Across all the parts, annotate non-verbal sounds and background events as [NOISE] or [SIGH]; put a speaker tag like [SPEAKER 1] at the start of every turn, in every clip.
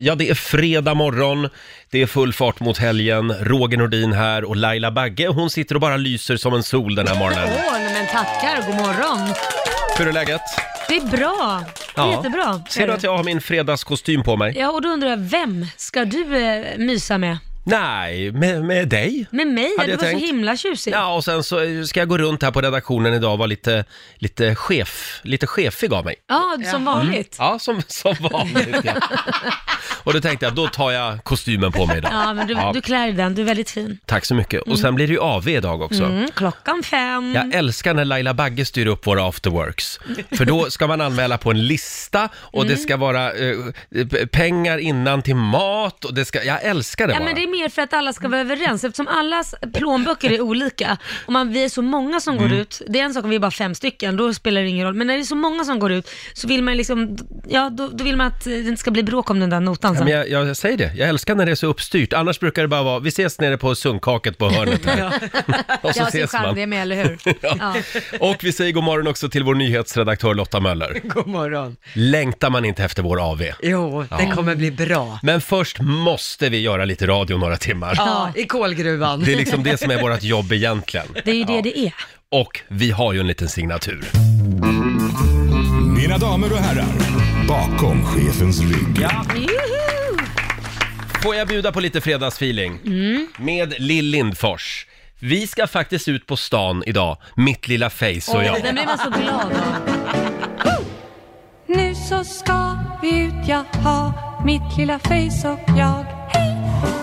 [SPEAKER 1] Ja, det är fredag morgon, det är full fart mot helgen. Roger Nordin här och Laila Bagge, hon sitter och bara lyser som en sol den här morgonen.
[SPEAKER 2] Åh, nej, men tackar. God morgon.
[SPEAKER 1] Hur är läget?
[SPEAKER 2] Det är bra. Det är jättebra.
[SPEAKER 1] Ser du att jag har min fredagskostym på mig?
[SPEAKER 2] Ja, och då undrar jag, vem ska du eh, mysa med?
[SPEAKER 1] Nej, med, med dig.
[SPEAKER 2] Med mig? Ja,
[SPEAKER 1] Hade
[SPEAKER 2] du
[SPEAKER 1] jag
[SPEAKER 2] var
[SPEAKER 1] tänkt.
[SPEAKER 2] så himla tjusig.
[SPEAKER 1] Ja, och sen så ska jag gå runt här på redaktionen idag och vara lite, lite chef, lite chefig av mig.
[SPEAKER 2] Ja, som vanligt.
[SPEAKER 1] Ja, Mm. som, som vanligt. Ja. [LAUGHS] Och då tänkte jag, då tar jag kostymen på mig idag.
[SPEAKER 2] Ja, men du, du klär dig i den. Du är väldigt fin.
[SPEAKER 1] Tack så mycket. Och sen blir det ju AV idag också.
[SPEAKER 2] Mm, klockan fem.
[SPEAKER 1] Jag älskar när Laila Bagge styr upp våra afterworks. För då ska man anmäla på en lista och det
[SPEAKER 2] Mm.
[SPEAKER 1] ska vara eh, p- pengar innan till mat och det ska... Jag älskar det
[SPEAKER 2] Ja,
[SPEAKER 1] bara.
[SPEAKER 2] men det är mer för att alla ska vara överens eftersom allas plånböcker är olika. Om man, vi är så många som
[SPEAKER 1] Mm.
[SPEAKER 2] går ut, det är en sak om vi är bara fem stycken, då spelar det ingen roll. Men när det är så många som går ut så vill man liksom, ja då, då vill man att det inte ska bli bråk om den där notan
[SPEAKER 1] Ja,
[SPEAKER 2] sen.
[SPEAKER 1] men jag, jag säger det, jag älskar när det är så uppstyrt. Annars brukar det bara vara, vi ses nere på sunkhaket på hörnet
[SPEAKER 2] [LAUGHS]
[SPEAKER 1] här. [LAUGHS] och så
[SPEAKER 3] Det har sin
[SPEAKER 1] ses
[SPEAKER 3] charm
[SPEAKER 1] man.
[SPEAKER 3] det med, eller hur?
[SPEAKER 2] Ja.
[SPEAKER 1] Och vi säger god morgon också till vår nyhetsredaktör Lotta Möller.
[SPEAKER 3] [LAUGHS] God morgon.
[SPEAKER 1] Längtar man inte efter vår AV?
[SPEAKER 3] Jo, den kommer bli bra.
[SPEAKER 1] Men först måste vi göra lite radio några timmar.
[SPEAKER 3] Ja, i kolgruvan.
[SPEAKER 1] Det är liksom det som är vårt jobb egentligen.
[SPEAKER 2] Det är ju det det är.
[SPEAKER 1] Och vi har ju en liten signatur.
[SPEAKER 4] Mina damer och herrar, bakom chefens rygg.
[SPEAKER 2] Juhu!
[SPEAKER 1] Får jag bjuda på lite fredagsfeeling?
[SPEAKER 2] Mm.
[SPEAKER 1] Med Lill Lindfors. Vi ska faktiskt ut på stan idag, mitt lilla face och
[SPEAKER 2] Åh,
[SPEAKER 1] jag.
[SPEAKER 2] Den blir man så glad av.
[SPEAKER 5] Nu så ska vi ut, jag har mitt lilla face och jag Hej!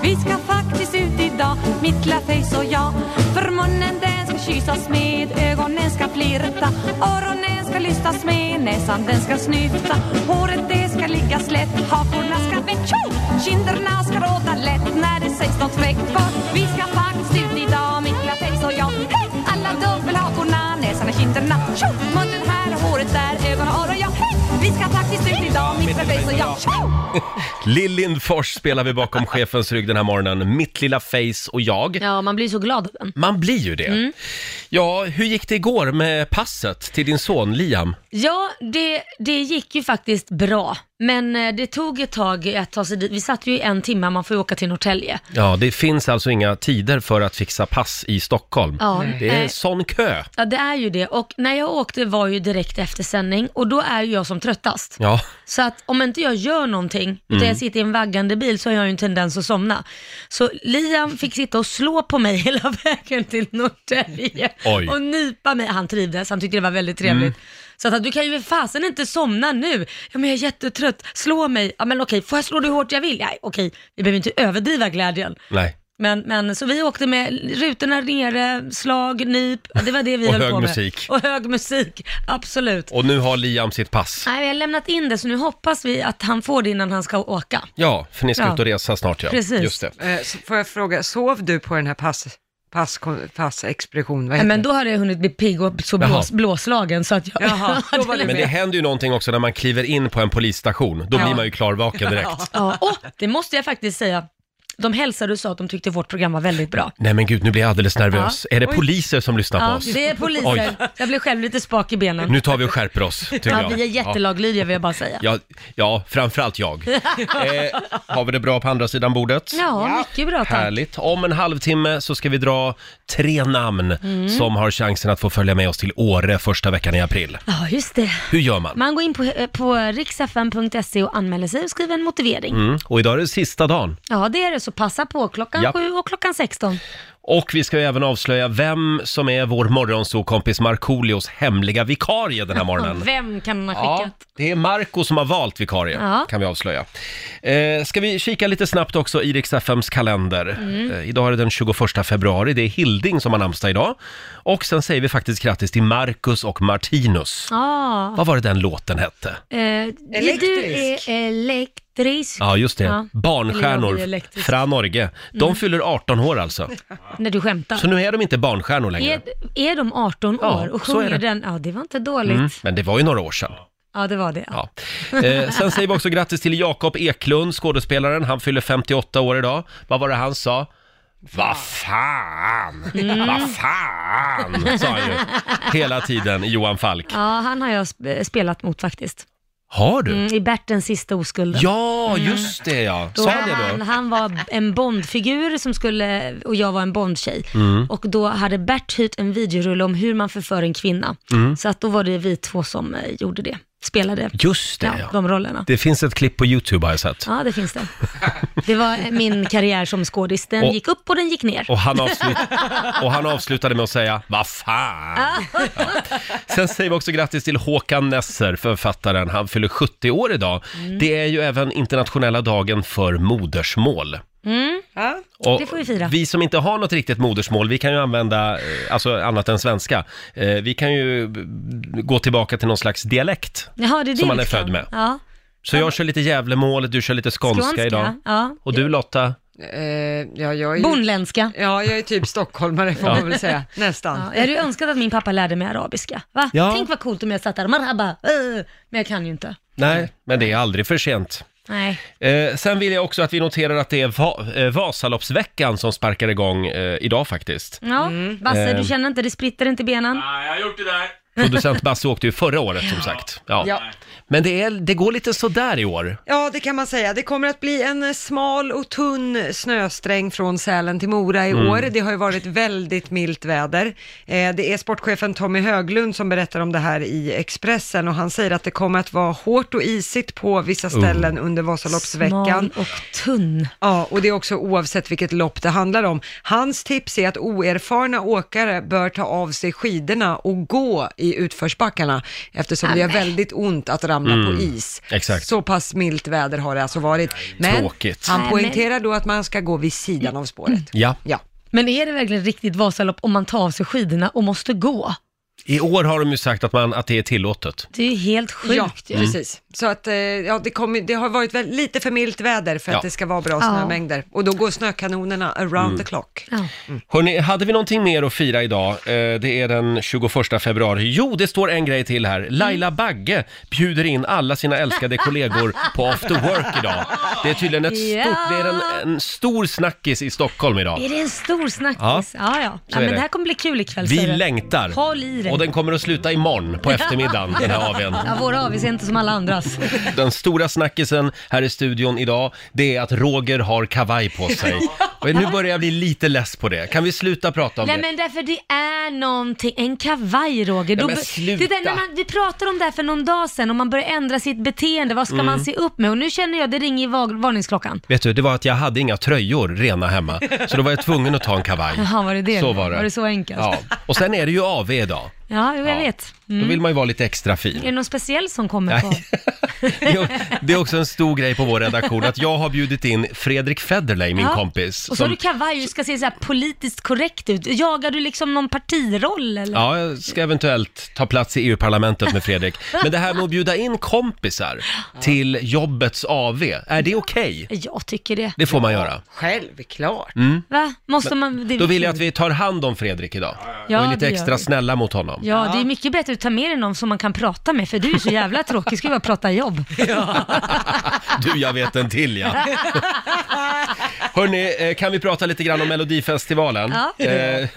[SPEAKER 5] Vi ska faktiskt ut idag, mitt lilla face och jag För munnen den ska kyssas med, ögonen ska flirta Öronen ska lystas med, näsan den ska snyfta Håret det ska ligga slätt, hakorna ska väck tjo! Kinderna ska råda lätt när det sägs något fräckt För vi ska faktiskt ut idag, mitt lilla face och jag Hej! Alla dubbelhakorna, näsan och kinderna tjo! Munnen här och håret där, ögon och öron ja Hej! Vi ska faktiskt ut idag, mitt lilla face och jag tjo!
[SPEAKER 1] Lill Lindfors spelar vi bakom chefens rygg den här morgonen, mitt lilla face och jag.
[SPEAKER 2] Ja, man blir så glad av den.
[SPEAKER 1] Man blir ju det.
[SPEAKER 2] Mm.
[SPEAKER 1] Ja, hur gick det igår med passet till din son Liam?
[SPEAKER 2] Ja, det, det gick ju faktiskt bra. Men eh, det tog ett tag att ta sig dit. Vi satt ju i en timme, man får ju åka till Norrtälje.
[SPEAKER 1] Ja, det finns alltså inga tider för att fixa pass i Stockholm.
[SPEAKER 2] Ja,
[SPEAKER 1] Det är
[SPEAKER 2] nej.
[SPEAKER 1] sån kö.
[SPEAKER 2] Ja, det är ju det. Och när jag åkte var ju direkt efter sändning och då är ju jag som tröttast.
[SPEAKER 1] Ja,
[SPEAKER 2] Så att om inte jag gör någonting, utan
[SPEAKER 1] Mm.
[SPEAKER 2] jag sitter i en vaggande bil, så har jag ju en tendens att somna. Så Liam fick sitta och slå på mig [LAUGHS] hela vägen till Norrtälje
[SPEAKER 1] Oj. Mm.
[SPEAKER 2] och nypa mig. Han trivdes, han tyckte det var väldigt trevligt. Så att han, du kan ju för fasen inte somna nu. Ja, men jag är jättetrött, slå mig. Ja, men okej, får jag slå dig hur hårt jag vill? Nej, okej, vi behöver inte överdriva glädjen.
[SPEAKER 1] nej.
[SPEAKER 2] Men, men så vi åkte med rutorna nere, slag, nyp, det var det vi
[SPEAKER 1] Och
[SPEAKER 2] höll
[SPEAKER 1] hög
[SPEAKER 2] på med.
[SPEAKER 1] musik.
[SPEAKER 2] Och hög musik, absolut.
[SPEAKER 1] Och nu har Liam sitt pass.
[SPEAKER 2] Nej, vi har lämnat in det så nu hoppas vi att han får det innan han ska åka.
[SPEAKER 1] Ja, för ni ska
[SPEAKER 2] Ja.
[SPEAKER 1] ut och resa snart ja.
[SPEAKER 2] Precis.
[SPEAKER 1] Just det.
[SPEAKER 3] Eh, så får jag fråga, sov du på den här pass, pass, passexpedition? Vad
[SPEAKER 2] Nej,
[SPEAKER 3] heter
[SPEAKER 2] men då hade jag hunnit bli pigg och så
[SPEAKER 1] Jaha.
[SPEAKER 2] blås, blåslagen så att jag...
[SPEAKER 3] Jaha, då var det
[SPEAKER 1] Men det händer ju någonting också när man kliver in på en polisstation. Då blir man ju klarvaken direkt.
[SPEAKER 2] [LAUGHS] ja, åh, det måste jag faktiskt säga. De hälsade och sa att de tyckte vårt program var väldigt bra.
[SPEAKER 1] Nej men gud, nu blir jag alldeles nervös. Är det poliser som lyssnar på
[SPEAKER 2] Ja,
[SPEAKER 1] oss?
[SPEAKER 2] det är poliser.
[SPEAKER 1] Oj.
[SPEAKER 2] Jag blev själv lite spak i benen.
[SPEAKER 1] Nu tar vi och skärper oss, tycker
[SPEAKER 2] Ja,
[SPEAKER 1] jag.
[SPEAKER 2] vi är jättelaglydiga vill jag bara säga.
[SPEAKER 1] Ja, ja, framförallt
[SPEAKER 2] [LAUGHS]
[SPEAKER 1] jag. Eh, har vi det bra på andra sidan bordet?
[SPEAKER 2] Ja, mycket bra tack.
[SPEAKER 1] Härligt. Om en halvtimme så ska vi dra tre namn
[SPEAKER 2] Mm.
[SPEAKER 1] som har chansen att få följa med oss till Åre första veckan i april.
[SPEAKER 2] Ja, just det.
[SPEAKER 1] Hur gör man?
[SPEAKER 2] Man går in på, eh, på riksfn.se och anmäler sig och skriver en motivering.
[SPEAKER 1] Mm. Och idag är det sista dagen.
[SPEAKER 2] Ja, det är det, så passa på klockan
[SPEAKER 1] Ja.
[SPEAKER 2] sju och klockan 16.
[SPEAKER 1] Och vi ska ju även avslöja vem som är vår morgonsokompis Markoolios hemliga vikarie den här morgonen.
[SPEAKER 2] [LAUGHS] Vem kan man ha
[SPEAKER 1] Ja,
[SPEAKER 2] skickat?
[SPEAKER 1] det är Marco som har valt vikarie,
[SPEAKER 2] Ja.
[SPEAKER 1] kan vi avslöja. Eh, ska vi kika lite snabbt också i Rix FMs kalender.
[SPEAKER 2] Mm.
[SPEAKER 1] Eh, idag är det den 21 februari, det är Hilding som har namnsdag idag. Och sen säger vi faktiskt grattis till Marcus och Martinus.
[SPEAKER 2] Ja.
[SPEAKER 1] Vad var det den låten hette?
[SPEAKER 2] Eh, du
[SPEAKER 3] Elektrisk.
[SPEAKER 2] är elektrisk.
[SPEAKER 1] Ja, just det.
[SPEAKER 2] Ja. Eller jag blir
[SPEAKER 1] Barnstjärnor
[SPEAKER 2] elektrisk. Mm.
[SPEAKER 1] från Norge. De fyller 18 år alltså.
[SPEAKER 2] När du skämtar.
[SPEAKER 1] Så nu är de inte barnstjärnor längre.
[SPEAKER 2] Är, är de 18
[SPEAKER 1] Ja,
[SPEAKER 2] år och
[SPEAKER 1] så är
[SPEAKER 2] sjunger
[SPEAKER 1] det.
[SPEAKER 2] den? Ja, det var inte dåligt.
[SPEAKER 1] Mm, men det var ju några år sedan.
[SPEAKER 2] Ja, det var det. Ja.
[SPEAKER 1] Ja. Eh, sen säger vi också grattis till Jakob Eklund, skådespelaren. Han fyller 58 år idag. Vad var det han sa? Vad fan!
[SPEAKER 2] Mm.
[SPEAKER 1] Vad fan! Sa han ju hela tiden i Johan Falk.
[SPEAKER 2] han har jag sp- spelat mot faktiskt.
[SPEAKER 1] Har du?
[SPEAKER 2] Mm, I Bertens sista oskulden.
[SPEAKER 1] Ja, just det ja.
[SPEAKER 2] Då
[SPEAKER 1] Sa
[SPEAKER 2] var
[SPEAKER 1] det
[SPEAKER 2] han,
[SPEAKER 1] då?
[SPEAKER 2] han var en Bondfigur som skulle, och jag var en Bondtjej.
[SPEAKER 1] Mm.
[SPEAKER 2] Och då hade Bert hyrt en videorulle om hur man förför en kvinna. Så att då var det vi två som eh, gjorde det, spelade
[SPEAKER 1] Mm. Just det
[SPEAKER 2] ja,
[SPEAKER 1] ja.
[SPEAKER 2] de rollerna.
[SPEAKER 1] Det finns ett klipp på YouTube har jag sett.
[SPEAKER 2] Ja, det finns det. Det var min karriär som skådis. Den
[SPEAKER 1] Och-
[SPEAKER 2] gick upp och den gick ner.
[SPEAKER 1] Och han, avslut... och han avslutade med att säga Vad fan!
[SPEAKER 2] Ah.
[SPEAKER 1] Sen säger vi också grattis till Håkan Nesser, författaren. Han fyller 70 år idag.
[SPEAKER 2] Mm.
[SPEAKER 1] Det är ju även internationella dagen för modersmål.
[SPEAKER 3] Ja.
[SPEAKER 1] Och
[SPEAKER 2] Det får vi fira.
[SPEAKER 1] som inte har något riktigt modersmål, vi kan ju använda, eh, alltså annat än svenska, Eh, vi kan ju b- gå tillbaka till någon slags dialekt.
[SPEAKER 2] Jaha, det är det
[SPEAKER 1] Som man är
[SPEAKER 2] liksom.
[SPEAKER 1] född med.
[SPEAKER 2] Ja.
[SPEAKER 1] Så jag kör lite Gävlemål, du kör lite skånska,
[SPEAKER 2] Skånska,
[SPEAKER 1] idag.
[SPEAKER 2] ja.
[SPEAKER 1] Och du Lotta,
[SPEAKER 3] Eh, ja, jag är ju,
[SPEAKER 2] Bonländska.
[SPEAKER 3] ja, jag är typ stockholmare får man väl säga, nästan.
[SPEAKER 2] Ja, jag hade ju önskat att min pappa lärde mig arabiska. Va?
[SPEAKER 1] Ja.
[SPEAKER 2] Tänk vad coolt om jag satt där, marhaba, eh, men jag kan ju inte.
[SPEAKER 1] nej, men det är aldrig för sent.
[SPEAKER 2] Nej.
[SPEAKER 1] Eh, sen vill jag också att vi noterar att det är va- eh, Vasaloppsveckan som sparkar igång eh, idag faktiskt.
[SPEAKER 2] Ja, Basse,
[SPEAKER 1] Ehm.
[SPEAKER 2] du känner inte, det spritter inte i benen?
[SPEAKER 6] Nej, jag har gjort det där.
[SPEAKER 1] Producent Basse åkte ju förra året som sagt. Ja.
[SPEAKER 3] Ja.
[SPEAKER 1] Men det, är, det går lite sådär i år.
[SPEAKER 3] Ja, det kan man säga. Det kommer att bli en eh, smal och tunn snösträng från Sälen till Mora i år. Det har ju varit väldigt milt väder. Eh, det är sportchefen Tommy Höglund som berättar om det här i Expressen och han säger att det kommer att vara hårt och isigt på vissa ställen under Vasaloppsveckan.
[SPEAKER 2] Smal och tunn.
[SPEAKER 3] Ja, och det är också oavsett vilket lopp det handlar om. Hans tips är att oerfarna åkare bör ta av sig skidorna och gå i utförsbackarna eftersom det gör väldigt ont att ramla på is.
[SPEAKER 1] Mm, exakt.
[SPEAKER 3] Så pass milt väder har det alltså varit. Men
[SPEAKER 1] Tråkigt. Mm.
[SPEAKER 3] han
[SPEAKER 2] Nej,
[SPEAKER 3] poängterar då att man ska gå vid sidan av spåret.
[SPEAKER 1] Ja.
[SPEAKER 3] Ja.
[SPEAKER 2] Men är det verkligen riktigt Vasalopp om man tar av sig skidorna och måste gå?
[SPEAKER 1] I år har de ju sagt att, man, att det är tillåtet.
[SPEAKER 2] Det är ju helt
[SPEAKER 3] Ja,
[SPEAKER 2] sjukt
[SPEAKER 1] Mm.
[SPEAKER 2] ju.
[SPEAKER 3] precis. Så att eh, ja, det, kommer- det har varit väl, lite för milt väder för
[SPEAKER 1] Ja. Mm.
[SPEAKER 3] att det ska vara bra
[SPEAKER 2] Ja.
[SPEAKER 3] snömängder. Och då går snökanonerna around the clock.
[SPEAKER 2] Ja.
[SPEAKER 1] Hörrni, hade vi någonting mer att fira idag? Eh, det är den 21 februari. Jo, det står en grej till här. Laila Bagge bjuder in alla sina älskade kollegor på after work idag. Det är tydligen ett
[SPEAKER 2] Ja.
[SPEAKER 1] stort, det är en, en stor snackis i Stockholm idag.
[SPEAKER 2] Är det en stor snackis?
[SPEAKER 1] Ja.
[SPEAKER 2] Ja, ja. ja.
[SPEAKER 1] är
[SPEAKER 2] men
[SPEAKER 1] det.
[SPEAKER 2] det här kommer bli kul ikväll.
[SPEAKER 1] Vi
[SPEAKER 2] säger du.
[SPEAKER 1] längtar.
[SPEAKER 2] Håll i dig.
[SPEAKER 1] Och den kommer att sluta imorgon
[SPEAKER 2] [LAUGHS]
[SPEAKER 1] på eftermiddagen, den här AWn.
[SPEAKER 2] Ja, våra avis är inte som
[SPEAKER 1] [LAUGHS]
[SPEAKER 2] alla andras.
[SPEAKER 1] Den stora snackisen här i studion idag, det är att Roger har kavaj på
[SPEAKER 2] [LAUGHS]
[SPEAKER 1] sig. Och nu börjar jag bli lite less på det. Kan vi sluta prata om
[SPEAKER 2] Nej
[SPEAKER 1] det?
[SPEAKER 2] men därför det är någonting, en kavaj Roger. Då
[SPEAKER 1] men
[SPEAKER 2] be-
[SPEAKER 1] sluta.
[SPEAKER 2] Det där, när man, vi pratade om det här för någon dag sedan, om man börjar ändra sitt beteende, vad ska
[SPEAKER 1] Mm.
[SPEAKER 2] man se upp med? Och nu känner jag, det ringer i va- varningsklockan.
[SPEAKER 1] Vet du, det var att jag hade inga tröjor rena hemma, så då var jag tvungen att ta en kavaj.
[SPEAKER 2] Jaha, var det det?
[SPEAKER 1] Så var det.
[SPEAKER 2] Var det så enkelt?
[SPEAKER 1] Ja. Och sen är det ju AV idag.
[SPEAKER 2] Ja, jo, jag
[SPEAKER 1] Ja.
[SPEAKER 2] vet.
[SPEAKER 1] Då vill man ju vara lite extra
[SPEAKER 2] Är det [LAUGHS]
[SPEAKER 1] fin.
[SPEAKER 2] någon speciell som kommer på?
[SPEAKER 1] Nej. Det är- Det är också en stor grej på vår redaktion att jag har bjudit in Fredrik Federley, [LAUGHS] min
[SPEAKER 2] Ja.
[SPEAKER 1] kompis.
[SPEAKER 2] Och så har
[SPEAKER 1] som-
[SPEAKER 2] du kavaj, du ska se så här politiskt korrekt ut. Jagar du liksom någon partiroll eller?
[SPEAKER 1] Ja, jag ska eventuellt ta plats i EU-parlamentet med Fredrik. Men det här med att bjuda in kompisar till jobbets AV, är det okej?
[SPEAKER 2] Jag tycker det.
[SPEAKER 1] Det får man göra.
[SPEAKER 3] Självklart.
[SPEAKER 2] Va? Måste man? Det är
[SPEAKER 1] Då vill jag att
[SPEAKER 2] kul.
[SPEAKER 1] vi tar hand om Fredrik idag.
[SPEAKER 2] Ja,
[SPEAKER 1] och är
[SPEAKER 2] det
[SPEAKER 1] lite
[SPEAKER 2] gör
[SPEAKER 1] extra
[SPEAKER 2] vi.
[SPEAKER 1] snälla mot honom.
[SPEAKER 2] Ja, det är mycket bättre att ta med dig någon som man kan prata med, för du är så jävla tråkig. Ska ju bara prata jobb.
[SPEAKER 1] [LAUGHS] Du, jag vet en till ja.
[SPEAKER 2] [LAUGHS]
[SPEAKER 1] Hörni, eh, kan vi prata lite grann om Melodifestivalen?
[SPEAKER 2] Ja.
[SPEAKER 1] Eh,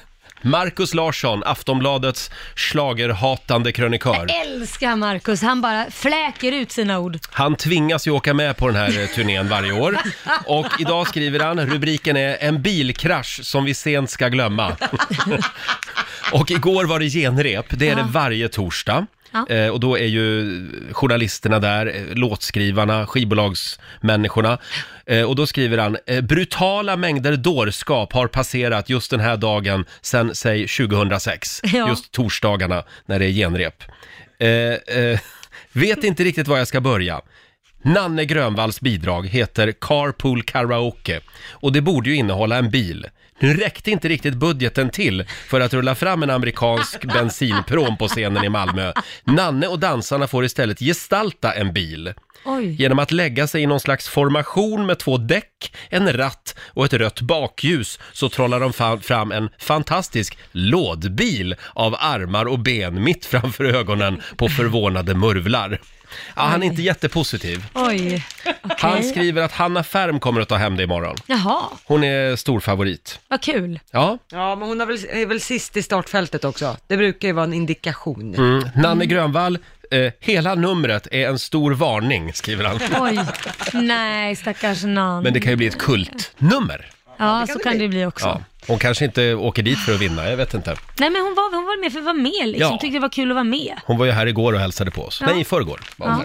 [SPEAKER 1] Marcus Larsson, Aftonbladets schlagerhatande krönikör.
[SPEAKER 2] Älskar Marcus, han bara fläker ut sina ord.
[SPEAKER 1] Han tvingas ju åka med på den här eh, turnén varje år.
[SPEAKER 2] [LAUGHS]
[SPEAKER 1] Och idag skriver han, rubriken är “En bilkrasch som vi sent ska glömma”.
[SPEAKER 2] [LAUGHS]
[SPEAKER 1] Och igår var det genrep, det är det varje torsdag.
[SPEAKER 2] Ja.
[SPEAKER 1] Eh, och då är ju journalisterna där, eh, låtskrivarna, skivbolagsmänniskorna. Eh, och då skriver han, eh, brutala mängder dårskap har passerat just den här dagen sen, säg 2006.
[SPEAKER 2] [LAUGHS] Ja.
[SPEAKER 1] Just torsdagarna när det är genrep. Eh, eh, vet inte riktigt var jag ska börja. Nanne Grönvalls bidrag heter Carpool Karaoke och det borde ju innehålla en bil. Nu räckte inte riktigt budgeten till för att rulla fram en amerikansk bensinpråm på scenen i Malmö. Nanne och dansarna får istället gestalta en bil
[SPEAKER 2] Oj.
[SPEAKER 1] genom att lägga sig i någon slags formation med två däck, en ratt och ett rött bakljus så trollar de fa- fram en fantastisk lådbil av armar och ben mitt framför ögonen på förvånade murvlar. Ja, han är inte jättepositiv.
[SPEAKER 2] Oj.
[SPEAKER 1] Han
[SPEAKER 2] Okej.
[SPEAKER 1] skriver att Hanna Färm kommer att ta hem det imorgon.
[SPEAKER 2] Jaha,
[SPEAKER 1] Hon är stor favorit.
[SPEAKER 2] vad kul.
[SPEAKER 1] Ja,
[SPEAKER 3] Ja, men hon har väl, är väl sist i startfältet också. Det brukar ju vara en indikation.
[SPEAKER 1] mm. Nanne Grönvall Eh, hela numret är en stor varning, skriver han.
[SPEAKER 2] Oj, nej stackars nån.
[SPEAKER 1] Men det kan ju bli ett kultnummer.
[SPEAKER 2] ja, så kan det ju bli också.
[SPEAKER 1] Ja. Hon kanske inte åker dit för att vinna, jag vet inte.
[SPEAKER 2] Nej men hon var, hon var med för att vara med liksom,
[SPEAKER 1] Ja.
[SPEAKER 2] tyckte det var kul att vara med.
[SPEAKER 1] Hon var ju här igår och hälsade på oss.
[SPEAKER 2] Ja.
[SPEAKER 1] Nej, i förrgår var hon
[SPEAKER 2] Ja.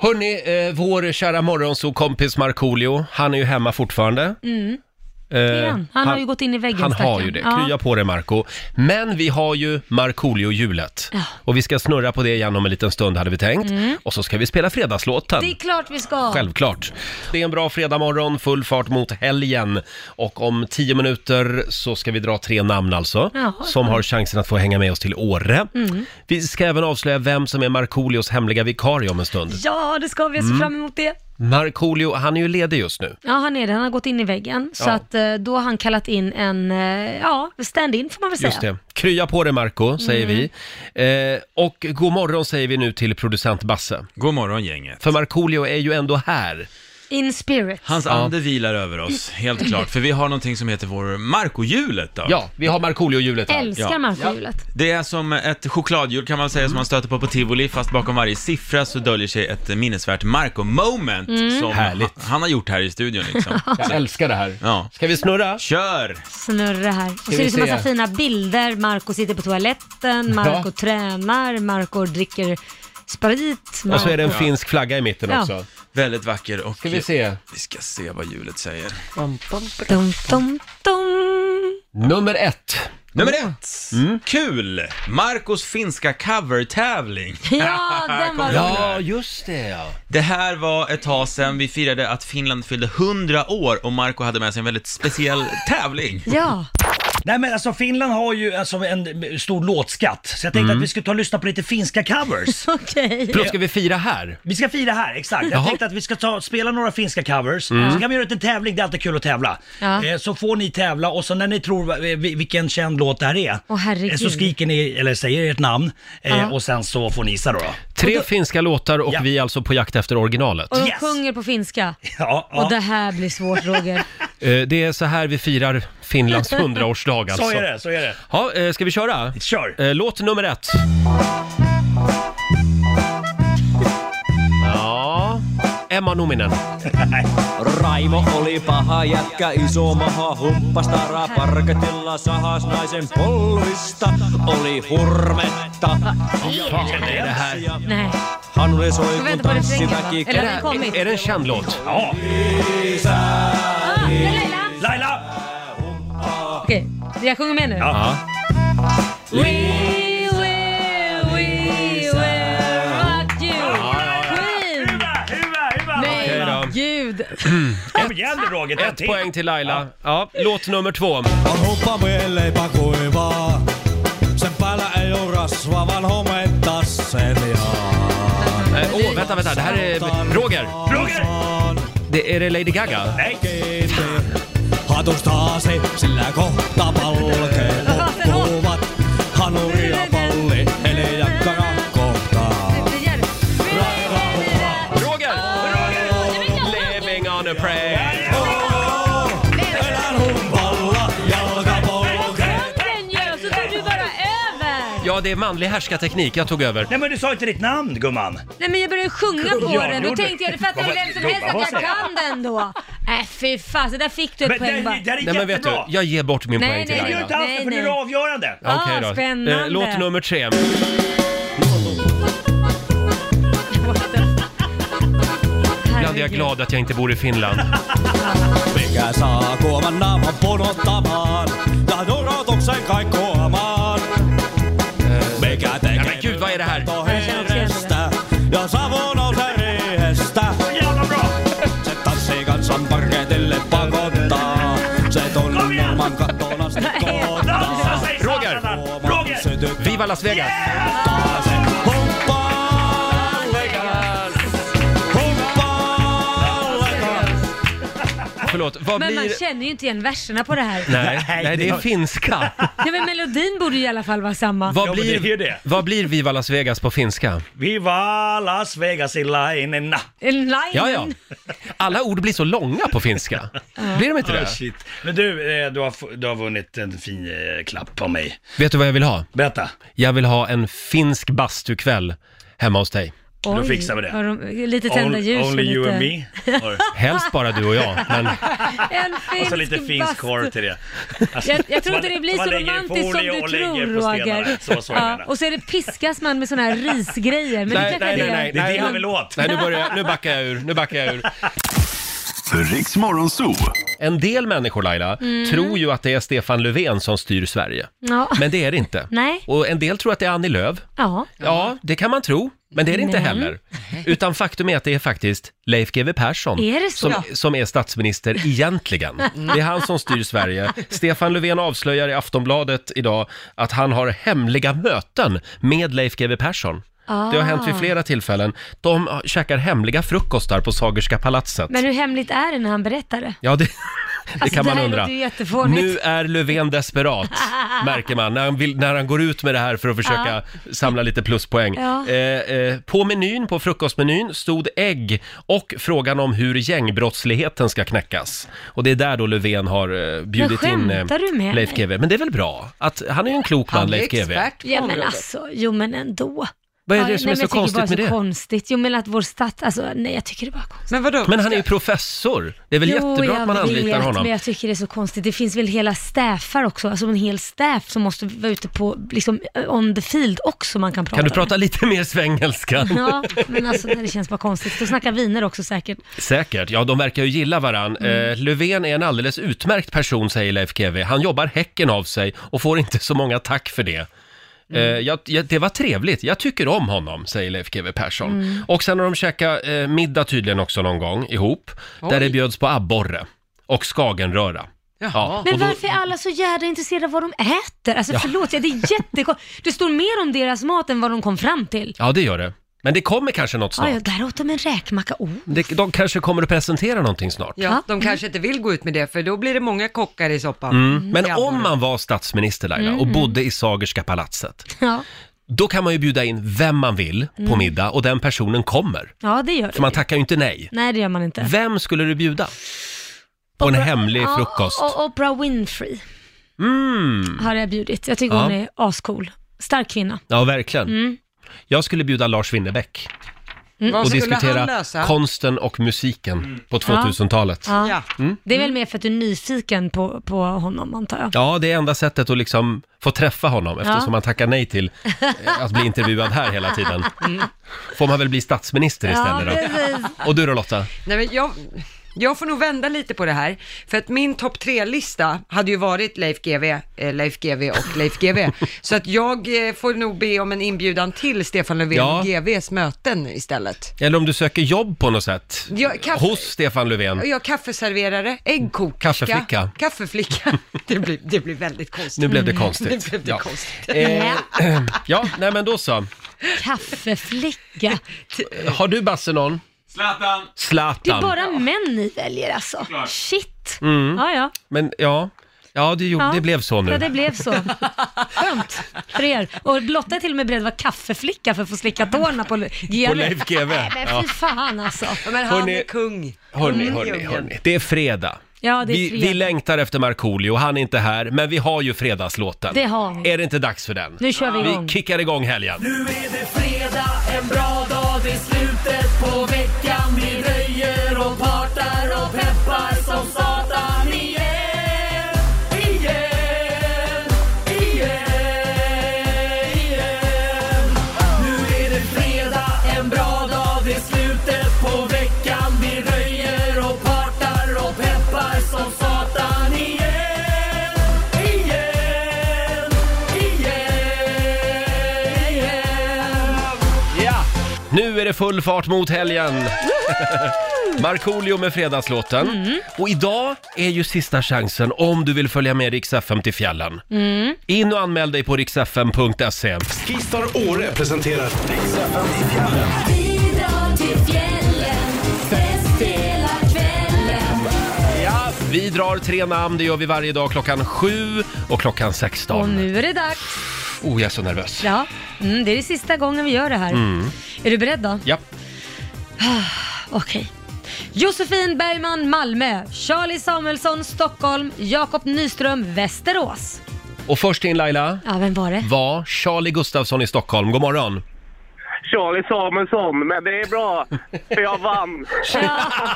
[SPEAKER 1] här. Hörni, eh, vår kära morgonsokompis Markoolio, han är ju hemma fortfarande. Eh,
[SPEAKER 2] Mm. han. Han har ju gått in i väggen,
[SPEAKER 1] Han har
[SPEAKER 2] stackarn.
[SPEAKER 1] ju det.
[SPEAKER 2] Ja.
[SPEAKER 1] Krya på dig Marco. Men vi har ju Markoolio-hjulet.
[SPEAKER 2] Ja. Mm.
[SPEAKER 1] Och vi ska snurra på det igen om en liten stund hade vi tänkt. Och så ska vi spela fredagslåten.
[SPEAKER 2] Det är klart vi ska.
[SPEAKER 1] Självklart. Det är en bra fredagmorgon, full fart mot helgen. Och om tio minuter så ska vi dra tre namn alltså,
[SPEAKER 2] Ja.
[SPEAKER 1] som har chansen att få hänga med oss till Åre.
[SPEAKER 2] Mm.
[SPEAKER 1] Vi ska även avslöja vem som är Markoolios hemliga vikarie om en stund.
[SPEAKER 2] Ja, det ska vi.
[SPEAKER 1] Mm.
[SPEAKER 2] Jag ser fram emot det.
[SPEAKER 1] Markoolio, han är ju ledig just nu.
[SPEAKER 2] Ja, han är det. Han har gått in i väggen. Så
[SPEAKER 1] Ja.
[SPEAKER 2] att eh, då har han kallat in en, eh, ja, Mm. stand-in får man väl säga.
[SPEAKER 1] Just det. Krya på dig Marco, säger vi. Eh, och god morgon säger vi nu till producent Basse.
[SPEAKER 6] God morgon gänget.
[SPEAKER 1] För Markoolio är ju ändå här.
[SPEAKER 2] In spirit.
[SPEAKER 6] Hans ande vilar över oss, helt klart. För vi har någonting som heter vår Marco-hjulet då.
[SPEAKER 1] Ja, vi har Markoolio-hjulet här.
[SPEAKER 2] Älskar
[SPEAKER 6] Ja.
[SPEAKER 2] Markoolio-hjulet.
[SPEAKER 6] Det är som ett chokladhjul kan man säga som man stöter på på tivoli, fast bakom varje siffra så döljer sig ett minnesvärt Marco-moment som
[SPEAKER 1] Mm. Härligt.
[SPEAKER 6] han har gjort här i studion
[SPEAKER 1] [LAUGHS]
[SPEAKER 6] liksom.
[SPEAKER 1] Jag älskar det här.
[SPEAKER 6] Ja.
[SPEAKER 1] Ska vi snurra?
[SPEAKER 6] Kör!
[SPEAKER 2] Snurra här. Och så
[SPEAKER 1] vi
[SPEAKER 2] är det så
[SPEAKER 1] se.
[SPEAKER 2] massa fina bilder. Marco sitter på toaletten, Marco
[SPEAKER 1] Ja.
[SPEAKER 2] tränar, Marco dricker sprit.
[SPEAKER 1] Och så är det en
[SPEAKER 6] Ja.
[SPEAKER 1] finsk flagga i mitten
[SPEAKER 2] Ja.
[SPEAKER 1] också.
[SPEAKER 6] Väldigt vacker och...
[SPEAKER 1] Ska vi se.
[SPEAKER 6] Vi ska se vad hjulet säger.
[SPEAKER 2] Dum, dum, dum.
[SPEAKER 1] Nummer ett.
[SPEAKER 6] Nummer
[SPEAKER 1] Mm.
[SPEAKER 6] ett! Kul! Marcos finska covertävling.
[SPEAKER 2] Ja, den var rolig.
[SPEAKER 1] Ja, just det ja.
[SPEAKER 6] Det här var ett tag sedan vi firade att Finland fyllde 100 år och Marco hade med sig en väldigt speciell tävling.
[SPEAKER 2] Ja,
[SPEAKER 7] Nej men alltså Finland har ju alltså, en stor låtskatt, så jag tänkte att vi skulle ta och lyssna på lite finska
[SPEAKER 2] [LAUGHS]
[SPEAKER 7] covers.
[SPEAKER 2] okej.
[SPEAKER 1] Plus ska vi fira här.
[SPEAKER 7] Vi ska fira här, exakt. Jag
[SPEAKER 1] Jaha.
[SPEAKER 7] tänkte att vi ska ta, spela några finska covers, så kan vi göra en liten tävling, det är alltid kul att tävla.
[SPEAKER 2] Ja.
[SPEAKER 7] Eh, så får ni tävla och så när ni tror eh, vi- vilken känd låt det här är,
[SPEAKER 2] Åh, herregud.
[SPEAKER 7] eh, så skriker ni, eller säger ert namn, eh,
[SPEAKER 2] Ja.
[SPEAKER 7] och sen så får ni gissa då. [LAUGHS] då.
[SPEAKER 1] Tre finska låtar och
[SPEAKER 7] Ja.
[SPEAKER 1] vi är alltså på jakt efter originalet.
[SPEAKER 2] Och de
[SPEAKER 7] Yes.
[SPEAKER 2] sjunger på finska.
[SPEAKER 7] Ja,
[SPEAKER 2] Och det
[SPEAKER 7] ja.
[SPEAKER 2] här blir
[SPEAKER 1] [LAUGHS]
[SPEAKER 2] svårt Roger.
[SPEAKER 1] Eh, Det är så här vi firar [LAUGHS] Finlands 100-årsdag alltså.
[SPEAKER 7] Så är det, så är det.
[SPEAKER 1] Ja, eh, ska vi köra?
[SPEAKER 7] Kör!
[SPEAKER 1] Eh, Låt nummer ett. Ja, Emma Nominen.
[SPEAKER 8] Raimo oli paha jätkä, iso maha, humppas tara, parketilla sahas naisen polvista, oli hurmetta.
[SPEAKER 1] Det här.
[SPEAKER 2] Nej.
[SPEAKER 8] Hannu soi,
[SPEAKER 2] Ska vi
[SPEAKER 8] kun
[SPEAKER 2] vänta på refrängen
[SPEAKER 8] tanssiväki
[SPEAKER 2] då? Eller har den kommit?
[SPEAKER 1] Är det en känd låt?
[SPEAKER 7] Ja.
[SPEAKER 2] Ah, det är Laila.
[SPEAKER 7] Laila!
[SPEAKER 2] Okej, jag sjunger med nu.
[SPEAKER 1] Ja.
[SPEAKER 2] We will, we will rock you. Queen.
[SPEAKER 7] Huva, huva, huva!
[SPEAKER 2] Nej,
[SPEAKER 1] Okej då.
[SPEAKER 2] gud.
[SPEAKER 7] Kom igen nu Roger, ta en
[SPEAKER 1] Ett
[SPEAKER 7] till.
[SPEAKER 1] poäng till Laila. Ja, låt nummer två. Eh,
[SPEAKER 8] On huppa mieleipä kuivaa, sen päällä ei oo rasva, vaan hometta seljaa.
[SPEAKER 1] Eh, Åh, vänta, vänta. Det här är... Roger!
[SPEAKER 7] Roger!
[SPEAKER 1] Det är det Lady Gaga?
[SPEAKER 7] Nej!
[SPEAKER 8] Kiinni. Hatustaa se, sillä kohta palkee loppuvat. Hanuri ja palli, eli jakkara kohtaa.
[SPEAKER 1] Roger! Living on a prayer.
[SPEAKER 8] Elän humpalla, jalka polkee.
[SPEAKER 2] Så tog du bara över.
[SPEAKER 1] Ja, det är manlig härskarteknik. Jag tog över.
[SPEAKER 7] Nej men du sa inte ditt namn gumman.
[SPEAKER 2] Nej men jag började sjunga på
[SPEAKER 7] Ja,
[SPEAKER 2] den.
[SPEAKER 7] gjorde
[SPEAKER 2] Då
[SPEAKER 7] du.
[SPEAKER 2] tänkte jag, det fattar väl vem som helst att jag kan den då. Nej fy fan, så där fick du ett
[SPEAKER 7] Men det,
[SPEAKER 2] poäng bara.
[SPEAKER 7] det här är
[SPEAKER 1] Nej men vet du,
[SPEAKER 7] jättebra.
[SPEAKER 1] jag ger bort min
[SPEAKER 2] Nej,
[SPEAKER 1] poäng till
[SPEAKER 2] nej,
[SPEAKER 7] Det gör
[SPEAKER 1] Laila.
[SPEAKER 7] inte alls
[SPEAKER 2] Nej,
[SPEAKER 7] det, för nu är det
[SPEAKER 2] nej.
[SPEAKER 7] avgörande.
[SPEAKER 1] Ja, okej
[SPEAKER 2] Ah,
[SPEAKER 1] då.
[SPEAKER 2] spännande.
[SPEAKER 1] Eh, Låt nummer tre. Ibland är jag
[SPEAKER 2] Herregud.
[SPEAKER 1] glad att jag inte bor i Finland.
[SPEAKER 8] Mikä saa kuoman naaman punottamaan. Tahdon rautuksen kaikkoamaan. Mikä tekee
[SPEAKER 1] Ja, men gud, vad är det här?
[SPEAKER 8] hiirestä ja savu nousee riihestä.
[SPEAKER 7] Jävla bra!
[SPEAKER 8] Se tanssii kansan parketille pakottaa. Se tunnin ilman kattoon asti
[SPEAKER 7] Dansa
[SPEAKER 8] koottaa.
[SPEAKER 7] sig
[SPEAKER 1] Roger!
[SPEAKER 7] samman.
[SPEAKER 8] Kuoman
[SPEAKER 7] Roger!
[SPEAKER 8] sytyttää
[SPEAKER 1] Viva Las Vegas!
[SPEAKER 8] se. Humppaa Vegas. Humppaa Vegas.
[SPEAKER 1] Förlåt, vad
[SPEAKER 2] Men man
[SPEAKER 1] blir...
[SPEAKER 2] känner ju inte igen verserna på det här.
[SPEAKER 1] Nej,
[SPEAKER 7] Nej,
[SPEAKER 1] nej, det är
[SPEAKER 7] det- [LAUGHS]
[SPEAKER 1] finska.
[SPEAKER 2] Nej men melodin borde ju i alla fall vara samma.
[SPEAKER 1] Vad
[SPEAKER 7] Ja, men det är ju
[SPEAKER 1] blir,
[SPEAKER 7] det.
[SPEAKER 1] vad blir Viva Las Vegas på finska?
[SPEAKER 7] Viva Las Vegasilainen.
[SPEAKER 2] En line.
[SPEAKER 1] Ja, ja. Alla ord blir så långa på finska. Blir de inte
[SPEAKER 7] Oh,
[SPEAKER 1] det?
[SPEAKER 7] shit. Men du, eh, du har, fu- du har vunnit en fin eh, klapp av mig.
[SPEAKER 1] Vet du vad jag vill ha?
[SPEAKER 7] Berätta.
[SPEAKER 1] Jag vill ha en finsk bastukväll hemma hos dig.
[SPEAKER 2] Oj,
[SPEAKER 7] fixar vi det.
[SPEAKER 2] har de- Lite tända ljus och
[SPEAKER 7] only
[SPEAKER 2] lite...
[SPEAKER 7] you and me.
[SPEAKER 2] [LAUGHS]
[SPEAKER 7] Or,
[SPEAKER 1] Helst bara du och jag, men
[SPEAKER 2] En
[SPEAKER 7] och
[SPEAKER 2] finsk
[SPEAKER 7] så lite finsk
[SPEAKER 2] bastu.
[SPEAKER 7] korv till det. Alltså,
[SPEAKER 2] Jag, jag tror
[SPEAKER 7] man-
[SPEAKER 2] inte det blir
[SPEAKER 7] man
[SPEAKER 2] så
[SPEAKER 7] lägger i
[SPEAKER 2] romantiskt som
[SPEAKER 7] folie
[SPEAKER 2] du
[SPEAKER 7] och lägger
[SPEAKER 2] tror
[SPEAKER 7] på stenar.
[SPEAKER 2] Roger.
[SPEAKER 7] Så, så jag menar.
[SPEAKER 2] och så är det piskas man med såna här risgrejer. Men
[SPEAKER 1] Nej,
[SPEAKER 2] det kanske
[SPEAKER 1] nej,
[SPEAKER 2] är det.
[SPEAKER 1] nej,
[SPEAKER 7] Det är det
[SPEAKER 1] men-
[SPEAKER 7] han vill åt.
[SPEAKER 1] [LAUGHS] nej, nu, börjar, jag- nu backar jag ur. Nu backar jag ur.
[SPEAKER 4] Riks Morgonzoo.
[SPEAKER 1] En del människor, Laila, tror ju att det är Stefan Löfven som styr Sverige.
[SPEAKER 2] Ja.
[SPEAKER 1] Men det är det inte.
[SPEAKER 2] Nej.
[SPEAKER 1] Och en del tror att det är Annie Lööf.
[SPEAKER 2] ja.
[SPEAKER 1] Ja, det kan man tro. Men det är det inte
[SPEAKER 2] Men.
[SPEAKER 1] heller. Utan faktum är att det är faktiskt Leif GW Persson
[SPEAKER 2] Är det så?
[SPEAKER 1] som, som är statsminister egentligen. Det är han som styr Sverige. Stefan Löfven avslöjar i Aftonbladet idag att han har hemliga möten med Leif GW Persson. Det har hänt
[SPEAKER 2] Ah.
[SPEAKER 1] vid flera tillfällen. De käkar hemliga frukostar på Sagerska palatset.
[SPEAKER 2] Men hur hemligt är det när han berättar det?
[SPEAKER 1] Ja, det, [LAUGHS] det
[SPEAKER 2] Alltså,
[SPEAKER 1] kan
[SPEAKER 2] det
[SPEAKER 1] man
[SPEAKER 2] här
[SPEAKER 1] undra.
[SPEAKER 2] låter ju jättefånigt.
[SPEAKER 1] Nu är Löfven
[SPEAKER 2] [LAUGHS]
[SPEAKER 1] desperat, märker man, när han, vill, när han går ut med det här för att försöka samla lite pluspoäng.
[SPEAKER 2] Ja.
[SPEAKER 1] Eh, eh, på menyn, på frukostmenyn, stod ägg och frågan om hur gängbrottsligheten ska knäckas. Och det är där då Löfven har eh, bjudit
[SPEAKER 2] Men
[SPEAKER 1] in
[SPEAKER 2] skämtar du med
[SPEAKER 1] Leif
[SPEAKER 2] mig?
[SPEAKER 1] GW. Men det är väl bra? Att, han är ju en klok man,
[SPEAKER 3] Han är
[SPEAKER 1] Leif GW.
[SPEAKER 3] expert på
[SPEAKER 2] Ja men
[SPEAKER 3] området.
[SPEAKER 2] alltså, jo men ändå.
[SPEAKER 1] Vad är
[SPEAKER 2] Ja,
[SPEAKER 1] det som
[SPEAKER 2] nej,
[SPEAKER 1] är
[SPEAKER 2] men
[SPEAKER 1] så
[SPEAKER 2] jag tycker
[SPEAKER 1] konstigt
[SPEAKER 2] bara
[SPEAKER 1] med
[SPEAKER 2] så
[SPEAKER 1] det?
[SPEAKER 2] konstigt. Jo men att vår stat, alltså nej jag tycker det bara är konstigt.
[SPEAKER 3] Men vadå?
[SPEAKER 1] Men han är ju professor. Det är väl jättebra att man anlitar
[SPEAKER 2] vet,
[SPEAKER 1] honom.
[SPEAKER 2] men jag tycker det är så konstigt. Det finns väl hela staffar också, alltså en hel staff som måste vara ute på, liksom on the field också man kan prata
[SPEAKER 1] Kan du
[SPEAKER 2] med.
[SPEAKER 1] prata lite mer svengelska?
[SPEAKER 2] Ja, men alltså nej, det känns bara konstigt. Då snackar viner också säkert.
[SPEAKER 1] Säkert, ja de verkar ju gilla varann. Eh, Löfven är en alldeles utmärkt person säger Leif GW. Han jobbar häcken av sig och får inte så många tack för det. Eh, jag, jag, det var trevligt, jag tycker om honom, säger Leif GW Persson. Och sen har de käkat eh, middag tydligen också någon gång ihop, där det bjöds på abborre och skagenröra. Ja,
[SPEAKER 2] Men
[SPEAKER 1] och då-
[SPEAKER 2] varför är alla så jävla intresserade av vad de äter? Alltså förlåt, ja, det är jättekonstigt. Det står mer om deras mat än vad de kom fram till.
[SPEAKER 1] ja, det gör det. Men det kommer kanske något
[SPEAKER 2] Ja,
[SPEAKER 1] snart.
[SPEAKER 2] ja, där åt de en räkmacka. Oh.
[SPEAKER 1] Det, de kanske kommer att presentera någonting snart.
[SPEAKER 3] Ja, de kanske inte vill gå ut med det för då blir det många kockar i soppan.
[SPEAKER 1] Mm. Men
[SPEAKER 3] Ja,
[SPEAKER 1] om
[SPEAKER 3] abborre.
[SPEAKER 1] man var statsminister Laila och bodde i Sagerska palatset,
[SPEAKER 2] Ja.
[SPEAKER 1] Då kan man ju bjuda in vem man vill på middag och den personen kommer.
[SPEAKER 2] ja, det gör
[SPEAKER 1] För man
[SPEAKER 2] det.
[SPEAKER 1] tackar ju inte nej.
[SPEAKER 2] Nej, det gör man inte.
[SPEAKER 1] Vem skulle du bjuda? På en hemlig
[SPEAKER 2] Ja,
[SPEAKER 1] frukost.
[SPEAKER 2] Och Oprah Winfrey
[SPEAKER 1] Mm.
[SPEAKER 2] har jag bjudit. Jag tycker
[SPEAKER 1] Ja.
[SPEAKER 2] hon är ascool. Stark kvinna.
[SPEAKER 1] Ja, verkligen. Jag skulle bjuda Lars Winnerbäck
[SPEAKER 3] Vad
[SPEAKER 1] och
[SPEAKER 3] skulle han
[SPEAKER 1] diskutera
[SPEAKER 3] lösa?
[SPEAKER 1] konsten och musiken på 2000-talet. Ja.
[SPEAKER 2] Ja.
[SPEAKER 3] ja.
[SPEAKER 2] Det är
[SPEAKER 1] Mm.
[SPEAKER 2] väl mer för att du är nyfiken på, på honom, antar jag.
[SPEAKER 1] det är enda sättet att liksom få träffa honom eftersom
[SPEAKER 2] Ja.
[SPEAKER 1] man tackar nej till eh, att bli intervjuad här hela tiden. Får man väl bli statsminister istället då?
[SPEAKER 2] precis.
[SPEAKER 1] Och du då Lotta?
[SPEAKER 3] Nej, men jag, jag får nog vända lite på det här, för att min topp tre-lista hade ju varit Leif GW, eh, Leif GW och Leif
[SPEAKER 1] [LAUGHS]
[SPEAKER 3] GW. så att jag eh, får nog be om en inbjudan till Stefan Löfven
[SPEAKER 1] Ja.
[SPEAKER 3] och GWs möten istället.
[SPEAKER 1] Eller om du söker jobb på något sätt?
[SPEAKER 3] Ja, kaffe-
[SPEAKER 1] Hos Stefan Löfven?
[SPEAKER 3] Och Jag kaffeserverare, äggkokerska,
[SPEAKER 1] Kaffeflicka. [LAUGHS]
[SPEAKER 3] kaffeflicka. Det blir, det blir väldigt konstigt. Mm.
[SPEAKER 1] Nu blev det konstigt.
[SPEAKER 3] [LAUGHS] Nu blev det
[SPEAKER 1] ja.
[SPEAKER 3] konstigt.
[SPEAKER 1] Eh, ja, nej men då så. [LAUGHS]
[SPEAKER 2] Kaffeflicka.
[SPEAKER 1] Har du Basse någon?
[SPEAKER 6] Zlatan!
[SPEAKER 2] Det är
[SPEAKER 1] Zlatan.
[SPEAKER 2] bara män ni väljer alltså.
[SPEAKER 6] Såklart.
[SPEAKER 2] Shit. Ja, ja.
[SPEAKER 1] Men ja, ja det, gjorde,
[SPEAKER 2] Ja.
[SPEAKER 1] det blev så Mm. nu.
[SPEAKER 2] Ja, det blev så. Skönt för er. Och Lotta är till och med beredd att vara kaffeflicka för att få slicka tårna på GW.
[SPEAKER 1] På Leif GW.
[SPEAKER 2] Nej, men fy fan alltså.
[SPEAKER 3] Ja, Men han
[SPEAKER 1] Hörrni-
[SPEAKER 3] är kung.
[SPEAKER 1] Hörni,
[SPEAKER 3] Mm,
[SPEAKER 1] hörni,
[SPEAKER 3] djungeln.
[SPEAKER 1] hörni. Det är fredag.
[SPEAKER 2] Ja, det är
[SPEAKER 1] vi,
[SPEAKER 2] fredag.
[SPEAKER 1] vi längtar efter Markoolio, han är inte här, men vi har ju fredagslåten.
[SPEAKER 2] Det har vi.
[SPEAKER 1] Är det inte dags för den?
[SPEAKER 2] Nu kör vi igång.
[SPEAKER 1] Vi kickar igång helgen.
[SPEAKER 9] Nu är det fredag, en bra dag, det är slutet på veckan Vi röjer och partar och peppar som satan igen Igen, igen, igen Nu är det fredag, en bra dag, det är slutet på veckan Vi röjer och partar och peppar som satan igen Igen, igen, igen
[SPEAKER 1] Ja, nu är det full fart mot helgen. [LAUGHS] Markoolio med fredagslåten.
[SPEAKER 2] Mm.
[SPEAKER 1] Och idag är ju sista chansen om du vill följa med Rix FM till fjällen.
[SPEAKER 2] Mm.
[SPEAKER 1] In och anmäl dig på riksfm.se.
[SPEAKER 4] Skistar Åre presenterar Riks FM i fjällen.
[SPEAKER 9] Vi drar till fjällen, fest hela kvällen.
[SPEAKER 1] Ja, vi drar tre namn, det gör vi varje dag klockan 7 och klockan 16.
[SPEAKER 2] Och nu är det dags.
[SPEAKER 1] Oh, jag är så nervös.
[SPEAKER 2] Ja, mm, det är det sista gången vi gör det här.
[SPEAKER 1] Mm.
[SPEAKER 2] Är du beredd då?
[SPEAKER 1] Ja,
[SPEAKER 2] Okej. Josefin Bergman, Malmö. Charlie Samuelsson, Stockholm. Jakob Nyström, Västerås.
[SPEAKER 1] och först in Laila
[SPEAKER 2] Ja, vem var det?
[SPEAKER 1] var Charlie Gustafsson i Stockholm. God morgon.
[SPEAKER 10] Charlie Samuelsson, men det är bra, för jag vann.
[SPEAKER 2] Ja,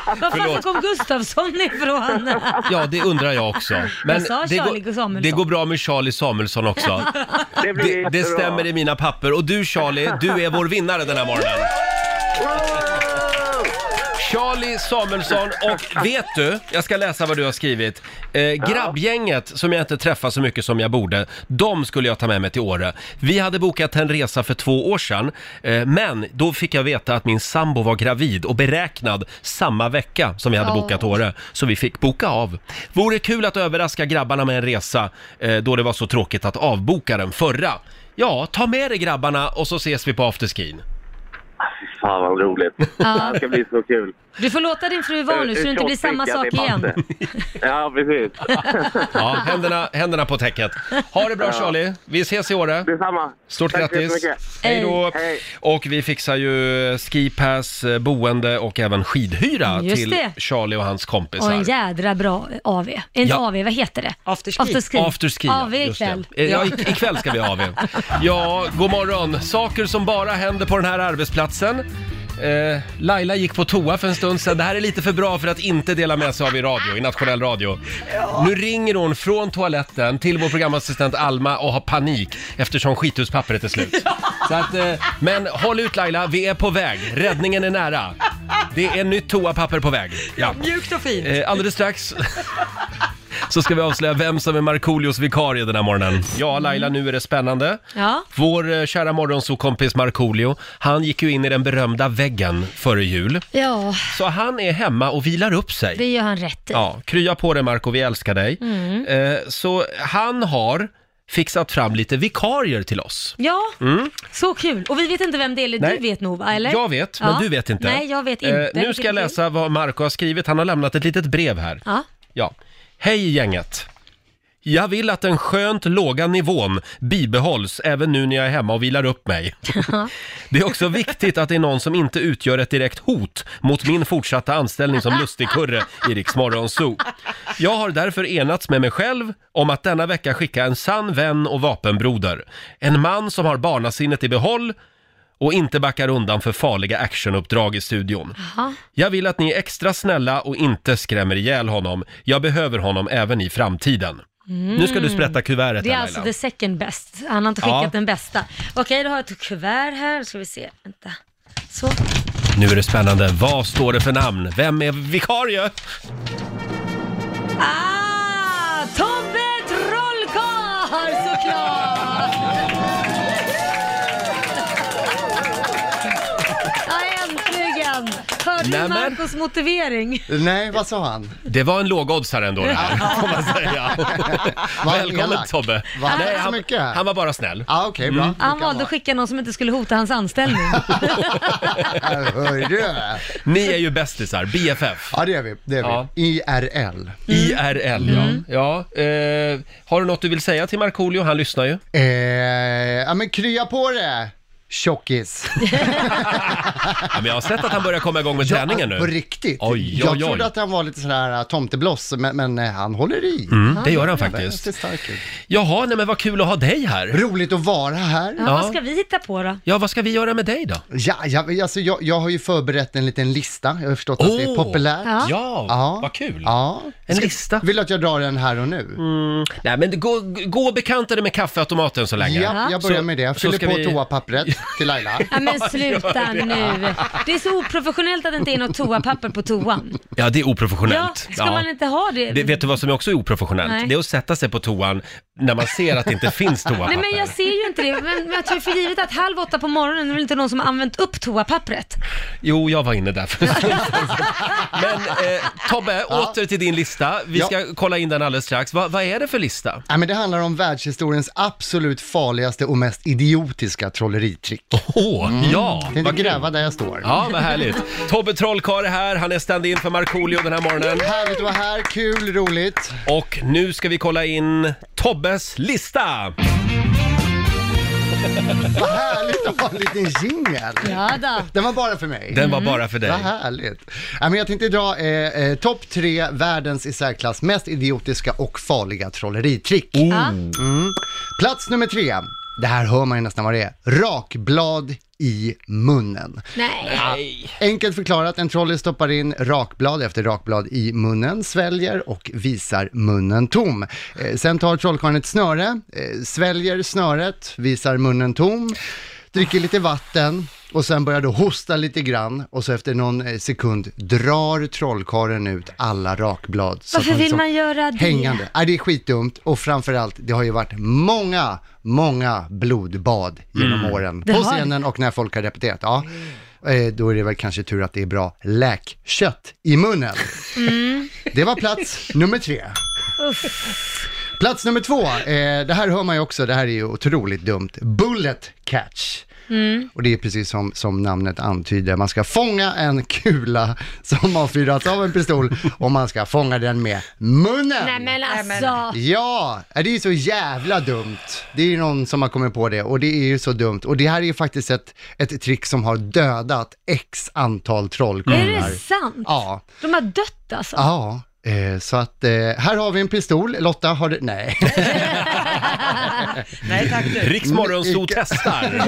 [SPEAKER 2] var fan
[SPEAKER 1] Förlåt.
[SPEAKER 2] kom Gustafsson ifrån?
[SPEAKER 1] Ja, det undrar jag också.
[SPEAKER 2] [LAUGHS] Jag sa
[SPEAKER 1] det,
[SPEAKER 2] Charlie Samuelsson.
[SPEAKER 1] går, det går bra med Charlie Samuelsson också.
[SPEAKER 10] [LAUGHS] Det blir
[SPEAKER 1] Det, det
[SPEAKER 10] jättebra.
[SPEAKER 1] stämmer i mina papper. Och du Charlie, du är vår vinnare den här morgonen. Charlie Samuelsson och vet du, jag ska läsa vad du har skrivit. Eh, grabbgänget som jag inte träffar så mycket som jag borde, de skulle jag ta med mig till Åre. Vi hade bokat en resa för två år sedan, eh, men då fick jag veta att min sambo var gravid och beräknad samma vecka som vi hade
[SPEAKER 11] Ja.
[SPEAKER 1] bokat Åre, så vi fick boka av. Vore kul att överraska grabbarna med en resa eh, då det var så tråkigt att avboka den förra. Ja, ta med dig grabbarna och så ses vi på afterskin.
[SPEAKER 10] Fan vad roligt. Det här ska bli så kul.
[SPEAKER 2] Du får låta din fru vara nu
[SPEAKER 1] Eh,
[SPEAKER 2] så det inte blir samma sak igen.
[SPEAKER 10] Ja, precis.
[SPEAKER 1] Ja, händerna, händerna på täcket. Ha det bra
[SPEAKER 10] Ja.
[SPEAKER 1] Charlie, vi ses i Åre.
[SPEAKER 10] Detsamma.
[SPEAKER 1] Stort
[SPEAKER 10] Tack så
[SPEAKER 1] grattis!
[SPEAKER 10] jättemycket.
[SPEAKER 1] Hej då!
[SPEAKER 10] Hej.
[SPEAKER 1] Och vi fixar ju skipass, eh, boende och även skidhyra
[SPEAKER 2] Just
[SPEAKER 1] till
[SPEAKER 2] det.
[SPEAKER 1] Charlie och hans kompisar.
[SPEAKER 2] Och en jädra bra AV. Inte
[SPEAKER 1] Ja.
[SPEAKER 2] AV, vad heter det? Afterski.
[SPEAKER 1] Afterski. Afterski
[SPEAKER 2] Afterski,
[SPEAKER 1] ja,
[SPEAKER 2] AV
[SPEAKER 1] just det.
[SPEAKER 2] ikväll.
[SPEAKER 1] Eh, Ja, ik- ikväll ska vi ha AV. Ja, god morgon. Saker som bara händer på den här arbetsplatsen. Eh, Laila gick på toa för en stund sedan. Det här är lite för bra för att inte dela med sig av i radio, i nationell radio. Nu ringer hon från toaletten till vår programassistent Alma och har panik eftersom skithuspappret är slut. Så att, eh, men håll ut Laila, vi är på väg. Räddningen är nära. Det är nytt toapapper på väg. Ja.
[SPEAKER 3] Mjukt och fint.
[SPEAKER 1] Eh, alldeles strax så ska vi avslöja vem som är Markoolios vikarie den här morgonen. Ja, Laila, nu är det spännande.
[SPEAKER 2] Ja.
[SPEAKER 1] Vår eh, kära morgonsokompis Markoolio, han gick ju in i den berömda väggen före jul.
[SPEAKER 2] ja,
[SPEAKER 1] Så han är hemma och vilar upp sig.
[SPEAKER 2] det gör han rätt i.
[SPEAKER 1] Ja, krya på dig Marco, vi älskar dig.
[SPEAKER 2] Mm.
[SPEAKER 1] Eh, så han har fixat fram lite vikarier till oss.
[SPEAKER 2] Ja,
[SPEAKER 1] Mm.
[SPEAKER 2] så kul. Och vi vet inte vem det är, eller
[SPEAKER 1] Nej.
[SPEAKER 2] du vet nog va? Eller?
[SPEAKER 1] Jag vet, men
[SPEAKER 2] Ja.
[SPEAKER 1] du vet inte.
[SPEAKER 2] Nej, jag vet inte.
[SPEAKER 1] Eh, nu ska jag läsa vad Marco har skrivit. Han har lämnat ett litet brev här.
[SPEAKER 2] Ja.
[SPEAKER 1] Ja. Hej gänget! Jag vill att den skönt låga nivån bibehålls även nu när jag är hemma och vilar upp mig. [LAUGHS] Det är också viktigt att det är någon som inte utgör ett direkt hot mot min fortsatta anställning som lustigkurre i Rix Morgon Zoo. Jag har därför enats med mig själv om att denna vecka skicka en sann vän och vapenbroder. En man som har barnasinnet i behåll och inte backar undan för farliga actionuppdrag i studion.
[SPEAKER 2] Jaha.
[SPEAKER 1] Jag vill att ni är extra snälla och inte skrämmer ihjäl honom. Jag behöver honom även i framtiden.
[SPEAKER 2] Mm.
[SPEAKER 1] Nu ska du sprätta kuvertet
[SPEAKER 2] Det är
[SPEAKER 1] här,
[SPEAKER 2] alltså
[SPEAKER 1] Laila.
[SPEAKER 2] the second best. Han har inte skickat
[SPEAKER 1] Ja.
[SPEAKER 2] den bästa. Okej, då har jag ett kuvert här, ska vi se. Vänta. Så.
[SPEAKER 1] Nu är det spännande. Vad står det för namn? Vem är vikarie?
[SPEAKER 2] Ah, Tobbe Trollkarl såklart! Ja, äntligen! Hörde du
[SPEAKER 1] Nämen.
[SPEAKER 2] Marcos motivering?
[SPEAKER 1] Nej, vad sa han? Det var en lågoddsare ändå det här, får man [LAUGHS] säga. Välkommen
[SPEAKER 2] elak.
[SPEAKER 1] Tobbe.
[SPEAKER 2] Va? Tack så
[SPEAKER 1] han,
[SPEAKER 2] mycket.
[SPEAKER 1] han var bara snäll.
[SPEAKER 11] Ah,
[SPEAKER 1] Ja, okej,
[SPEAKER 7] Mm.
[SPEAKER 2] Han valde att skicka någon som inte skulle hota hans anställning.
[SPEAKER 1] Ni är ju bästisar, BFF. Ja, det är vi. Mm. Det är vi. IRL. IRL, ja. ja eh, har du något du vill säga till Markoolio? Han lyssnar ju.
[SPEAKER 11] Eh, ja men krya på det, tjockis.
[SPEAKER 1] Ja, men jag har sett att han börjar komma igång med träningen nu.
[SPEAKER 11] På riktigt.
[SPEAKER 1] Oj,
[SPEAKER 11] jag
[SPEAKER 1] oj, oj.
[SPEAKER 11] trodde att han var lite sån här äh, tomtebloss, men, men äh, han håller i.
[SPEAKER 1] Mm, det gör han faktiskt.
[SPEAKER 11] Det är starkt.
[SPEAKER 1] Jaha, nej men vad kul att ha dig här.
[SPEAKER 11] Roligt att vara här.
[SPEAKER 2] Ja, Vad ska vi hitta på då?
[SPEAKER 1] Ja, vad ska vi göra med dig då?
[SPEAKER 11] Ja, ja, alltså jag, jag har ju förberett en liten lista. Jag har förstått att det är
[SPEAKER 1] Åh!
[SPEAKER 11] populärt.
[SPEAKER 1] Ja. Ja, vad kul.
[SPEAKER 11] Ja.
[SPEAKER 1] En lista.
[SPEAKER 11] Vill du att jag drar den här och nu?
[SPEAKER 2] Mm.
[SPEAKER 1] Nej, men gå, gå och bekanta dig med kaffeautomaten så länge.
[SPEAKER 11] Ja, jag börjar
[SPEAKER 1] Så-
[SPEAKER 11] med det. Jag
[SPEAKER 1] så
[SPEAKER 11] fyller
[SPEAKER 1] ska
[SPEAKER 11] på
[SPEAKER 1] vi- [LAUGHS]
[SPEAKER 11] toapappret till Laila.
[SPEAKER 2] Ja, men sluta
[SPEAKER 1] gör det.
[SPEAKER 2] nu. Det är så oprofessionellt att det inte är något toapapper på toan.
[SPEAKER 1] Ja, det är
[SPEAKER 2] Ja,
[SPEAKER 1] oprofessionellt.
[SPEAKER 2] ska man inte ha det?
[SPEAKER 1] Det, vet du vad som är också är oprofessionellt?
[SPEAKER 2] Nej.
[SPEAKER 1] Det är att sätta sig på toan när man ser att det
[SPEAKER 2] [LAUGHS]
[SPEAKER 1] inte finns toapapper.
[SPEAKER 2] Nej men jag ser ju inte det, men, men jag tar ju för givet att halv åtta på morgonen är det väl inte någon som har använt upp toapappret.
[SPEAKER 1] Jo, jag var
[SPEAKER 11] [LAUGHS]
[SPEAKER 1] inne där för en stund sedan. Men eh, Tobbe, åter till din lista. Vi
[SPEAKER 11] Ja.
[SPEAKER 1] ska kolla in den alldeles strax. Va, vad är det för lista?
[SPEAKER 11] Ja, men det handlar om världshistoriens absolut farligaste och mest idiotiska trolleritrick. Mm.
[SPEAKER 1] Åh, ja,
[SPEAKER 11] Tänkte
[SPEAKER 1] vad kul.
[SPEAKER 11] gräva där jag står.
[SPEAKER 1] Ja, vad härligt. Tobbe Trollkarl är här, han är stand-in för Markoolio den här morgonen.
[SPEAKER 11] Härligt att vara här, kul, roligt.
[SPEAKER 1] Och nu ska vi kolla in Tobbes lista!
[SPEAKER 11] Vad härligt att ha en liten jingel.
[SPEAKER 2] Ja, då.
[SPEAKER 11] Den var bara för mig.
[SPEAKER 1] Den var bara för dig.
[SPEAKER 11] Vad härligt. Ja, men jag tänkte dra eh, eh, topp tre världens i särklass mest idiotiska och farliga trolleritrick.
[SPEAKER 2] Ja.
[SPEAKER 11] Mm. Plats nummer tre. det här hör man ju nästan vad det är, rakblad i munnen.
[SPEAKER 2] Nej.
[SPEAKER 11] Enkelt förklarat, en trolley stoppar in rakblad efter rakblad i munnen, sväljer och visar munnen tom. Eh, sen tar trollkarlen ett snöre, eh, sväljer snöret, visar munnen tom, dricker lite vatten och sen börjar då hosta lite grann och så efter någon eh, sekund drar trollkarlen ut alla rakblad. så att
[SPEAKER 2] Varför
[SPEAKER 11] man
[SPEAKER 2] vill
[SPEAKER 11] liksom-
[SPEAKER 2] man göra det?
[SPEAKER 11] Hängande. Nej, det är skitdumt och framförallt, det har ju varit många, många blodbad genom
[SPEAKER 12] Mm.
[SPEAKER 11] åren.
[SPEAKER 12] Det
[SPEAKER 11] På
[SPEAKER 12] har det.
[SPEAKER 11] scenen och när folk har repeterat. Ja. Eh, Då är det väl kanske tur att det är bra läkkött i munnen.
[SPEAKER 2] Mm.
[SPEAKER 11] Det var plats nummer tre. Plats nummer två, eh, det här hör man ju också, det här är ju otroligt dumt. Bullet catch.
[SPEAKER 2] Mm.
[SPEAKER 11] Och det är precis som, som namnet antyder, man ska fånga en kula som har fyrats av en pistol och man ska fånga den med munnen.
[SPEAKER 2] Nej men alltså.
[SPEAKER 11] Ja, det är ju så jävla dumt. Det är ju någon som har kommit på det och det är ju så dumt. Och det här är ju faktiskt ett, ett trick som har dödat x antal trollkarlar.
[SPEAKER 2] Är det sant?
[SPEAKER 11] Ja.
[SPEAKER 2] De har dött alltså?
[SPEAKER 11] Ja, eh, så att eh, här har vi en pistol. Lotta, har du... Nej.
[SPEAKER 3] Nej tack
[SPEAKER 11] du. Mm,
[SPEAKER 1] Riksmorgonzoo
[SPEAKER 11] [LAUGHS]
[SPEAKER 1] testar.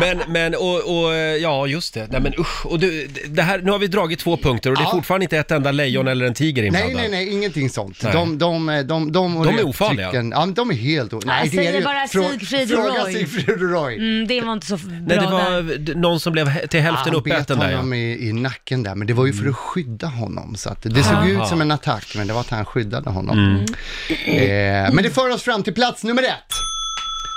[SPEAKER 1] Men, men, och, och, ja just det. Nej men usch. Och du, det här, nu har vi dragit två punkter och det är
[SPEAKER 11] Ja.
[SPEAKER 1] fortfarande inte ett enda lejon eller en tiger
[SPEAKER 11] Nej, nej,
[SPEAKER 1] inblandad.
[SPEAKER 11] nej, ingenting sånt.
[SPEAKER 1] Nej.
[SPEAKER 11] De, de, de, de, och
[SPEAKER 1] De är
[SPEAKER 11] reptricken-
[SPEAKER 1] ofarliga.
[SPEAKER 11] Ja, men de är helt... o- Nej,
[SPEAKER 2] säger
[SPEAKER 11] det är
[SPEAKER 2] bara Sigfrid och
[SPEAKER 11] Fråga
[SPEAKER 2] Roy.
[SPEAKER 11] Sigfrid och Roy.
[SPEAKER 2] Mm, det var inte så bra
[SPEAKER 1] Nej, det
[SPEAKER 2] där.
[SPEAKER 1] var d- någon som blev hä- till hälften
[SPEAKER 11] han
[SPEAKER 1] uppäten
[SPEAKER 11] bet
[SPEAKER 1] där ja.
[SPEAKER 11] honom i, i nacken där, men det var ju för att skydda honom. Så att det såg
[SPEAKER 1] Aha.
[SPEAKER 11] ut som en attack, men det var att han skyddade honom. Eh, men det för oss fram till plats nummer ett.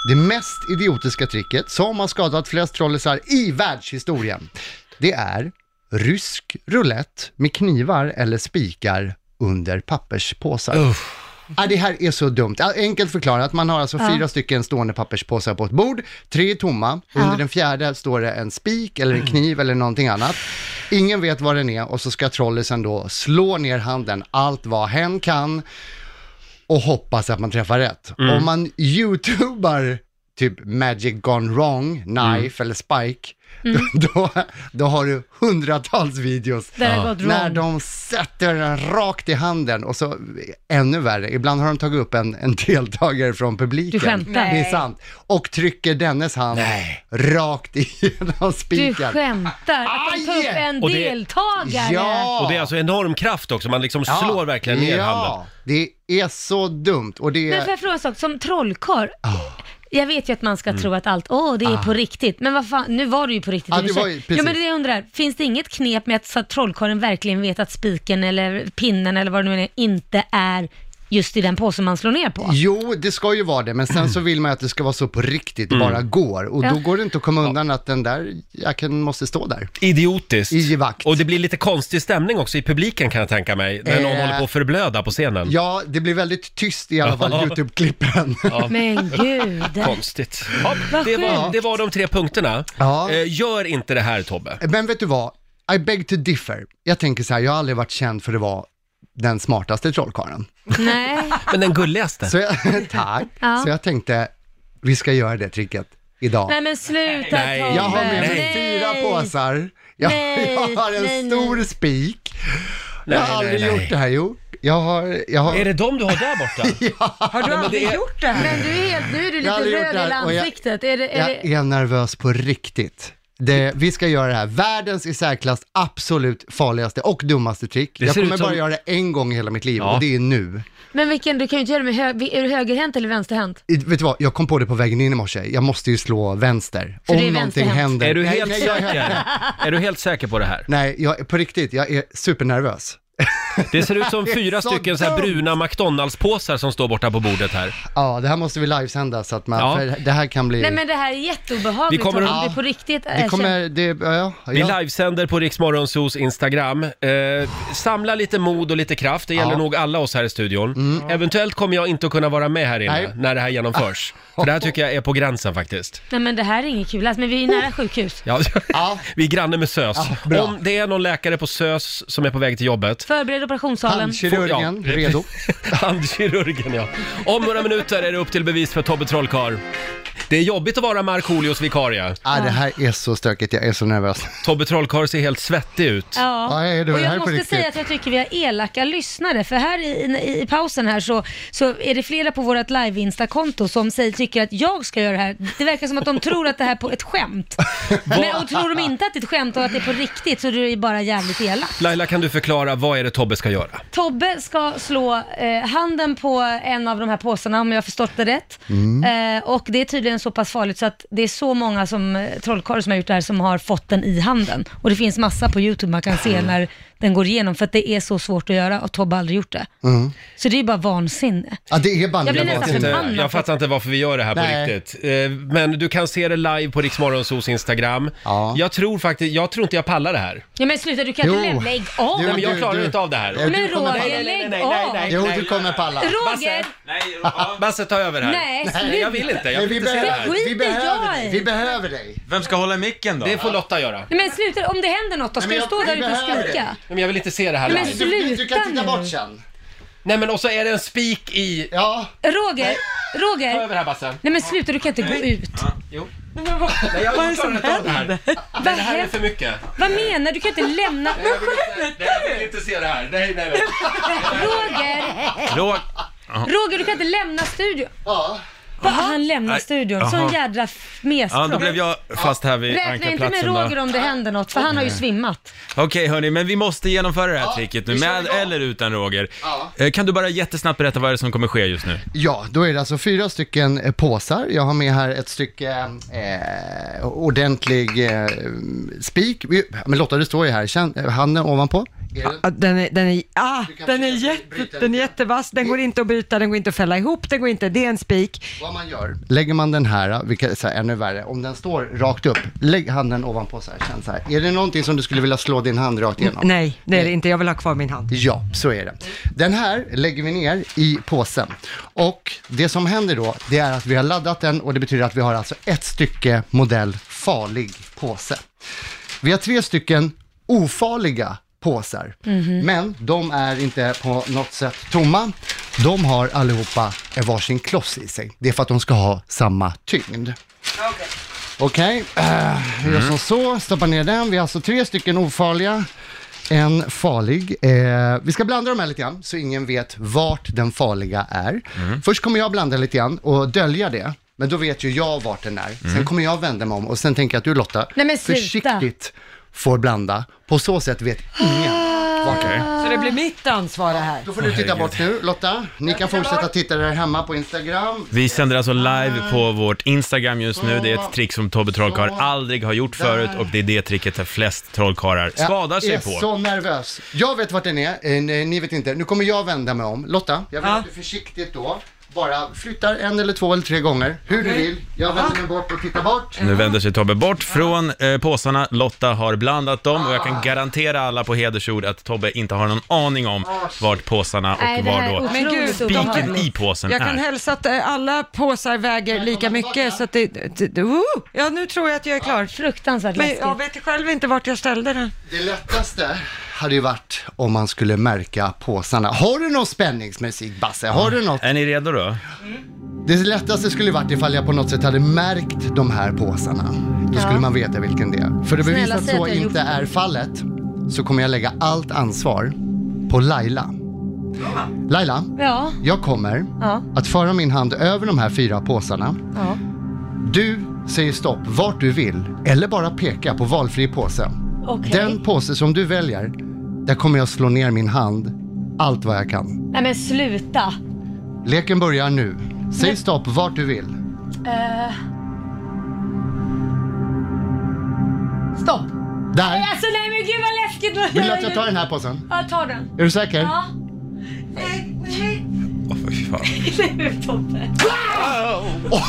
[SPEAKER 11] Det mest idiotiska tricket som har skadat flest trollisar i världshistorien, det är rysk roulette med knivar eller spikar under papperspåsar. Ja, det här är så dumt. Ja, Enkelt förklarat, man har alltså
[SPEAKER 12] Ja.
[SPEAKER 11] fyra stycken stående papperspåsar på ett bord, tre är tomma, under den fjärde står det en spik eller
[SPEAKER 12] Mm.
[SPEAKER 11] en kniv eller någonting annat. Ingen vet vad den är och så ska trollisen då slå ner handen allt vad hen kan och hoppas att man träffar rätt.
[SPEAKER 12] Mm.
[SPEAKER 11] Om man youtubar typ Magic Gone Wrong, Knife
[SPEAKER 12] Mm.
[SPEAKER 11] eller Spike, då, [LAUGHS] då, då har du hundratals videos
[SPEAKER 12] Det har Ja. gått
[SPEAKER 11] när
[SPEAKER 12] wrong.
[SPEAKER 11] de sätter den rakt i handen och så ännu värre, ibland har de tagit upp en, en deltagare från publiken.
[SPEAKER 12] Du skämtar. Nej.
[SPEAKER 11] Det är sant. Och trycker dennes hand rakt igenom
[SPEAKER 2] Du
[SPEAKER 11] spiken.
[SPEAKER 2] skämtar? Att de tar upp en
[SPEAKER 1] Och det-
[SPEAKER 2] deltagare?
[SPEAKER 11] Ja.
[SPEAKER 1] Och det är alltså enorm kraft också, man liksom
[SPEAKER 11] Ja.
[SPEAKER 1] slår verkligen ner
[SPEAKER 11] ja,
[SPEAKER 1] handen.
[SPEAKER 11] det är så dumt och det
[SPEAKER 2] Men får
[SPEAKER 11] är...
[SPEAKER 2] jag fråga en sak? Som trollkarl, jag vet ju att man ska
[SPEAKER 11] Ah. Mm.
[SPEAKER 2] tro att allt, åh det är
[SPEAKER 11] Ah.
[SPEAKER 2] på riktigt. Men vad fan, nu var det ju på riktigt
[SPEAKER 11] Ja,
[SPEAKER 2] i och
[SPEAKER 11] det
[SPEAKER 2] för
[SPEAKER 11] var
[SPEAKER 2] sig.
[SPEAKER 11] ju-
[SPEAKER 2] Jo
[SPEAKER 11] precis.
[SPEAKER 2] men det jag undrar, finns det inget knep med att, så att trollkarlen verkligen vet att spiken eller pinnen eller vad det nu är, inte är just i den påsen man slår ner på?
[SPEAKER 11] Jo, det ska ju vara det, men sen så vill man ju att det ska vara så på riktigt det bara går. Och
[SPEAKER 2] Ja.
[SPEAKER 11] då går det inte att komma undan att den där jackan måste stå där.
[SPEAKER 1] Idiotiskt.
[SPEAKER 11] I vakt.
[SPEAKER 1] Och det blir lite konstig stämning också i publiken kan jag tänka mig, när någon
[SPEAKER 11] Eh.
[SPEAKER 1] håller på att förblöda på scenen.
[SPEAKER 11] Ja, det blir väldigt tyst i alla fall
[SPEAKER 1] Ja.
[SPEAKER 11] YouTube-klippen.
[SPEAKER 1] Ja.
[SPEAKER 2] Men
[SPEAKER 11] [LAUGHS]
[SPEAKER 2] gud.
[SPEAKER 1] Konstigt. Ja, det, var,
[SPEAKER 11] sjukt.
[SPEAKER 1] det var de tre punkterna.
[SPEAKER 11] Ja.
[SPEAKER 1] Eh, gör inte det här Tobbe.
[SPEAKER 11] Men vet du vad? I beg to differ. Jag tänker så här, jag har aldrig varit känd för att vara den smartaste [LAUGHS] trollkarlen.
[SPEAKER 2] Nej.
[SPEAKER 1] Men den gulligaste.
[SPEAKER 11] Så jag, tack.
[SPEAKER 2] Ja.
[SPEAKER 11] Så jag tänkte, vi ska göra det tricket idag.
[SPEAKER 2] Nej men sluta
[SPEAKER 11] Nej.
[SPEAKER 2] Tobbe.
[SPEAKER 11] Jag har med mig
[SPEAKER 2] Nej.
[SPEAKER 11] fyra påsar. Jag,
[SPEAKER 2] Nej,
[SPEAKER 11] jag har en
[SPEAKER 2] nej,
[SPEAKER 11] stor spik. jag har aldrig gjort det här. Jo, jag har, jag har...
[SPEAKER 1] Är det de du har
[SPEAKER 11] [LAUGHS]
[SPEAKER 1] där borta?
[SPEAKER 3] Har du aldrig gjort det här?
[SPEAKER 2] Men du är helt, nu är du
[SPEAKER 11] Jag
[SPEAKER 2] lite
[SPEAKER 11] har aldrig
[SPEAKER 2] röd
[SPEAKER 11] gjort
[SPEAKER 2] i
[SPEAKER 11] det här, och jag-
[SPEAKER 2] ansiktet. Är det, är
[SPEAKER 11] Jag
[SPEAKER 2] det...
[SPEAKER 11] är nervös på riktigt. Det, vi ska göra det här, världens i särklass absolut farligaste och dummaste trick.
[SPEAKER 1] Det
[SPEAKER 11] jag
[SPEAKER 1] ser
[SPEAKER 11] kommer
[SPEAKER 1] ut som-
[SPEAKER 11] bara göra det en gång i hela mitt liv
[SPEAKER 1] Ja.
[SPEAKER 11] och det är nu.
[SPEAKER 2] Men vilken, du kan ju inte göra det med hö... är du högerhänt eller vänsterhänt?
[SPEAKER 11] I- Vet du vad, jag kom på det på vägen in i morse. Jag måste ju slå vänster.
[SPEAKER 2] För
[SPEAKER 11] Om
[SPEAKER 2] du är
[SPEAKER 11] någonting
[SPEAKER 2] vänsterhänt.
[SPEAKER 11] händer.
[SPEAKER 1] Är du
[SPEAKER 11] Nej,
[SPEAKER 1] helt
[SPEAKER 11] nej, jag- [LAUGHS]
[SPEAKER 1] säker? är du helt säker på det här?
[SPEAKER 11] Nej, jag, på riktigt, jag är supernervös.
[SPEAKER 1] Det ser ut som
[SPEAKER 11] Det är [LAUGHS]
[SPEAKER 1] fyra
[SPEAKER 11] så
[SPEAKER 1] stycken så här
[SPEAKER 11] dumt.
[SPEAKER 1] bruna McDonalds-påsar som står borta på bordet här.
[SPEAKER 11] Ja, det här måste vi livesända så att man,
[SPEAKER 1] Ja.
[SPEAKER 11] för det här kan bli...
[SPEAKER 2] Nej men det här är jätteobehagligt
[SPEAKER 1] Vi kommer
[SPEAKER 2] Tobbe,
[SPEAKER 1] att-
[SPEAKER 2] om du på riktigt
[SPEAKER 11] det
[SPEAKER 2] erkänner.
[SPEAKER 11] kommer, det, ja, ja.
[SPEAKER 1] Vi livesänder på Riksmorgonsos Instagram. Eh, samla lite mod och lite kraft, det gäller
[SPEAKER 11] Ja. Mm.
[SPEAKER 1] nog alla oss här i studion. Eventuellt kommer jag inte att kunna vara med här inne
[SPEAKER 11] Nej.
[SPEAKER 1] när det
[SPEAKER 11] [LAUGHS]
[SPEAKER 1] här genomförs. För det här tycker jag är på gränsen faktiskt.
[SPEAKER 2] Nej men det här är inget kul alls, men vi är ju
[SPEAKER 11] Oh.
[SPEAKER 2] nära sjukhus.
[SPEAKER 1] Ja. [LAUGHS] Vi är granne med SÖS.
[SPEAKER 11] Ja, bra.
[SPEAKER 1] Om det är någon läkare på SÖS som är på väg till jobbet.
[SPEAKER 2] Förbered operationssalen.
[SPEAKER 11] Handkirurgen,
[SPEAKER 1] Får- ja. [LAUGHS]
[SPEAKER 11] redo.
[SPEAKER 1] Handkirurgen, ja. Om några minuter är det upp till bevis för Tobbe Trollkarl. Det är jobbigt att vara Markoolios vikarie.
[SPEAKER 11] Ah, det här är så stökigt, jag är så nervös.
[SPEAKER 1] Tobbe Trollkarl ser helt svettig ut.
[SPEAKER 2] Ja,
[SPEAKER 11] Ja, är du?
[SPEAKER 2] och
[SPEAKER 11] Det här
[SPEAKER 2] jag
[SPEAKER 11] är på
[SPEAKER 2] måste
[SPEAKER 11] riktigt.
[SPEAKER 2] säga att jag tycker vi har elaka lyssnare, för här i, i, i pausen här så, så är det flera på vårt live-instakonto som säger, tycker att jag ska göra det här. Det verkar som att de tror att det här är på
[SPEAKER 11] [LAUGHS]
[SPEAKER 2] ett skämt. Men, och tror de inte att det är ett skämt och att det är på riktigt så är det ju bara jävligt elakt.
[SPEAKER 1] Laila, kan du förklara vad är det Tobbe ska göra?
[SPEAKER 2] Tobbe ska slå eh, handen på en av de här påsarna om jag har förstått det rätt.
[SPEAKER 11] Mm.
[SPEAKER 2] Eh, och det är tydligen så pass farligt så att det är så många som eh, trollkarlar som har gjort det här som har fått den i handen. Och det finns massa på YouTube man kan
[SPEAKER 11] Mm.
[SPEAKER 2] se när den går igenom för att det är så svårt att göra och Tobbe har aldrig gjort det.
[SPEAKER 11] Mm.
[SPEAKER 2] Så det är ju bara vansinne.
[SPEAKER 11] Ja, det är bara
[SPEAKER 2] Jag blir
[SPEAKER 1] Jag,
[SPEAKER 2] nästan
[SPEAKER 1] vet inte,
[SPEAKER 2] förbannad.
[SPEAKER 1] jag fattar inte varför vi gör det här
[SPEAKER 2] Nej.
[SPEAKER 1] på riktigt. Eh, Men du kan se det live på Riksmorgonsos Instagram. Jag tror faktiskt, jag tror inte jag pallar det här.
[SPEAKER 2] Ja men sluta, du kan inte lämna, lägg av!
[SPEAKER 1] Nej, men jag klarar inte av det här.
[SPEAKER 2] Men Roger, lägg av!
[SPEAKER 11] kommer palla.
[SPEAKER 2] Roger!
[SPEAKER 1] Basse, ta över här.
[SPEAKER 2] Nej,
[SPEAKER 1] Nej jag vill inte. Jag vill inte se det här.
[SPEAKER 2] vi behöver dig. Vi
[SPEAKER 11] behöver dig.
[SPEAKER 6] Vem ska hålla i micken då?
[SPEAKER 1] Det får Lotta göra.
[SPEAKER 2] Nej, men sluta, om det händer något då ska
[SPEAKER 1] Nej,
[SPEAKER 2] du
[SPEAKER 1] men
[SPEAKER 2] stå
[SPEAKER 1] jag-
[SPEAKER 2] där
[SPEAKER 1] vi
[SPEAKER 2] ute och
[SPEAKER 1] behöver
[SPEAKER 2] skrika.
[SPEAKER 1] Men jag vill inte se det här
[SPEAKER 2] Men
[SPEAKER 1] live.
[SPEAKER 2] sluta Du kan titta nu. bort
[SPEAKER 11] sen.
[SPEAKER 1] Nej men och så är det en spik i...
[SPEAKER 11] Ja.
[SPEAKER 2] Roger, Roger!
[SPEAKER 1] Ta över här Basse.
[SPEAKER 2] Nej men sluta, du kan inte gå ut.
[SPEAKER 1] Jo. Nej, jag klarar inte av det här. Nej, det här är för mycket.
[SPEAKER 2] Vad menar du? Du kan inte lämna...
[SPEAKER 1] Nej, jag vill inte se det här. Nej, nej,
[SPEAKER 6] [LAUGHS]
[SPEAKER 1] nej.
[SPEAKER 2] Roger!
[SPEAKER 6] Låg...
[SPEAKER 2] Roger, du kan inte lämna studion.
[SPEAKER 11] Ja.
[SPEAKER 2] Han lämnar
[SPEAKER 6] Nej,
[SPEAKER 2] studion. Sån
[SPEAKER 6] jaha.
[SPEAKER 2] jädra f- mespropp.
[SPEAKER 6] Ja, då blev jag fast här vid
[SPEAKER 2] Räkna inte med
[SPEAKER 6] ankarplatsen
[SPEAKER 2] Roger
[SPEAKER 6] då.
[SPEAKER 2] om det händer något, för han har ju svimmat.
[SPEAKER 6] Okej hörni, men vi måste genomföra det här tricket nu,
[SPEAKER 11] vi kör
[SPEAKER 6] med
[SPEAKER 11] igång.
[SPEAKER 6] eller utan Roger.
[SPEAKER 11] Ja.
[SPEAKER 6] Eh, Kan du bara jättesnabbt berätta vad det är som kommer ske just nu?
[SPEAKER 11] Ja, då är det alltså fyra stycken eh, påsar. Jag har med här ett stycke eh, ordentlig eh, spik. Vi- Men Lotta, det står ju här, Känn, eh, handen ovanpå.
[SPEAKER 3] Ja, den är, den är, ah, den är, jätte, den är jättevass, den går inte att bryta, den går inte att fälla ihop, den går inte, det är en spik.
[SPEAKER 11] Vad man gör. Lägger man den här, vilket är ännu värre, om den står rakt upp, lägg handen ovanpå så här, känn så här. Är det någonting som du skulle vilja slå din hand rakt igenom?
[SPEAKER 3] Nej, det är det inte, jag vill ha kvar min hand.
[SPEAKER 11] Ja, så är det. Den här lägger vi ner i påsen. Och det som händer då, det är att vi har laddat den och det betyder att vi har alltså ett stycke modell farlig påse. Vi har tre stycken ofarliga påsar, men de är inte på något sätt tomma. De har allihopa en varsin kloss i sig. Det är för att de ska ha samma tyngd. Okej, eh, vi gör som så, stoppar ner den. Vi har alltså tre stycken ofarliga, en farlig. Eh, vi ska blanda dem här lite grann, så ingen vet vart den farliga är. Först kommer jag blanda lite grann och dölja det, men då vet ju jag vart den är. Sen kommer jag vända mig om och sen tänker jag att du Lotta,
[SPEAKER 2] Nej, men sluta.
[SPEAKER 11] försiktigt får blanda. På så sätt vet ingen vart den är.
[SPEAKER 3] Så det blir mitt ansvar det här.
[SPEAKER 11] Då får du titta bort nu, Lotta. Ni kan fortsätta titta där hemma på Instagram.
[SPEAKER 6] Vi sänder alltså live på vårt Instagram just nu. Det är ett trick som Tobbe Trollkarl aldrig har gjort förut och det är det tricket där flest trollkarlar skadar sig
[SPEAKER 11] jag är
[SPEAKER 6] på.
[SPEAKER 11] så nervös. Jag vet vart den är, eh, nej, ni vet inte. Nu kommer jag vända mig om. Lotta, jag vill att du försiktigt då bara flyttar en eller två eller tre gånger, hur du vill. Jag vänder mig bort och tittar bort.
[SPEAKER 6] Nu vänder sig Tobbe bort från eh, påsarna, Lotta har blandat dem och jag kan garantera alla på hedersord att Tobbe inte har någon aning om vart påsarna
[SPEAKER 2] Nej,
[SPEAKER 6] och
[SPEAKER 2] det här
[SPEAKER 6] var
[SPEAKER 2] är
[SPEAKER 6] då
[SPEAKER 3] Men gud, de-
[SPEAKER 6] spiken i påsen
[SPEAKER 3] Jag kan
[SPEAKER 6] är.
[SPEAKER 3] hälsa att eh, alla påsar väger lika mycket så att det, det, det oh, ja nu tror jag att jag är klar.
[SPEAKER 2] Fruktansvärt
[SPEAKER 3] Men
[SPEAKER 2] läskigt.
[SPEAKER 3] jag vet själv inte vart jag ställde den.
[SPEAKER 11] Det lättaste hade ju varit om man skulle märka påsarna. Har du någon spänningsmusik, Basse? Har du något?
[SPEAKER 6] Är ni redo då?
[SPEAKER 11] Det lättaste skulle ju varit ifall jag på något sätt hade märkt de här påsarna. Då skulle
[SPEAKER 2] Ja.
[SPEAKER 11] man veta vilken det är. För att
[SPEAKER 2] Snälla,
[SPEAKER 11] bevisa att
[SPEAKER 2] säg att
[SPEAKER 11] så
[SPEAKER 2] jag har gjort
[SPEAKER 11] inte
[SPEAKER 2] det.
[SPEAKER 11] är fallet så kommer jag lägga allt ansvar på Laila. Laila,
[SPEAKER 2] Ja,
[SPEAKER 11] jag kommer
[SPEAKER 2] ja,
[SPEAKER 11] att föra min hand över de här fyra påsarna.
[SPEAKER 2] ja.
[SPEAKER 11] Du säger stopp vart du vill eller bara peka på valfri påse.
[SPEAKER 2] Okej.
[SPEAKER 11] Den påse som du väljer, där kommer jag slå ner min hand allt vad jag kan.
[SPEAKER 2] Nej men sluta.
[SPEAKER 11] Leken börjar nu. Säg stopp vart du vill.
[SPEAKER 2] Eh. Stopp. Nej,
[SPEAKER 11] Där!
[SPEAKER 2] Alltså nej men gud vad läskigt.
[SPEAKER 11] Vill du att jag tar den här påsen?
[SPEAKER 2] Ja, ta den.
[SPEAKER 11] Är du säker?
[SPEAKER 2] Ja.
[SPEAKER 6] Åh, fy fan.
[SPEAKER 2] Tobbe.
[SPEAKER 6] Det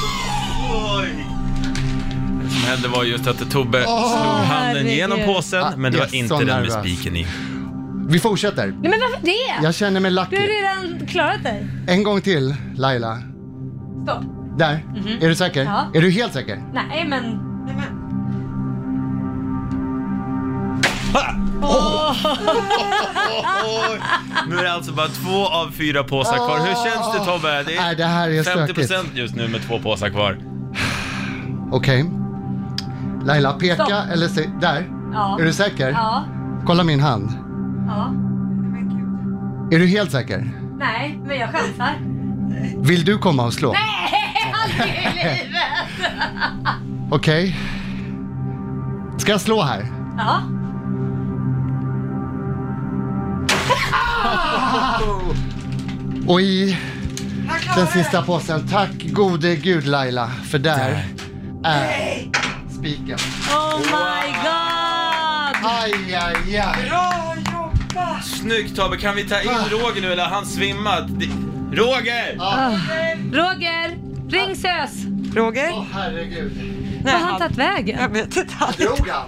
[SPEAKER 6] som hände var just att Tobbe slog handen
[SPEAKER 2] herregud.
[SPEAKER 6] genom
[SPEAKER 11] Ah,
[SPEAKER 6] påsen, men det
[SPEAKER 11] jag
[SPEAKER 6] var
[SPEAKER 11] är
[SPEAKER 6] inte
[SPEAKER 11] så
[SPEAKER 6] den med
[SPEAKER 11] nervös.
[SPEAKER 6] spiken i.
[SPEAKER 11] Vi fortsätter.
[SPEAKER 2] Nej men varför det?
[SPEAKER 11] Jag känner mig
[SPEAKER 2] Du har
[SPEAKER 11] lucky.
[SPEAKER 2] redan klarat dig.
[SPEAKER 11] En gång till, Laila.
[SPEAKER 2] Stopp. Mhm.
[SPEAKER 11] Där. Är du säker?
[SPEAKER 2] Ja.
[SPEAKER 11] Är du helt säker?
[SPEAKER 2] Nej men.
[SPEAKER 6] Nu är det alltså bara två av fyra påsar kvar. Hur känns det Tobbe? Det
[SPEAKER 11] Nej,
[SPEAKER 6] är
[SPEAKER 11] det här är
[SPEAKER 6] 50%
[SPEAKER 11] stökigt.
[SPEAKER 6] just nu med två påsar kvar.
[SPEAKER 11] Okej. Laila, peka
[SPEAKER 5] Stopp.
[SPEAKER 11] eller säg... Där.
[SPEAKER 5] Ja.
[SPEAKER 11] Är du säker?
[SPEAKER 5] Ja.
[SPEAKER 11] Kolla min hand.
[SPEAKER 5] Ja.
[SPEAKER 11] Är du helt säker?
[SPEAKER 5] Nej, men jag chansar.
[SPEAKER 11] Vill du komma och slå?
[SPEAKER 5] Nej, aldrig i livet!
[SPEAKER 11] [LAUGHS] Okej. Ska jag slå här?
[SPEAKER 5] Ja.
[SPEAKER 11] Och i den sista påsen. Tack gode gud Laila, för där, är... Spiken.
[SPEAKER 2] Oh my god!
[SPEAKER 11] Aj, aj, aj.
[SPEAKER 5] Bra jobbat!
[SPEAKER 6] Snyggt Tobbe, kan vi ta in Roger nu eller har han svimmat? Det- Roger!
[SPEAKER 2] Ah. Roger, ring SÖS!
[SPEAKER 3] Roger?
[SPEAKER 11] Åh herregud.
[SPEAKER 2] Var har han tagit vägen? Jag
[SPEAKER 3] vet inte. Han
[SPEAKER 11] Drog han?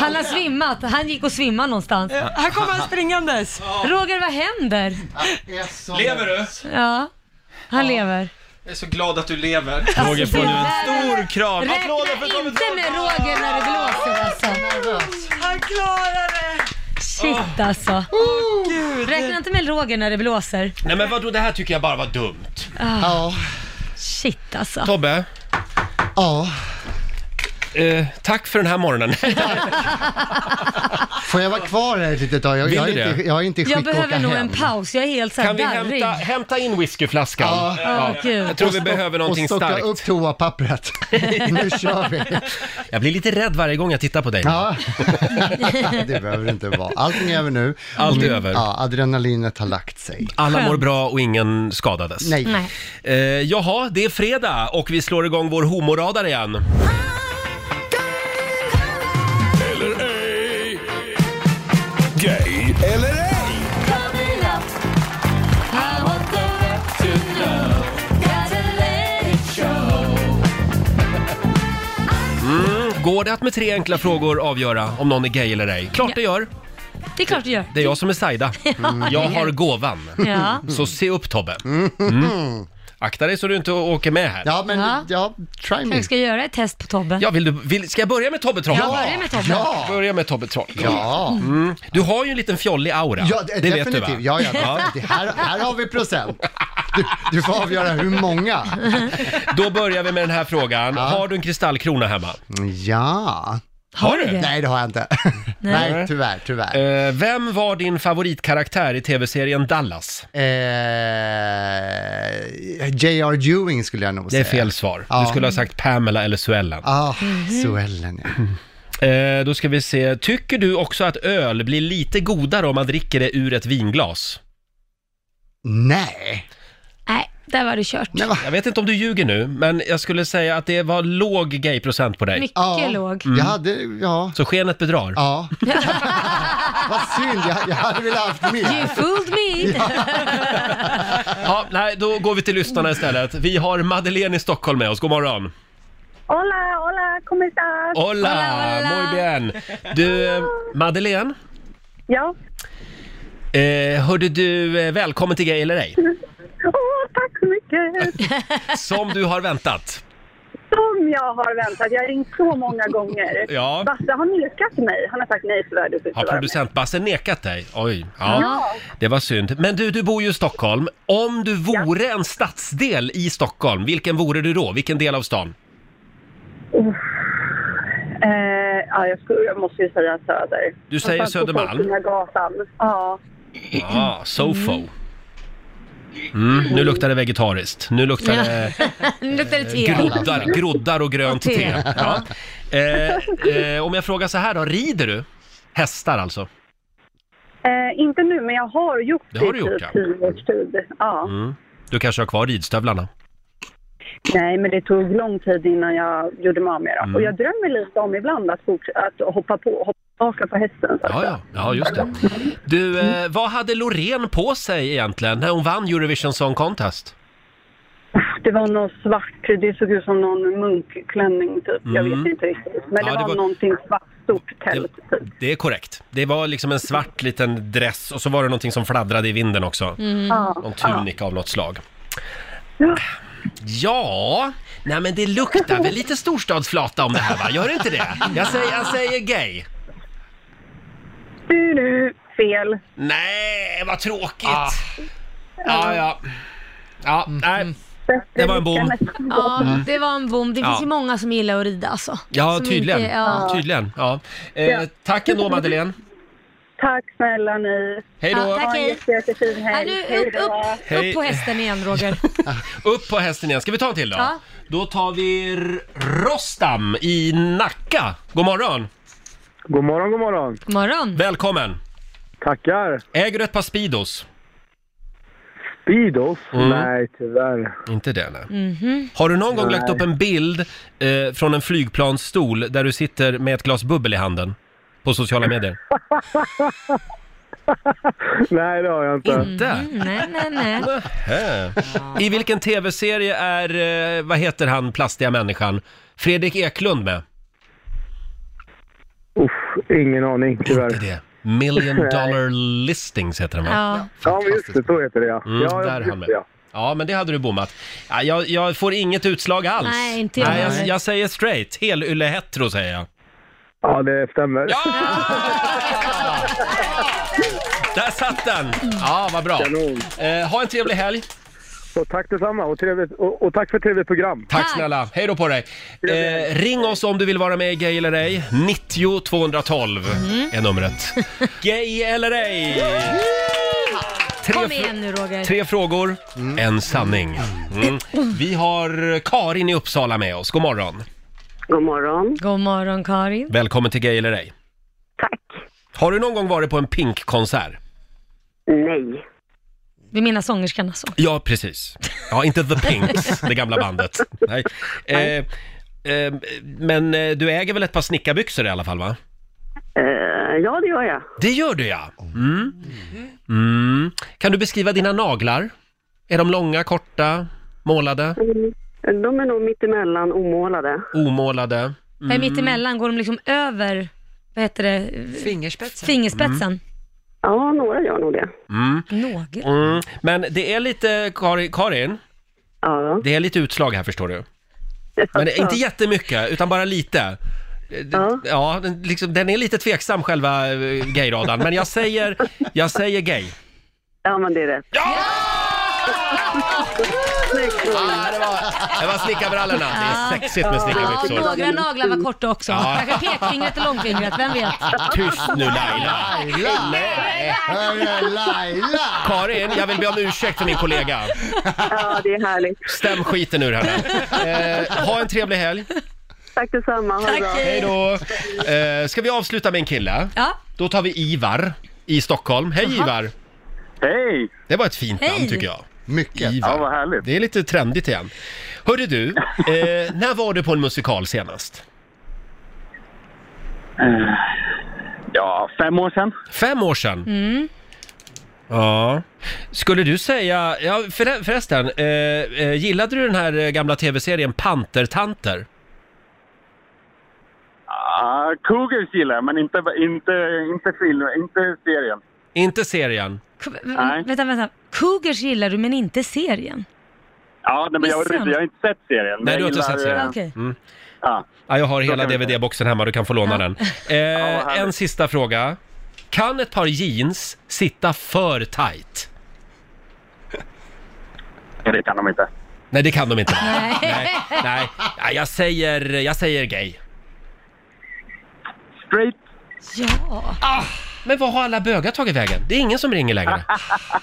[SPEAKER 2] Han har svimmat. Han gick och svimmade någonstans.
[SPEAKER 3] Här kommer han springandes.
[SPEAKER 2] Roger, vad händer?
[SPEAKER 6] Lever du?
[SPEAKER 2] Ja, han lever. Alltså,
[SPEAKER 12] Jag är så glad att du lever.
[SPEAKER 6] Roger får nu en stor kram.
[SPEAKER 2] Räkna inte med Roger när det blåser alltså.
[SPEAKER 3] Han klarar det!
[SPEAKER 2] Shit alltså. Räkna inte med Roger när det blåser.
[SPEAKER 1] Nej men vadå, det här tycker jag bara var dumt.
[SPEAKER 2] Ah.
[SPEAKER 11] Ja.
[SPEAKER 2] Shit alltså.
[SPEAKER 1] Tobbe?
[SPEAKER 11] Ja?
[SPEAKER 1] Eh, tack för den här
[SPEAKER 2] [LAUGHS]
[SPEAKER 1] morgonen.
[SPEAKER 11] Får jag vara kvar här ett litet tag? Jag,
[SPEAKER 1] Vill
[SPEAKER 11] jag,
[SPEAKER 1] du
[SPEAKER 11] är
[SPEAKER 1] det?
[SPEAKER 11] inte, jag är inte i skick
[SPEAKER 2] Jag
[SPEAKER 11] att åka
[SPEAKER 2] behöver nog
[SPEAKER 11] hem.
[SPEAKER 2] en paus, jag är helt såhär
[SPEAKER 1] Kan vi
[SPEAKER 2] darrig.
[SPEAKER 1] hämta, hämta in whiskyflaskan?
[SPEAKER 11] Ja.
[SPEAKER 2] Ja, gud.
[SPEAKER 1] Jag tror vi
[SPEAKER 11] Och-
[SPEAKER 1] behöver någonting
[SPEAKER 11] och stocka
[SPEAKER 1] starkt.
[SPEAKER 11] upp
[SPEAKER 2] [LAUGHS]
[SPEAKER 11] toapappret. nu kör vi.
[SPEAKER 1] Jag blir lite rädd varje gång jag tittar på dig.
[SPEAKER 2] [LAUGHS]
[SPEAKER 11] Ja. det behöver det inte vara. Allting är över nu.
[SPEAKER 1] Allt är
[SPEAKER 11] Och-
[SPEAKER 1] över.
[SPEAKER 11] Mm. Ja, adrenalinet har lagt sig.
[SPEAKER 1] Alla mår bra och ingen skadades.
[SPEAKER 11] Nej. Nej.
[SPEAKER 1] Eh, jaha, det är fredag och vi slår igång vår homoradar igen.
[SPEAKER 4] Gay eller ej?
[SPEAKER 1] Mm, går det att med tre enkla frågor avgöra om någon är gay eller ej? Klart det gör.
[SPEAKER 2] Det är klart du gör.
[SPEAKER 1] Det är jag som
[SPEAKER 11] [LAUGHS]
[SPEAKER 1] är Saida.
[SPEAKER 2] [LAUGHS] Ja.
[SPEAKER 1] Mm. Jag har gåvan.
[SPEAKER 2] Ja.
[SPEAKER 1] Så se upp Tobbe. Mm. Akta dig så du inte å- åker med här.
[SPEAKER 11] Ja, men
[SPEAKER 2] Ja.
[SPEAKER 11] ja, try me.
[SPEAKER 2] Jag ska göra ett test på Tobbe.
[SPEAKER 1] Ja, vill du, vill, ska jag börja med Tobbe Troll?
[SPEAKER 2] Ja, börja med Tobbe.
[SPEAKER 11] Ja.
[SPEAKER 1] Börja med Tobbe Troll.
[SPEAKER 11] Ja.
[SPEAKER 1] Mm. Du har ju en liten fjollig aura.
[SPEAKER 11] Ja,
[SPEAKER 1] det vet du
[SPEAKER 11] definitivt.
[SPEAKER 1] va?
[SPEAKER 11] ja, ja, definitivt. Här, här har vi procent. Du, du får avgöra hur många.
[SPEAKER 1] Då börjar vi med den här frågan. Har du en kristallkrona hemma?
[SPEAKER 11] Ja.
[SPEAKER 1] Har du?
[SPEAKER 11] Nej, det har jag inte. Nej, tyvärr, tyvärr.
[SPEAKER 1] Eh, vem var din favoritkaraktär i tv-serien Dallas?
[SPEAKER 11] Eh, J.R. Ewing skulle jag nog
[SPEAKER 1] Det
[SPEAKER 11] säga.
[SPEAKER 1] är fel svar.
[SPEAKER 11] Ja.
[SPEAKER 1] Du skulle ha sagt Pamela eller Suellen.
[SPEAKER 11] Ah, Suellen ja.
[SPEAKER 1] Eh, då ska vi se. Tycker du också att öl blir lite godare om man dricker det ur ett vinglas?
[SPEAKER 11] Nej.
[SPEAKER 2] Nej, där var det kört.
[SPEAKER 1] Jag vet inte om du ljuger nu, men jag skulle säga att det var låg gayprocent på dig.
[SPEAKER 2] Mycket låg.
[SPEAKER 1] Mm.
[SPEAKER 11] Jag hade, ja.
[SPEAKER 1] Så skenet bedrar.
[SPEAKER 11] Ja. Vad synd, jag, jag hade velat haft
[SPEAKER 2] You
[SPEAKER 11] mer.
[SPEAKER 2] fooled me!
[SPEAKER 1] ja, nej, då går vi till lyssnarna istället. Vi har Madeleine i Stockholm med oss. God morgon.
[SPEAKER 13] Hola, hola, ¿cómo estás?
[SPEAKER 1] Hola! Muy bien! Du, eh, Madeleine?
[SPEAKER 13] Ja?
[SPEAKER 1] Eh, hörde du, eh, välkommen till Gay eller ej?
[SPEAKER 13] [LAUGHS] Åh, tack så
[SPEAKER 1] [LAUGHS]
[SPEAKER 13] mycket!
[SPEAKER 1] Som du har väntat.
[SPEAKER 13] Som jag har väntat. Jag har ringt så många
[SPEAKER 11] [LAUGHS]
[SPEAKER 13] gånger.
[SPEAKER 1] Ja.
[SPEAKER 13] Basse har nekat mig. Han har sagt nej, tyvärr, du får inte
[SPEAKER 1] Har
[SPEAKER 13] vara med.
[SPEAKER 1] producent Basse nekat dig? Oj, ja.
[SPEAKER 13] Ja.
[SPEAKER 1] Det var synd. Men du, du bor ju i Stockholm. Om du vore en stadsdel i Stockholm, vilken vore du då? Vilken del av stan?
[SPEAKER 13] Eh, ja, jag, skulle, jag måste ju säga Söder.
[SPEAKER 1] Du säger
[SPEAKER 13] Någonstans på
[SPEAKER 1] Södermalm?
[SPEAKER 13] Folkungagatan. Ja.
[SPEAKER 1] Ja, Sofo. Mm, nu luktar det vegetariskt. Nu luktar det
[SPEAKER 2] [LAUGHS] Nu luktar det te.
[SPEAKER 1] groddar, groddar och grönt
[SPEAKER 2] Och te.
[SPEAKER 1] te. Ja. Eh, eh, om jag frågar så här då, rider du? Hästar alltså?
[SPEAKER 13] Eh, inte nu, men jag har gjort
[SPEAKER 1] Det
[SPEAKER 13] det,
[SPEAKER 1] har du gjort,
[SPEAKER 13] i
[SPEAKER 1] ja.
[SPEAKER 13] typ tio års tid. Ja.
[SPEAKER 1] Mm. Du kanske har kvar ridstövlarna?
[SPEAKER 13] Nej, men det tog lång tid innan jag gjorde mig av med dem.
[SPEAKER 1] Mm.
[SPEAKER 13] Och jag drömmer lite om ibland att, forts- att hoppa på, hoppa tillbaka på hästen. Så att
[SPEAKER 1] Ja,
[SPEAKER 13] säga.
[SPEAKER 1] ja, ja just det. Du, eh, vad hade Loreen på sig egentligen när hon vann Eurovision Song Contest?
[SPEAKER 13] Det var någon svart, det såg ut som någon munkklänning typ. Jag
[SPEAKER 1] Mm.
[SPEAKER 13] vet inte riktigt.
[SPEAKER 1] Ja,
[SPEAKER 13] Men det,
[SPEAKER 1] det
[SPEAKER 13] var,
[SPEAKER 1] var-
[SPEAKER 13] någonting svart, stort tält. typ.
[SPEAKER 1] Det är korrekt. Det var liksom en svart liten dress och så var det någonting som fladdrade i vinden också.
[SPEAKER 13] Ja.
[SPEAKER 1] Mm. Någon typ. tunika av något slag. Ja, nej men det luktar väl lite storstadsflata om det här va? Gör det inte det? Jag säger, jag säger gay.
[SPEAKER 13] Du, du, fel.
[SPEAKER 1] Nej, vad tråkigt. Ja, ja. Ja, nej. Det var en bom.
[SPEAKER 2] Ja,
[SPEAKER 1] Mm.
[SPEAKER 2] det var en bom. Det finns
[SPEAKER 1] Ja.
[SPEAKER 2] ju många som gillar att rida alltså.
[SPEAKER 1] Ja,
[SPEAKER 2] som
[SPEAKER 1] tydligen.
[SPEAKER 2] inte- ja.
[SPEAKER 1] tydligen. Ja.
[SPEAKER 13] Ja.
[SPEAKER 1] Eh, tack ändå Madeleine.
[SPEAKER 13] Tack snälla ni.
[SPEAKER 1] Hej då.
[SPEAKER 13] Ha en jättefin helg.
[SPEAKER 2] Ja, nu,
[SPEAKER 13] Hej
[SPEAKER 2] upp,
[SPEAKER 13] då.
[SPEAKER 2] upp,
[SPEAKER 1] Hej.
[SPEAKER 2] upp på hästen
[SPEAKER 1] [LAUGHS]
[SPEAKER 2] igen Roger.
[SPEAKER 1] Upp på hästen igen. Ska vi ta en till då?
[SPEAKER 2] Ja.
[SPEAKER 1] Då tar vi R- Rostam i Nacka. God morgon! God morgon, god morgon!
[SPEAKER 2] God morgon!
[SPEAKER 1] Välkommen! Tackar! Äger du ett par Speedos?
[SPEAKER 14] Speedos?
[SPEAKER 1] Mm.
[SPEAKER 14] Nej, tyvärr.
[SPEAKER 1] Inte det, nej. Har du någon gång
[SPEAKER 14] Nej.
[SPEAKER 1] lagt upp en bild eh, från en flygplansstol där du sitter med ett glas bubbel i handen? På sociala medier?
[SPEAKER 14] [LAUGHS] Nej, det har jag inte.
[SPEAKER 1] Inte?
[SPEAKER 2] Nej, nej, nej.
[SPEAKER 1] Hä. I vilken tv-serie är, eh, vad heter han, plastiga människan? Fredrik Eklund med?
[SPEAKER 14] Uff, ingen aning, tyvärr.
[SPEAKER 1] Inte det.
[SPEAKER 14] [LAUGHS]
[SPEAKER 1] Million dollar listings heter den va?
[SPEAKER 14] Ja, ja men just det. Så heter det, ja.
[SPEAKER 1] Mm,
[SPEAKER 14] ja,
[SPEAKER 1] där
[SPEAKER 14] just
[SPEAKER 1] han med.
[SPEAKER 14] det, ja.
[SPEAKER 1] Ja, men det hade du bommat. Ja, jag, jag får inget utslag alls.
[SPEAKER 2] Nej, inte jag heller.
[SPEAKER 1] jag, jag säger straight. Helylle hetero säger jag.
[SPEAKER 14] ja, det stämmer.
[SPEAKER 1] Där satt den! Ja, vad bra. Eh, ha en trevlig helg.
[SPEAKER 14] Och tack detsamma och, trevligt, och, och tack för ett trevligt program.
[SPEAKER 1] Tack snälla. Hej då på dig. Eh, ring oss om du vill vara med i Gay eller ej. 90 212
[SPEAKER 2] Mm.
[SPEAKER 1] är
[SPEAKER 2] [LAUGHS]
[SPEAKER 1] numret. Gay eller ej!
[SPEAKER 2] Kom igen nu Roger.
[SPEAKER 1] Tre frågor, en sanning. Mm. Vi har Karin i Uppsala med oss. God morgon.
[SPEAKER 13] God morgon.
[SPEAKER 2] God morgon Karin.
[SPEAKER 1] Välkommen till Gay eller ej. Tack. Har du någon gång varit på en Pink-konsert?
[SPEAKER 13] Nej.
[SPEAKER 2] Vi menar sångerskan alltså.
[SPEAKER 1] Ja, precis. Ja, inte The [LAUGHS] Pinks, det gamla bandet. Nej. Eh, eh, men eh, du äger väl ett par snickarbyxor i alla fall, va?
[SPEAKER 13] Eh, ja, det gör jag.
[SPEAKER 1] Det gör du ja! Mm. Mm. Kan du beskriva dina naglar? Är de långa, korta, målade,
[SPEAKER 13] Mm. De är nog mittemellan omålade.
[SPEAKER 1] omålade?
[SPEAKER 2] Vad är
[SPEAKER 1] Mm.
[SPEAKER 2] mitt emellan? Går de liksom över, vad heter det?
[SPEAKER 3] Fingerspetsen.
[SPEAKER 2] Fingerspetsen.
[SPEAKER 13] Ja, några gör nog det.
[SPEAKER 1] Mm.
[SPEAKER 2] Några.
[SPEAKER 1] Mm. Men det är lite, Karin, Karin det är lite utslag här förstår du. Men inte jättemycket, utan bara lite. Ja, ja den, liksom, den är lite tveksam själva eh, gayradan, men jag säger, jag säger gay.
[SPEAKER 13] Ja, men det är rätt. Ja!
[SPEAKER 1] Det var snickarbrallorna. Det är sexigt med snickarbyxor.
[SPEAKER 2] Ja, några naglar var korta också.
[SPEAKER 1] Ja.
[SPEAKER 2] Kanske pekfingret och långfingret, vem vet?
[SPEAKER 1] Tyst nu Laila! Nej.
[SPEAKER 11] Hörru, Laila!
[SPEAKER 1] Karin, jag vill be om ursäkt för min kollega.
[SPEAKER 13] Ja, det är härligt.
[SPEAKER 1] Stäm skiten ur henne. Eh, ha en trevlig helg.
[SPEAKER 13] Tack detsamma. Ha det bra.
[SPEAKER 1] Hej då. Eh, ska vi avsluta med en kille?
[SPEAKER 2] Ja.
[SPEAKER 1] Då tar vi Ivar i Stockholm. Hej Ivar!
[SPEAKER 14] Hej!
[SPEAKER 1] Det var ett fint namn
[SPEAKER 14] Hej.
[SPEAKER 1] tycker jag.
[SPEAKER 11] Mycket.
[SPEAKER 1] Ivar.
[SPEAKER 14] Ja, vad härligt.
[SPEAKER 1] Det är lite trendigt igen.
[SPEAKER 14] [LAUGHS]
[SPEAKER 1] Hörde du, eh, när var du på en musikal senast?
[SPEAKER 14] Ja, fem år sedan.
[SPEAKER 1] Fem år sedan?
[SPEAKER 2] Mm.
[SPEAKER 1] Ja. Skulle du säga, ja, förre- förresten, eh, eh, gillade du den här eh, gamla tv-serien Pantertanter?
[SPEAKER 14] Ah, Cougars gillar jag, men inte, inte, inte filmen, inte serien.
[SPEAKER 1] Inte serien?
[SPEAKER 14] Nej.
[SPEAKER 2] Vänta, vänta. Cougars gillar du men inte serien?
[SPEAKER 14] Ja, nej, men jag, har
[SPEAKER 2] Missar.
[SPEAKER 14] inte- jag har inte sett serien. men
[SPEAKER 1] Nej,
[SPEAKER 14] jag
[SPEAKER 1] du har inte
[SPEAKER 14] gillar,
[SPEAKER 1] sett serien?
[SPEAKER 14] eh,
[SPEAKER 2] Okej.
[SPEAKER 1] Mm.
[SPEAKER 14] Ja.
[SPEAKER 1] Ja, jag har
[SPEAKER 14] Så
[SPEAKER 1] hela
[SPEAKER 14] kan vi säga.
[SPEAKER 1] DVD-boxen hemma, du kan få
[SPEAKER 14] [LAUGHS]
[SPEAKER 1] låna den. Eh, en sista fråga. Kan ett par jeans sitta för tight?
[SPEAKER 14] Det kan de inte.
[SPEAKER 1] Nej, det kan
[SPEAKER 14] [LAUGHS]
[SPEAKER 1] de inte.
[SPEAKER 2] Nej.
[SPEAKER 1] Nej, nej. Ja, jag, säger, jag säger gay.
[SPEAKER 14] Straight.
[SPEAKER 2] Ja.
[SPEAKER 1] Men vad har alla bögar tagit vägen? Det är ingen som ringer längre.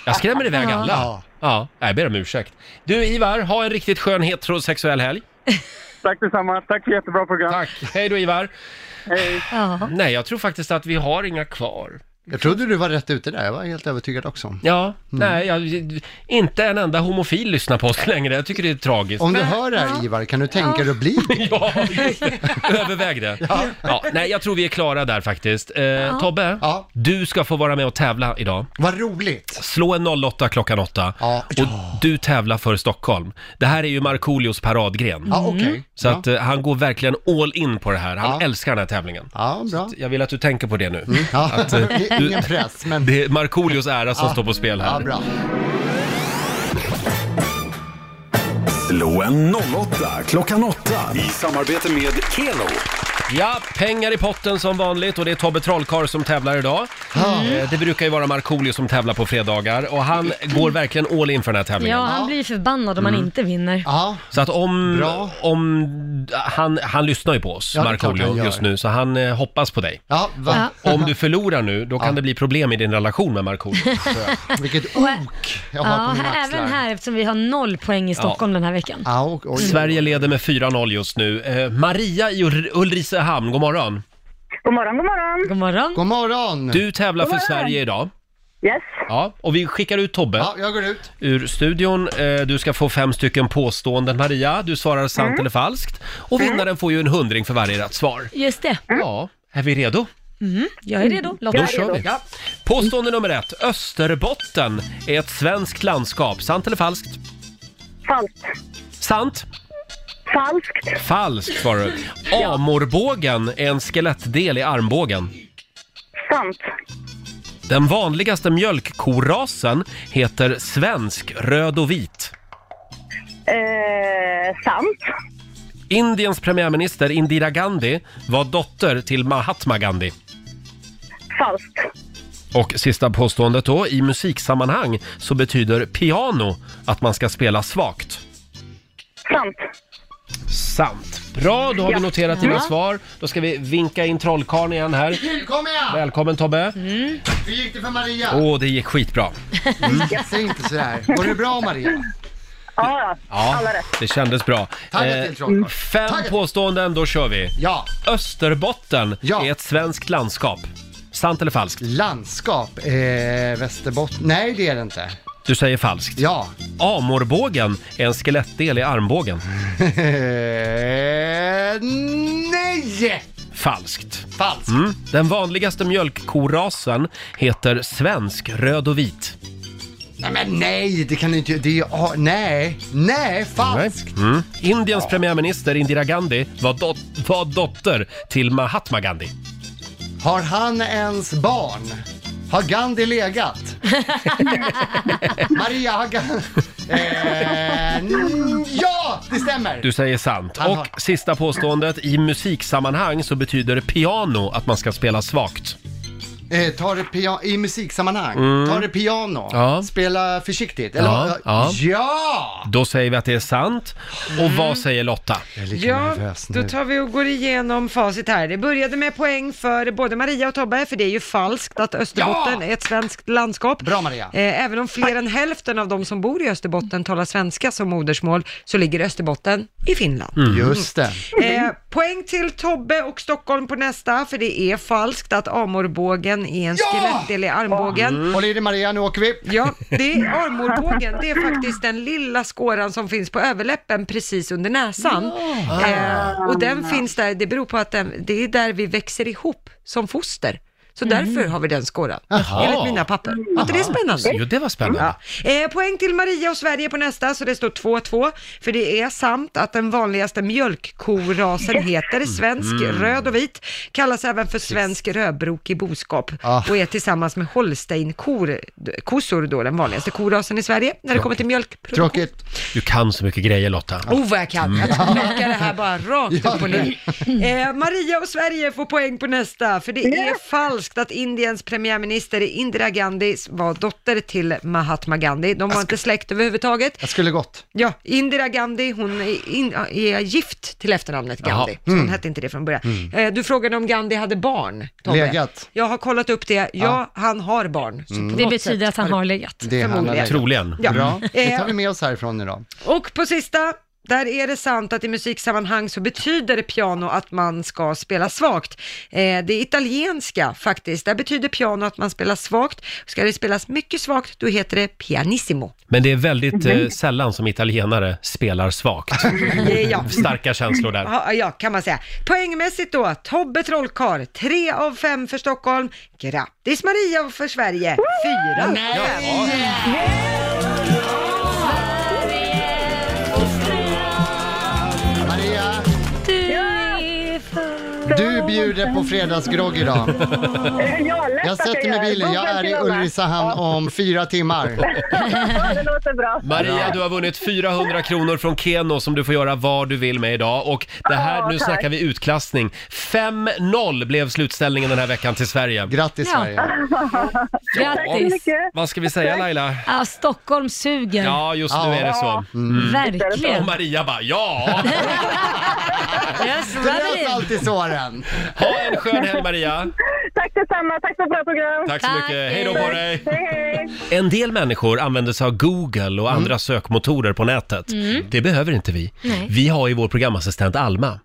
[SPEAKER 1] Jag skrämmer iväg
[SPEAKER 2] Ja.
[SPEAKER 1] alla.
[SPEAKER 2] Ja.
[SPEAKER 1] Ja, jag ber om ursäkt. Du Ivar, ha en riktigt skön heterosexuell helg.
[SPEAKER 14] [LAUGHS] Tack detsamma. Tack för jättebra program.
[SPEAKER 1] Tack. Hej då Ivar.
[SPEAKER 14] Hej.
[SPEAKER 2] Ja.
[SPEAKER 1] Nej, jag tror faktiskt att vi har inga kvar.
[SPEAKER 11] Jag trodde du var rätt ute där, jag var helt övertygad också.
[SPEAKER 1] Ja,
[SPEAKER 11] Mm.
[SPEAKER 1] nej, jag, inte en enda homofil lyssnar på oss [LAUGHS] längre. Jag tycker det är tragiskt.
[SPEAKER 11] Om du hör det här Ivar, kan du tänka dig att bli det?
[SPEAKER 1] [LAUGHS] Ja, just det.
[SPEAKER 11] [LAUGHS]
[SPEAKER 1] överväg det. Ja. nej, jag tror vi är klara där faktiskt. Eh, Tobbe, du ska få vara med och tävla idag.
[SPEAKER 11] Vad roligt!
[SPEAKER 1] Slå en 08 klockan 8 och du tävlar för Stockholm. Det här är ju Markoolios paradgren.
[SPEAKER 11] Ja, okej.
[SPEAKER 1] Så
[SPEAKER 11] Ja.
[SPEAKER 1] att eh, han går verkligen all in på det här. Han älskar den här tävlingen.
[SPEAKER 11] Ja, bra. Mm.
[SPEAKER 1] Jag vill att du tänker på det nu.
[SPEAKER 11] Ja.
[SPEAKER 1] Att, eh,
[SPEAKER 11] [LAUGHS] Det är ingen press, men...
[SPEAKER 1] Det är Markoolios ära som
[SPEAKER 11] Ja.
[SPEAKER 1] står på spel här.
[SPEAKER 11] Ja, bra.
[SPEAKER 4] Slå en 08 klockan 8 i samarbete med Keno.
[SPEAKER 1] Ja, pengar i potten som vanligt och det är Tobbe Trollkarl som tävlar idag. Eh, Det brukar ju vara Markoolio som tävlar på fredagar och han går verkligen all in för den här tävlingen.
[SPEAKER 2] Ja, han blir förbannad om han
[SPEAKER 1] Mm.
[SPEAKER 2] inte vinner.
[SPEAKER 1] Så att om... om ah, han, han lyssnar ju på oss,
[SPEAKER 2] Ja, det är klart
[SPEAKER 1] Markoolio,
[SPEAKER 2] han
[SPEAKER 1] just
[SPEAKER 2] gör.
[SPEAKER 1] nu, så han eh, hoppas på dig.
[SPEAKER 2] va?
[SPEAKER 1] Och Om du förlorar nu, då kan det bli problem i din relation med
[SPEAKER 2] [LAUGHS]
[SPEAKER 1] Markoolio.
[SPEAKER 11] Vilket
[SPEAKER 2] ok
[SPEAKER 11] jag
[SPEAKER 1] har på
[SPEAKER 2] ja,
[SPEAKER 1] mina axlar.
[SPEAKER 2] Även här eftersom vi har noll poäng i
[SPEAKER 1] Ja.
[SPEAKER 2] Stockholm den här veckan.
[SPEAKER 1] Sverige leder med 4-0 just nu. Eh, Maria i Ur- Ulricehamn, god morgon.
[SPEAKER 13] God morgon, god morgon.
[SPEAKER 2] God morgon.
[SPEAKER 11] God morgon.
[SPEAKER 1] Du tävlar
[SPEAKER 13] God
[SPEAKER 1] för
[SPEAKER 13] morgon.
[SPEAKER 1] Sverige idag.
[SPEAKER 13] Yes.
[SPEAKER 1] Ja, och vi skickar ut Tobbe
[SPEAKER 11] Ja, jag går ut.
[SPEAKER 1] ur studion. Eh, Du ska få fem stycken påståenden, Maria. Du svarar sant
[SPEAKER 2] Mm.
[SPEAKER 1] eller falskt. Och vinnaren får ju en hundring för varje rätt svar.
[SPEAKER 2] Just det.
[SPEAKER 1] Ja. Är vi redo?
[SPEAKER 2] Mm, jag är redo. Lotta.
[SPEAKER 1] Då kör vi. Påstående nummer ett. Österbotten är ett svenskt landskap. Sant eller falskt?
[SPEAKER 13] Falskt.
[SPEAKER 1] Sant.
[SPEAKER 13] Falskt.
[SPEAKER 1] Falskt svarar du. Amorbågen är en skelettdel i armbågen.
[SPEAKER 13] Sant.
[SPEAKER 1] Den vanligaste mjölkkorasen heter svensk röd och vit.
[SPEAKER 13] Eh, sant.
[SPEAKER 1] Indiens premiärminister Indira Gandhi var dotter till Mahatma Gandhi.
[SPEAKER 13] Falskt.
[SPEAKER 1] Och sista påståendet då, i musiksammanhang så betyder piano att man ska spela svagt.
[SPEAKER 13] Sant.
[SPEAKER 1] Sant. Bra, då har
[SPEAKER 13] Ja.
[SPEAKER 1] vi noterat dina
[SPEAKER 13] Ja.
[SPEAKER 1] svar. Då ska vi vinka in trollkarlen igen här.
[SPEAKER 11] Välkommen jag!
[SPEAKER 1] Välkommen Tobbe!
[SPEAKER 11] Hur gick det för Maria?
[SPEAKER 1] Åh, det gick skitbra.
[SPEAKER 11] Säg inte Oh. sådär. Går det bra Maria?
[SPEAKER 13] Ja,
[SPEAKER 1] Ja, det kändes bra.
[SPEAKER 11] Taggat till trollkarl.
[SPEAKER 1] Eh, fem påståenden, då kör vi.
[SPEAKER 11] Ja.
[SPEAKER 1] Österbotten är ett svenskt landskap. Sant eller falskt?
[SPEAKER 11] Landskap? Eh, Västerbotten? Nej, det är det inte.
[SPEAKER 1] Du säger falskt.
[SPEAKER 11] Ja.
[SPEAKER 1] Amorbågen är en skelettdel i armbågen.
[SPEAKER 11] Eh, nej!
[SPEAKER 1] Falskt.
[SPEAKER 11] Falskt.
[SPEAKER 1] Mm. Den vanligaste mjölkkorasen heter svensk röd och vit.
[SPEAKER 11] Nej men nej, det kan du inte Det är ah, nej, nej, falskt.
[SPEAKER 1] Mm. Indiens premiärminister Indira Gandhi var, dot var dotter till Mahatma Gandhi.
[SPEAKER 11] Har han ens barn? Har Gandhi legat? Maria, har Gandhi... Eh, n- ja, det stämmer!
[SPEAKER 1] Du säger sant.
[SPEAKER 11] Han har-
[SPEAKER 1] Och sista påståendet, i musiksammanhang så betyder piano att man ska spela svagt.
[SPEAKER 11] Eh, ta det pia- I musiksammanhang,
[SPEAKER 1] Mm.
[SPEAKER 11] ta det piano,
[SPEAKER 1] Ja.
[SPEAKER 11] spela försiktigt. Eller,
[SPEAKER 1] Ja, ja.
[SPEAKER 11] ja!
[SPEAKER 1] Då säger vi att det är sant. Och vad säger Lotta?
[SPEAKER 3] Ja, då tar vi och går igenom facit här. Det började med poäng för både Maria och Tobbe, för det är ju falskt att Österbotten är ett svenskt landskap.
[SPEAKER 11] Bra Maria!
[SPEAKER 3] Eh, Även om fler än hälften av de som bor i Österbotten talar svenska som modersmål så ligger Österbotten i Finland.
[SPEAKER 11] Mm. Just det.
[SPEAKER 3] Eh, poäng till Tobbe och Stockholm på nästa, för det är falskt att amorbågen är en skelettdel i armbågen.
[SPEAKER 11] Håll i dig Maria, nu åker vi.
[SPEAKER 3] Ja, det är armorbågen, det är faktiskt den lilla skåran som finns på överläppen precis under näsan.
[SPEAKER 11] Ja.
[SPEAKER 3] Eh, och den finns där, det beror på att den, det är där vi växer ihop som foster. Så därför har vi den skåran,
[SPEAKER 1] Jaha.
[SPEAKER 3] enligt mina papper. Var inte det spännande?
[SPEAKER 1] Jo, det var spännande.
[SPEAKER 3] Eh, poäng till Maria och Sverige på nästa, så det står 2-2. För det är sant att den vanligaste mjölkkorasen heter svensk
[SPEAKER 13] Mm.
[SPEAKER 3] röd och vit, kallas även för svensk rödbrokig boskap
[SPEAKER 13] Ah.
[SPEAKER 3] och är tillsammans med holsteinkossor då den vanligaste korasen i Sverige när det kommer till mjölkproduktion.
[SPEAKER 11] Tråkigt.
[SPEAKER 1] Du kan så mycket grejer Lotta.
[SPEAKER 3] Oh vad jag kan, jag plockar det här bara rakt
[SPEAKER 11] Mm. Ja.
[SPEAKER 3] upp och ner. Eh, Maria och Sverige får poäng på nästa, för det är falskt att Indiens premiärminister Indira Gandhi var dotter till Mahatma Gandhi. De var inte släkt överhuvudtaget.
[SPEAKER 11] Jag skulle gått.
[SPEAKER 3] Ja, Indira Gandhi, hon är, in, är gift till efternamnet
[SPEAKER 11] Jaha.
[SPEAKER 3] Gandhi, så hon
[SPEAKER 11] Mm.
[SPEAKER 3] hette inte det från början.
[SPEAKER 11] Mm.
[SPEAKER 3] Eh, Du frågade om Gandhi hade barn, Tobbe.
[SPEAKER 11] Legat.
[SPEAKER 3] Jag har kollat upp det, ja,
[SPEAKER 11] Ja.
[SPEAKER 3] han har barn. Så
[SPEAKER 11] Mm.
[SPEAKER 3] på
[SPEAKER 11] Det
[SPEAKER 3] något
[SPEAKER 2] betyder
[SPEAKER 3] sätt
[SPEAKER 2] att han har legat.
[SPEAKER 1] Mm.
[SPEAKER 11] Det är Hanna
[SPEAKER 1] Troligen.
[SPEAKER 3] Ja.
[SPEAKER 11] Bra, det tar vi
[SPEAKER 3] Eh,
[SPEAKER 11] med oss härifrån idag.
[SPEAKER 3] Och på sista, där är det sant att i musiksammanhang så betyder piano att man ska spela svagt. Eh, det italienska faktiskt, där betyder piano att man spelar svagt. Ska det spelas mycket svagt, då heter det pianissimo.
[SPEAKER 1] Men det är väldigt eh,
[SPEAKER 3] Mhm.
[SPEAKER 1] sällan som italienare spelar svagt.
[SPEAKER 11] Mm.
[SPEAKER 3] Eh, ja.
[SPEAKER 1] Starka känslor där.
[SPEAKER 3] Ja, ja, kan man säga. Poängmässigt då, Tobbe Trollkarl, 3 av 5 för Stockholm. Grattis Maria för Sverige, 4 av 5.
[SPEAKER 11] Maria!
[SPEAKER 2] Du är för...
[SPEAKER 11] Du bjuder på fredagsgrogg idag.
[SPEAKER 13] Ja, lätt
[SPEAKER 11] Jag
[SPEAKER 13] att jag
[SPEAKER 11] sätter mig i
[SPEAKER 13] gör.
[SPEAKER 11] bilen. Jag är
[SPEAKER 13] Bubbel till
[SPEAKER 11] i
[SPEAKER 13] och med.
[SPEAKER 11] Ulricehamn om fyra
[SPEAKER 13] [LAUGHS]
[SPEAKER 11] timmar.
[SPEAKER 13] det låter bra.
[SPEAKER 1] Maria, du har vunnit 400 kronor från Keno som du får göra vad du vill med idag. Och det här,
[SPEAKER 13] Ja,
[SPEAKER 1] nu
[SPEAKER 13] tack.
[SPEAKER 1] snackar vi utklassning. 5-0 blev slutställningen den här veckan till Sverige.
[SPEAKER 11] Grattis
[SPEAKER 2] Grattis!
[SPEAKER 1] Vad ska vi säga Laila?
[SPEAKER 2] Ja, Stockholm suger.
[SPEAKER 1] Ja, just nu är det så. Mm.
[SPEAKER 2] Verkligen.
[SPEAKER 1] Och Maria bara, ja!
[SPEAKER 11] Det löser alltid såren.
[SPEAKER 1] Ha en skön helg Maria!
[SPEAKER 13] Tack detsamma, tack för ett bra program.
[SPEAKER 1] Tack så mycket. Hej då på dig.
[SPEAKER 13] Hej, hej.
[SPEAKER 1] En del människor använder sig av Google och andra sökmotorer på nätet.
[SPEAKER 2] Mm.
[SPEAKER 1] Det behöver inte vi.
[SPEAKER 2] Nej.
[SPEAKER 1] Vi har ju vår programassistent Alma.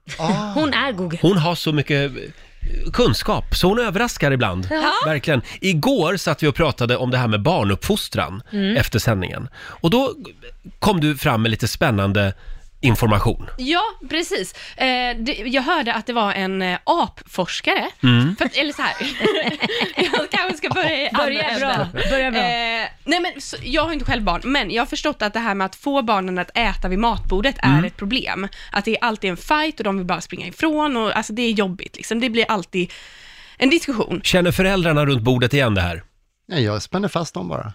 [SPEAKER 2] Hon är Google.
[SPEAKER 1] Hon har så mycket eh, kunskap, så hon överraskar ibland.
[SPEAKER 2] Ja.
[SPEAKER 1] Verkligen. Igår satt vi och pratade om det här med barnuppfostran
[SPEAKER 15] Mm.
[SPEAKER 1] efter sändningen. Och då kom du fram med lite spännande information.
[SPEAKER 15] Ja, precis. Eh, det, jag hörde att det var en eh, apforskare.
[SPEAKER 1] Mm.
[SPEAKER 15] För, att- eller så här. [LAUGHS] jag kanske ska börja i andra
[SPEAKER 2] Börja bra,
[SPEAKER 15] änden.
[SPEAKER 2] börja bra.
[SPEAKER 15] Eh, nej men, så, jag har inte själv barn, men jag har förstått att det här med att få barnen att äta vid matbordet
[SPEAKER 1] Mm.
[SPEAKER 15] är ett problem. Att det är alltid en fight och de vill bara springa ifrån och alltså det är jobbigt liksom. Det blir alltid en diskussion.
[SPEAKER 1] Känner föräldrarna runt bordet igen det här?
[SPEAKER 11] Nej, jag spänner fast dem bara.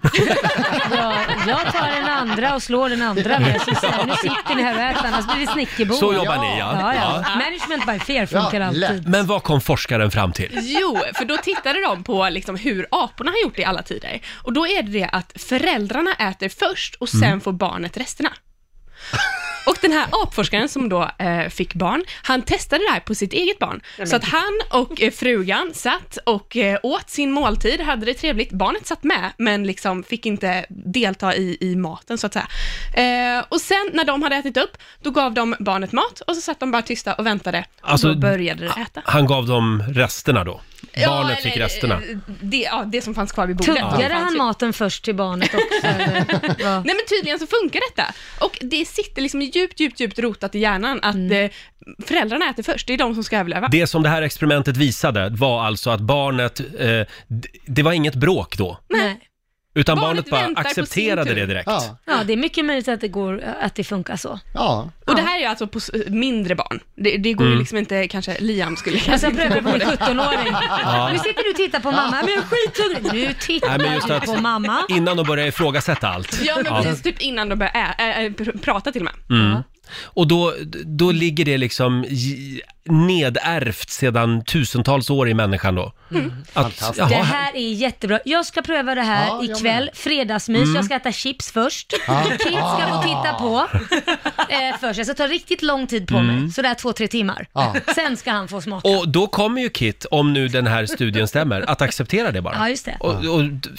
[SPEAKER 2] Ja, jag tar den andra och slår den andra med. Så säger, nu sitter ni här och äter, annars blir det snickerbord.
[SPEAKER 1] Så jobbar ni, ja.
[SPEAKER 2] ja,
[SPEAKER 1] Ja.
[SPEAKER 2] Management by fear funkar alltid.
[SPEAKER 1] Men vad kom forskaren fram till?
[SPEAKER 15] Jo, för då tittade de på liksom hur aporna har gjort det i alla tider. Och då är det det att föräldrarna äter först och sen
[SPEAKER 1] Mm.
[SPEAKER 15] får barnet resterna. Och den här apforskaren som då eh, fick barn, han testade det här på sitt eget barn.
[SPEAKER 2] men
[SPEAKER 15] Så att han och eh, frugan satt och eh, åt sin måltid, hade det trevligt. Barnet satt med, men liksom fick inte delta i, i maten så att säga. Eh, och sen när de hade ätit upp, då gav de barnet mat och så satt de bara tysta och väntade.
[SPEAKER 1] Alltså,
[SPEAKER 15] och då började det äta.
[SPEAKER 1] Han gav dem resterna då?
[SPEAKER 15] Ja,
[SPEAKER 1] Barnet
[SPEAKER 15] eller,
[SPEAKER 1] fick resterna?
[SPEAKER 15] eh, Det, ja, det som fanns kvar vid bordet.
[SPEAKER 2] Tuggade
[SPEAKER 15] Det fanns
[SPEAKER 2] han
[SPEAKER 15] ju-
[SPEAKER 2] maten först till barnet också? Eller? vad?
[SPEAKER 15] Nej men tydligen så funkar detta. Och det sitter liksom djupt, djupt, djupt rotat i hjärnan att eh, föräldrarna äter först, det är de som ska överleva.
[SPEAKER 1] Det som det här experimentet visade var alltså att barnet, eh, d- det var inget bråk då,
[SPEAKER 2] Nej.
[SPEAKER 1] utan barnet,
[SPEAKER 2] Barnet
[SPEAKER 1] bara
[SPEAKER 2] väntar på sin
[SPEAKER 1] accepterade
[SPEAKER 2] tur.
[SPEAKER 1] det direkt.
[SPEAKER 11] Ja.
[SPEAKER 2] Ja, det är mycket möjligt att det, går, att det funkar så.
[SPEAKER 11] Ja.
[SPEAKER 15] Och det här är ju alltså på s- mindre barn. Det, det går ju
[SPEAKER 1] Mm.
[SPEAKER 15] liksom inte, kanske Liam skulle
[SPEAKER 2] Jag ska pröva på min
[SPEAKER 15] det.
[SPEAKER 2] 17-åring.
[SPEAKER 1] Ja.
[SPEAKER 2] Nu sitter du och tittar på mamma, men jag är skithungrig. Nu tittar
[SPEAKER 1] Nej, men just
[SPEAKER 2] du på mamma.
[SPEAKER 1] att innan de börjar ifrågasätta allt.
[SPEAKER 15] Ja men precis, typ innan de börjar ä- ä- ä- pr- prata till och med.
[SPEAKER 1] Mm. Och då, då ligger det liksom j- nedärvt sedan tusentals år i människan då. Att,
[SPEAKER 2] Mm. Det
[SPEAKER 1] jaha,
[SPEAKER 2] här är jättebra. Jag ska pröva det här
[SPEAKER 1] Ja, jag
[SPEAKER 2] ikväll, fredagsmys.
[SPEAKER 1] Mm.
[SPEAKER 2] Jag ska äta chips först.
[SPEAKER 1] Ja.
[SPEAKER 2] Kids ska få titta på eh, först. Jag ska ta riktigt lång tid på
[SPEAKER 1] Mm.
[SPEAKER 2] mig, sådär två, tre timmar.
[SPEAKER 1] Ja.
[SPEAKER 2] Sen ska han få smaka.
[SPEAKER 1] och då kommer ju Kit, om nu den här studien stämmer, att acceptera det bara.
[SPEAKER 2] Ja, just det.
[SPEAKER 1] Och, och, d-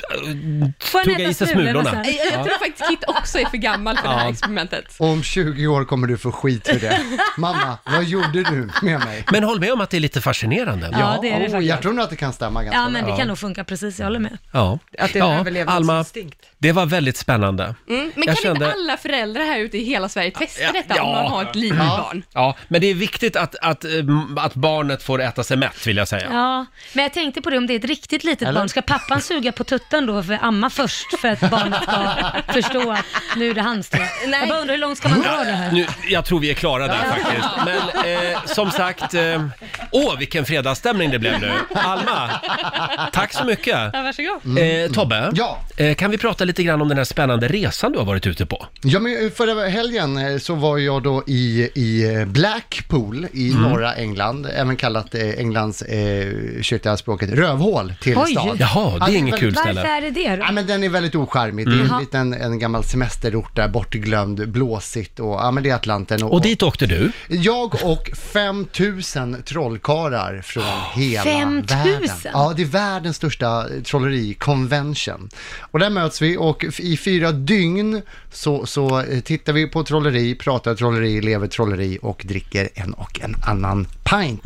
[SPEAKER 1] tugga i sig smulorna.
[SPEAKER 15] Jag, jag tror
[SPEAKER 1] Ja.
[SPEAKER 15] faktiskt Kit också är för gammal för det här
[SPEAKER 11] Ja.
[SPEAKER 15] experimentet.
[SPEAKER 11] Om 20 år kommer du få skit för det. Mamma, vad gjorde du med mig?
[SPEAKER 1] Men håll med om att det är lite fascinerande.
[SPEAKER 2] Ja, det är det faktiskt.
[SPEAKER 11] Jag tror nog att det kan stämma ganska
[SPEAKER 2] Ja, men det
[SPEAKER 1] Ja.
[SPEAKER 2] kan nog funka precis, jag håller med.
[SPEAKER 1] Ja,
[SPEAKER 2] Att det är en
[SPEAKER 1] ja. Alma,
[SPEAKER 2] överlevnadsinstinkt.
[SPEAKER 1] det var väldigt spännande.
[SPEAKER 15] Mm. Men
[SPEAKER 1] Jag
[SPEAKER 15] kan
[SPEAKER 1] kände-
[SPEAKER 15] inte alla föräldrar här ute i hela Sverige testa detta om man har ett litet barn?
[SPEAKER 1] Ja, men det är viktigt att, att, eh, m- att barnet får äta sig mätt, vill jag säga.
[SPEAKER 2] Ja, men jag tänkte på det om det är ett riktigt litet
[SPEAKER 1] Eller?
[SPEAKER 2] barn, ska pappan suga på tutten då för amma först för att barnet ska förstå att nu är det hans tur? Jag bara undrar hur långt ska man dra det här?
[SPEAKER 1] Nu, jag tror vi är klara där faktiskt. Men eh, som sagt, eh, åh vilken fredagsstämning det blev nu. Alma, tack så mycket.
[SPEAKER 15] Ja, varsågod.
[SPEAKER 2] Mm.
[SPEAKER 1] Eh, Tobbe, eh, kan vi prata lite grann om den här spännande resan du har varit ute på?
[SPEAKER 11] Ja, men förra helgen eh, så var jag då i, i eh, Blackpool i
[SPEAKER 1] Mm.
[SPEAKER 11] norra England, även kallat eh, Englands, eh, ursäkta språket, rövhål till
[SPEAKER 2] Oj.
[SPEAKER 11] stad.
[SPEAKER 2] Jaha, det är
[SPEAKER 11] Ja,
[SPEAKER 2] inget
[SPEAKER 11] väldigt-
[SPEAKER 2] kul ställe. Varför är det det då?
[SPEAKER 11] Ja, men den är väldigt ocharmig. Det är
[SPEAKER 2] Mm.
[SPEAKER 11] en liten en gammal semesterort där, bortglömd, blåsigt och ja, men det är Atlanten.
[SPEAKER 1] Och dit åkte du?
[SPEAKER 11] Jag och 5000 trollkarlar från hela
[SPEAKER 2] 5 000?
[SPEAKER 11] världen. Ja, det är världens största eh, trollerikonvention. Och där möts vi och f- i fyra dygn så, så eh, tittar vi på trolleri, pratar trolleri, lever trolleri och dricker en och en annan pint.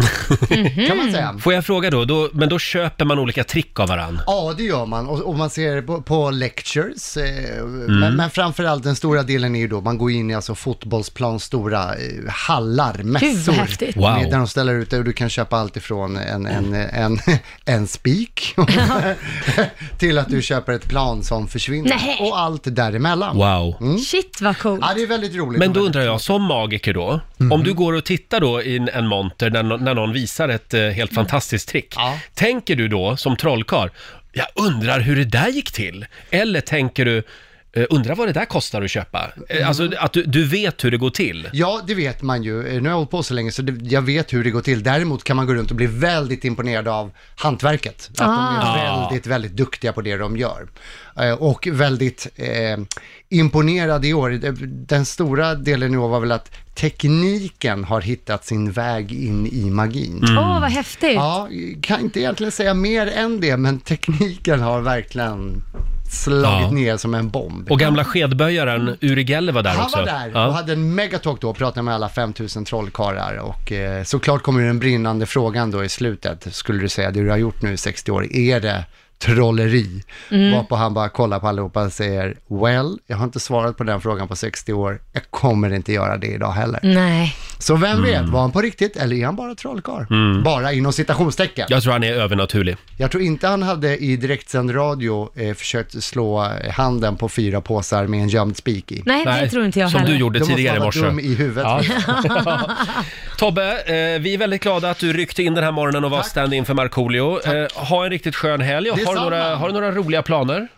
[SPEAKER 11] Kan man säga.
[SPEAKER 1] Får jag fråga då, då men då köper man olika trick av varann?
[SPEAKER 11] Ja, det gör man. Och, och man ser det på, på lectures. Eh, men, men framförallt den stora delen är ju då, man går in i alltså fotbollsplans stora eh, hallar,
[SPEAKER 2] Gud, vad
[SPEAKER 11] mässor.
[SPEAKER 2] häftigt.
[SPEAKER 11] Med-
[SPEAKER 2] Wow.
[SPEAKER 11] Där de ställer ut det och du kan köpa allt ifrån en, en, en, [LAUGHS] en spik till att du köper ett plan som försvinner.
[SPEAKER 2] Nej.
[SPEAKER 11] Och allt däremellan.
[SPEAKER 1] Wow.
[SPEAKER 2] Shit vad coolt.
[SPEAKER 11] Ja, det Mhm. är väldigt roligt.
[SPEAKER 1] Men då undrar jag, som magiker då, Om du går och tittar då i en- en monter när, nå- när någon visar ett eh, helt
[SPEAKER 11] Mm.
[SPEAKER 1] fantastiskt trick, tänker du då som trollkarl, jag undrar hur det där gick till? Eller tänker du, "Eh, undrar vad det där kostar att köpa? Eh, Alltså att du, du vet hur det går till.
[SPEAKER 11] Mm. Ja, det vet man ju. Eh, Nu har jag hållit på så länge så det, jag vet hur det går till. Däremot kan man gå runt och bli väldigt imponerad av hantverket. Att de
[SPEAKER 16] Ah.
[SPEAKER 11] är väldigt, väldigt duktiga på det de gör. Eh, Och väldigt eh, imponerad i år. Det- Den stora delen i år var väl att tekniken har hittat sin väg in i magin.
[SPEAKER 1] Mm.
[SPEAKER 2] Åh, vad häftigt.
[SPEAKER 11] Ja, kan inte egentligen säga mer än det, men tekniken har verkligen slagit
[SPEAKER 1] Ja.
[SPEAKER 11] ner som en bomb.
[SPEAKER 1] Och gamla skedböjaren Uri Geller var där
[SPEAKER 11] Mm. Han
[SPEAKER 1] också.
[SPEAKER 11] var där
[SPEAKER 1] Ja.
[SPEAKER 11] och hade en megatalk då och pratade med alla 5000 trollkarlar och eh, såklart kommer den brinnande frågan då i slutet. Skulle du säga det du har gjort nu i 60 år, är det trolleri?
[SPEAKER 16] Mm.
[SPEAKER 11] Varpå han bara kollar på allihopa och säger well, jag har inte svarat på den frågan på 60 år, jag kommer inte göra det idag heller.
[SPEAKER 2] Nej.
[SPEAKER 11] Så vem vet,
[SPEAKER 1] Mm.
[SPEAKER 11] var han på riktigt eller är han bara trollkarl?
[SPEAKER 1] Mm.
[SPEAKER 11] Bara inom citationstecken.
[SPEAKER 1] Jag tror han är övernaturlig.
[SPEAKER 11] Jag tror inte han hade i direktsänd radio eh, försökt slå eh, handen på fyra påsar med en gömd spik i.
[SPEAKER 2] Nej, det Nej, tror inte jag
[SPEAKER 1] som heller. du gjorde
[SPEAKER 11] Då måste
[SPEAKER 1] tidigare
[SPEAKER 11] han
[SPEAKER 1] i
[SPEAKER 11] vara
[SPEAKER 1] morse.
[SPEAKER 11] dum i huvudet.
[SPEAKER 1] Ja.
[SPEAKER 11] [LAUGHS]
[SPEAKER 1] [LAUGHS] Tobbe, eh, vi är väldigt glada att du ryckte in den här morgonen och var stand-in för Markoolio. Eh, ha en riktigt skön helg och har du,
[SPEAKER 11] Detsamma.
[SPEAKER 1] några, har du några roliga planer?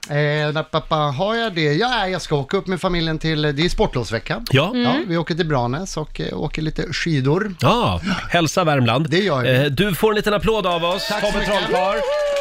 [SPEAKER 11] Eh, na, pappa, har jag det? Ja, nej, jag ska åka upp med familjen till, det är sportlovsvecka.
[SPEAKER 1] Ja. Mm.
[SPEAKER 11] vi åker till Branäs och eh, åker lite skidor.
[SPEAKER 1] Ja, hälsa Värmland.
[SPEAKER 11] Det gör jag.
[SPEAKER 1] Eh, du får en liten applåd av oss,
[SPEAKER 11] Tack så
[SPEAKER 1] Tobbe
[SPEAKER 11] mycket.
[SPEAKER 1] Trollkarl.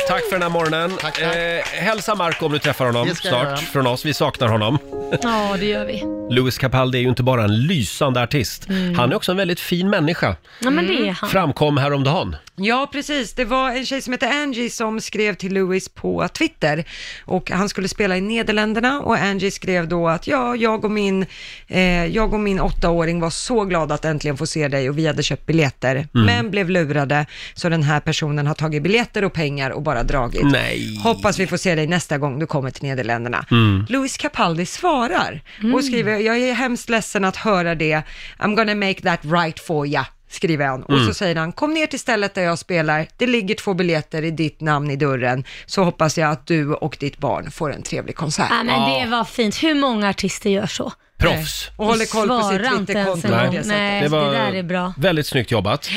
[SPEAKER 1] Tack för den här morgonen. Eh, hälsa Marco om du träffar honom
[SPEAKER 2] Det ska jag göra.
[SPEAKER 1] snart från oss. Vi saknar honom.
[SPEAKER 2] Ja, det gör vi.
[SPEAKER 1] Louis Capaldi är ju inte bara en lysande artist.
[SPEAKER 2] Mm.
[SPEAKER 1] Han är också en väldigt fin människa.
[SPEAKER 2] Ja, men det
[SPEAKER 1] Mm.
[SPEAKER 2] är han.
[SPEAKER 1] Framkom häromdagen.
[SPEAKER 3] Ja, precis. Det var en tjej som hette Angie som skrev till Louis på Twitter och han skulle spela i Nederländerna och Angie skrev då att ja, jag och min, eh, jag och min åttaåring var så glada att äntligen få se dig och vi hade köpt biljetter, men blev lurade så den här personen har tagit biljetter och pengar och bara dragit.
[SPEAKER 2] Mm.
[SPEAKER 1] Nej.
[SPEAKER 3] Hoppas vi får se dig nästa gång du kommer till Nederländerna.
[SPEAKER 1] Mm.
[SPEAKER 3] Louis Capaldi svarar
[SPEAKER 2] Mm.
[SPEAKER 3] och skriver, jag är hemskt ledsen att höra det, I'm gonna make that right for ya, skriver han. Och
[SPEAKER 16] Mm.
[SPEAKER 3] så säger han, kom ner till stället där jag spelar, det ligger två biljetter i ditt namn i dörren, så hoppas jag att du och ditt barn får en trevlig konsert.
[SPEAKER 2] Ja, men det var fint. Hur många artister gör så?
[SPEAKER 1] Proffs.
[SPEAKER 3] Och håller koll på sitt
[SPEAKER 2] Äh, Svarar inte ens
[SPEAKER 3] Twitterkonto.
[SPEAKER 2] en
[SPEAKER 1] Nej.
[SPEAKER 2] gång. Nej, det,
[SPEAKER 1] var
[SPEAKER 2] där är bra. Mm.
[SPEAKER 1] Väldigt snyggt jobbat.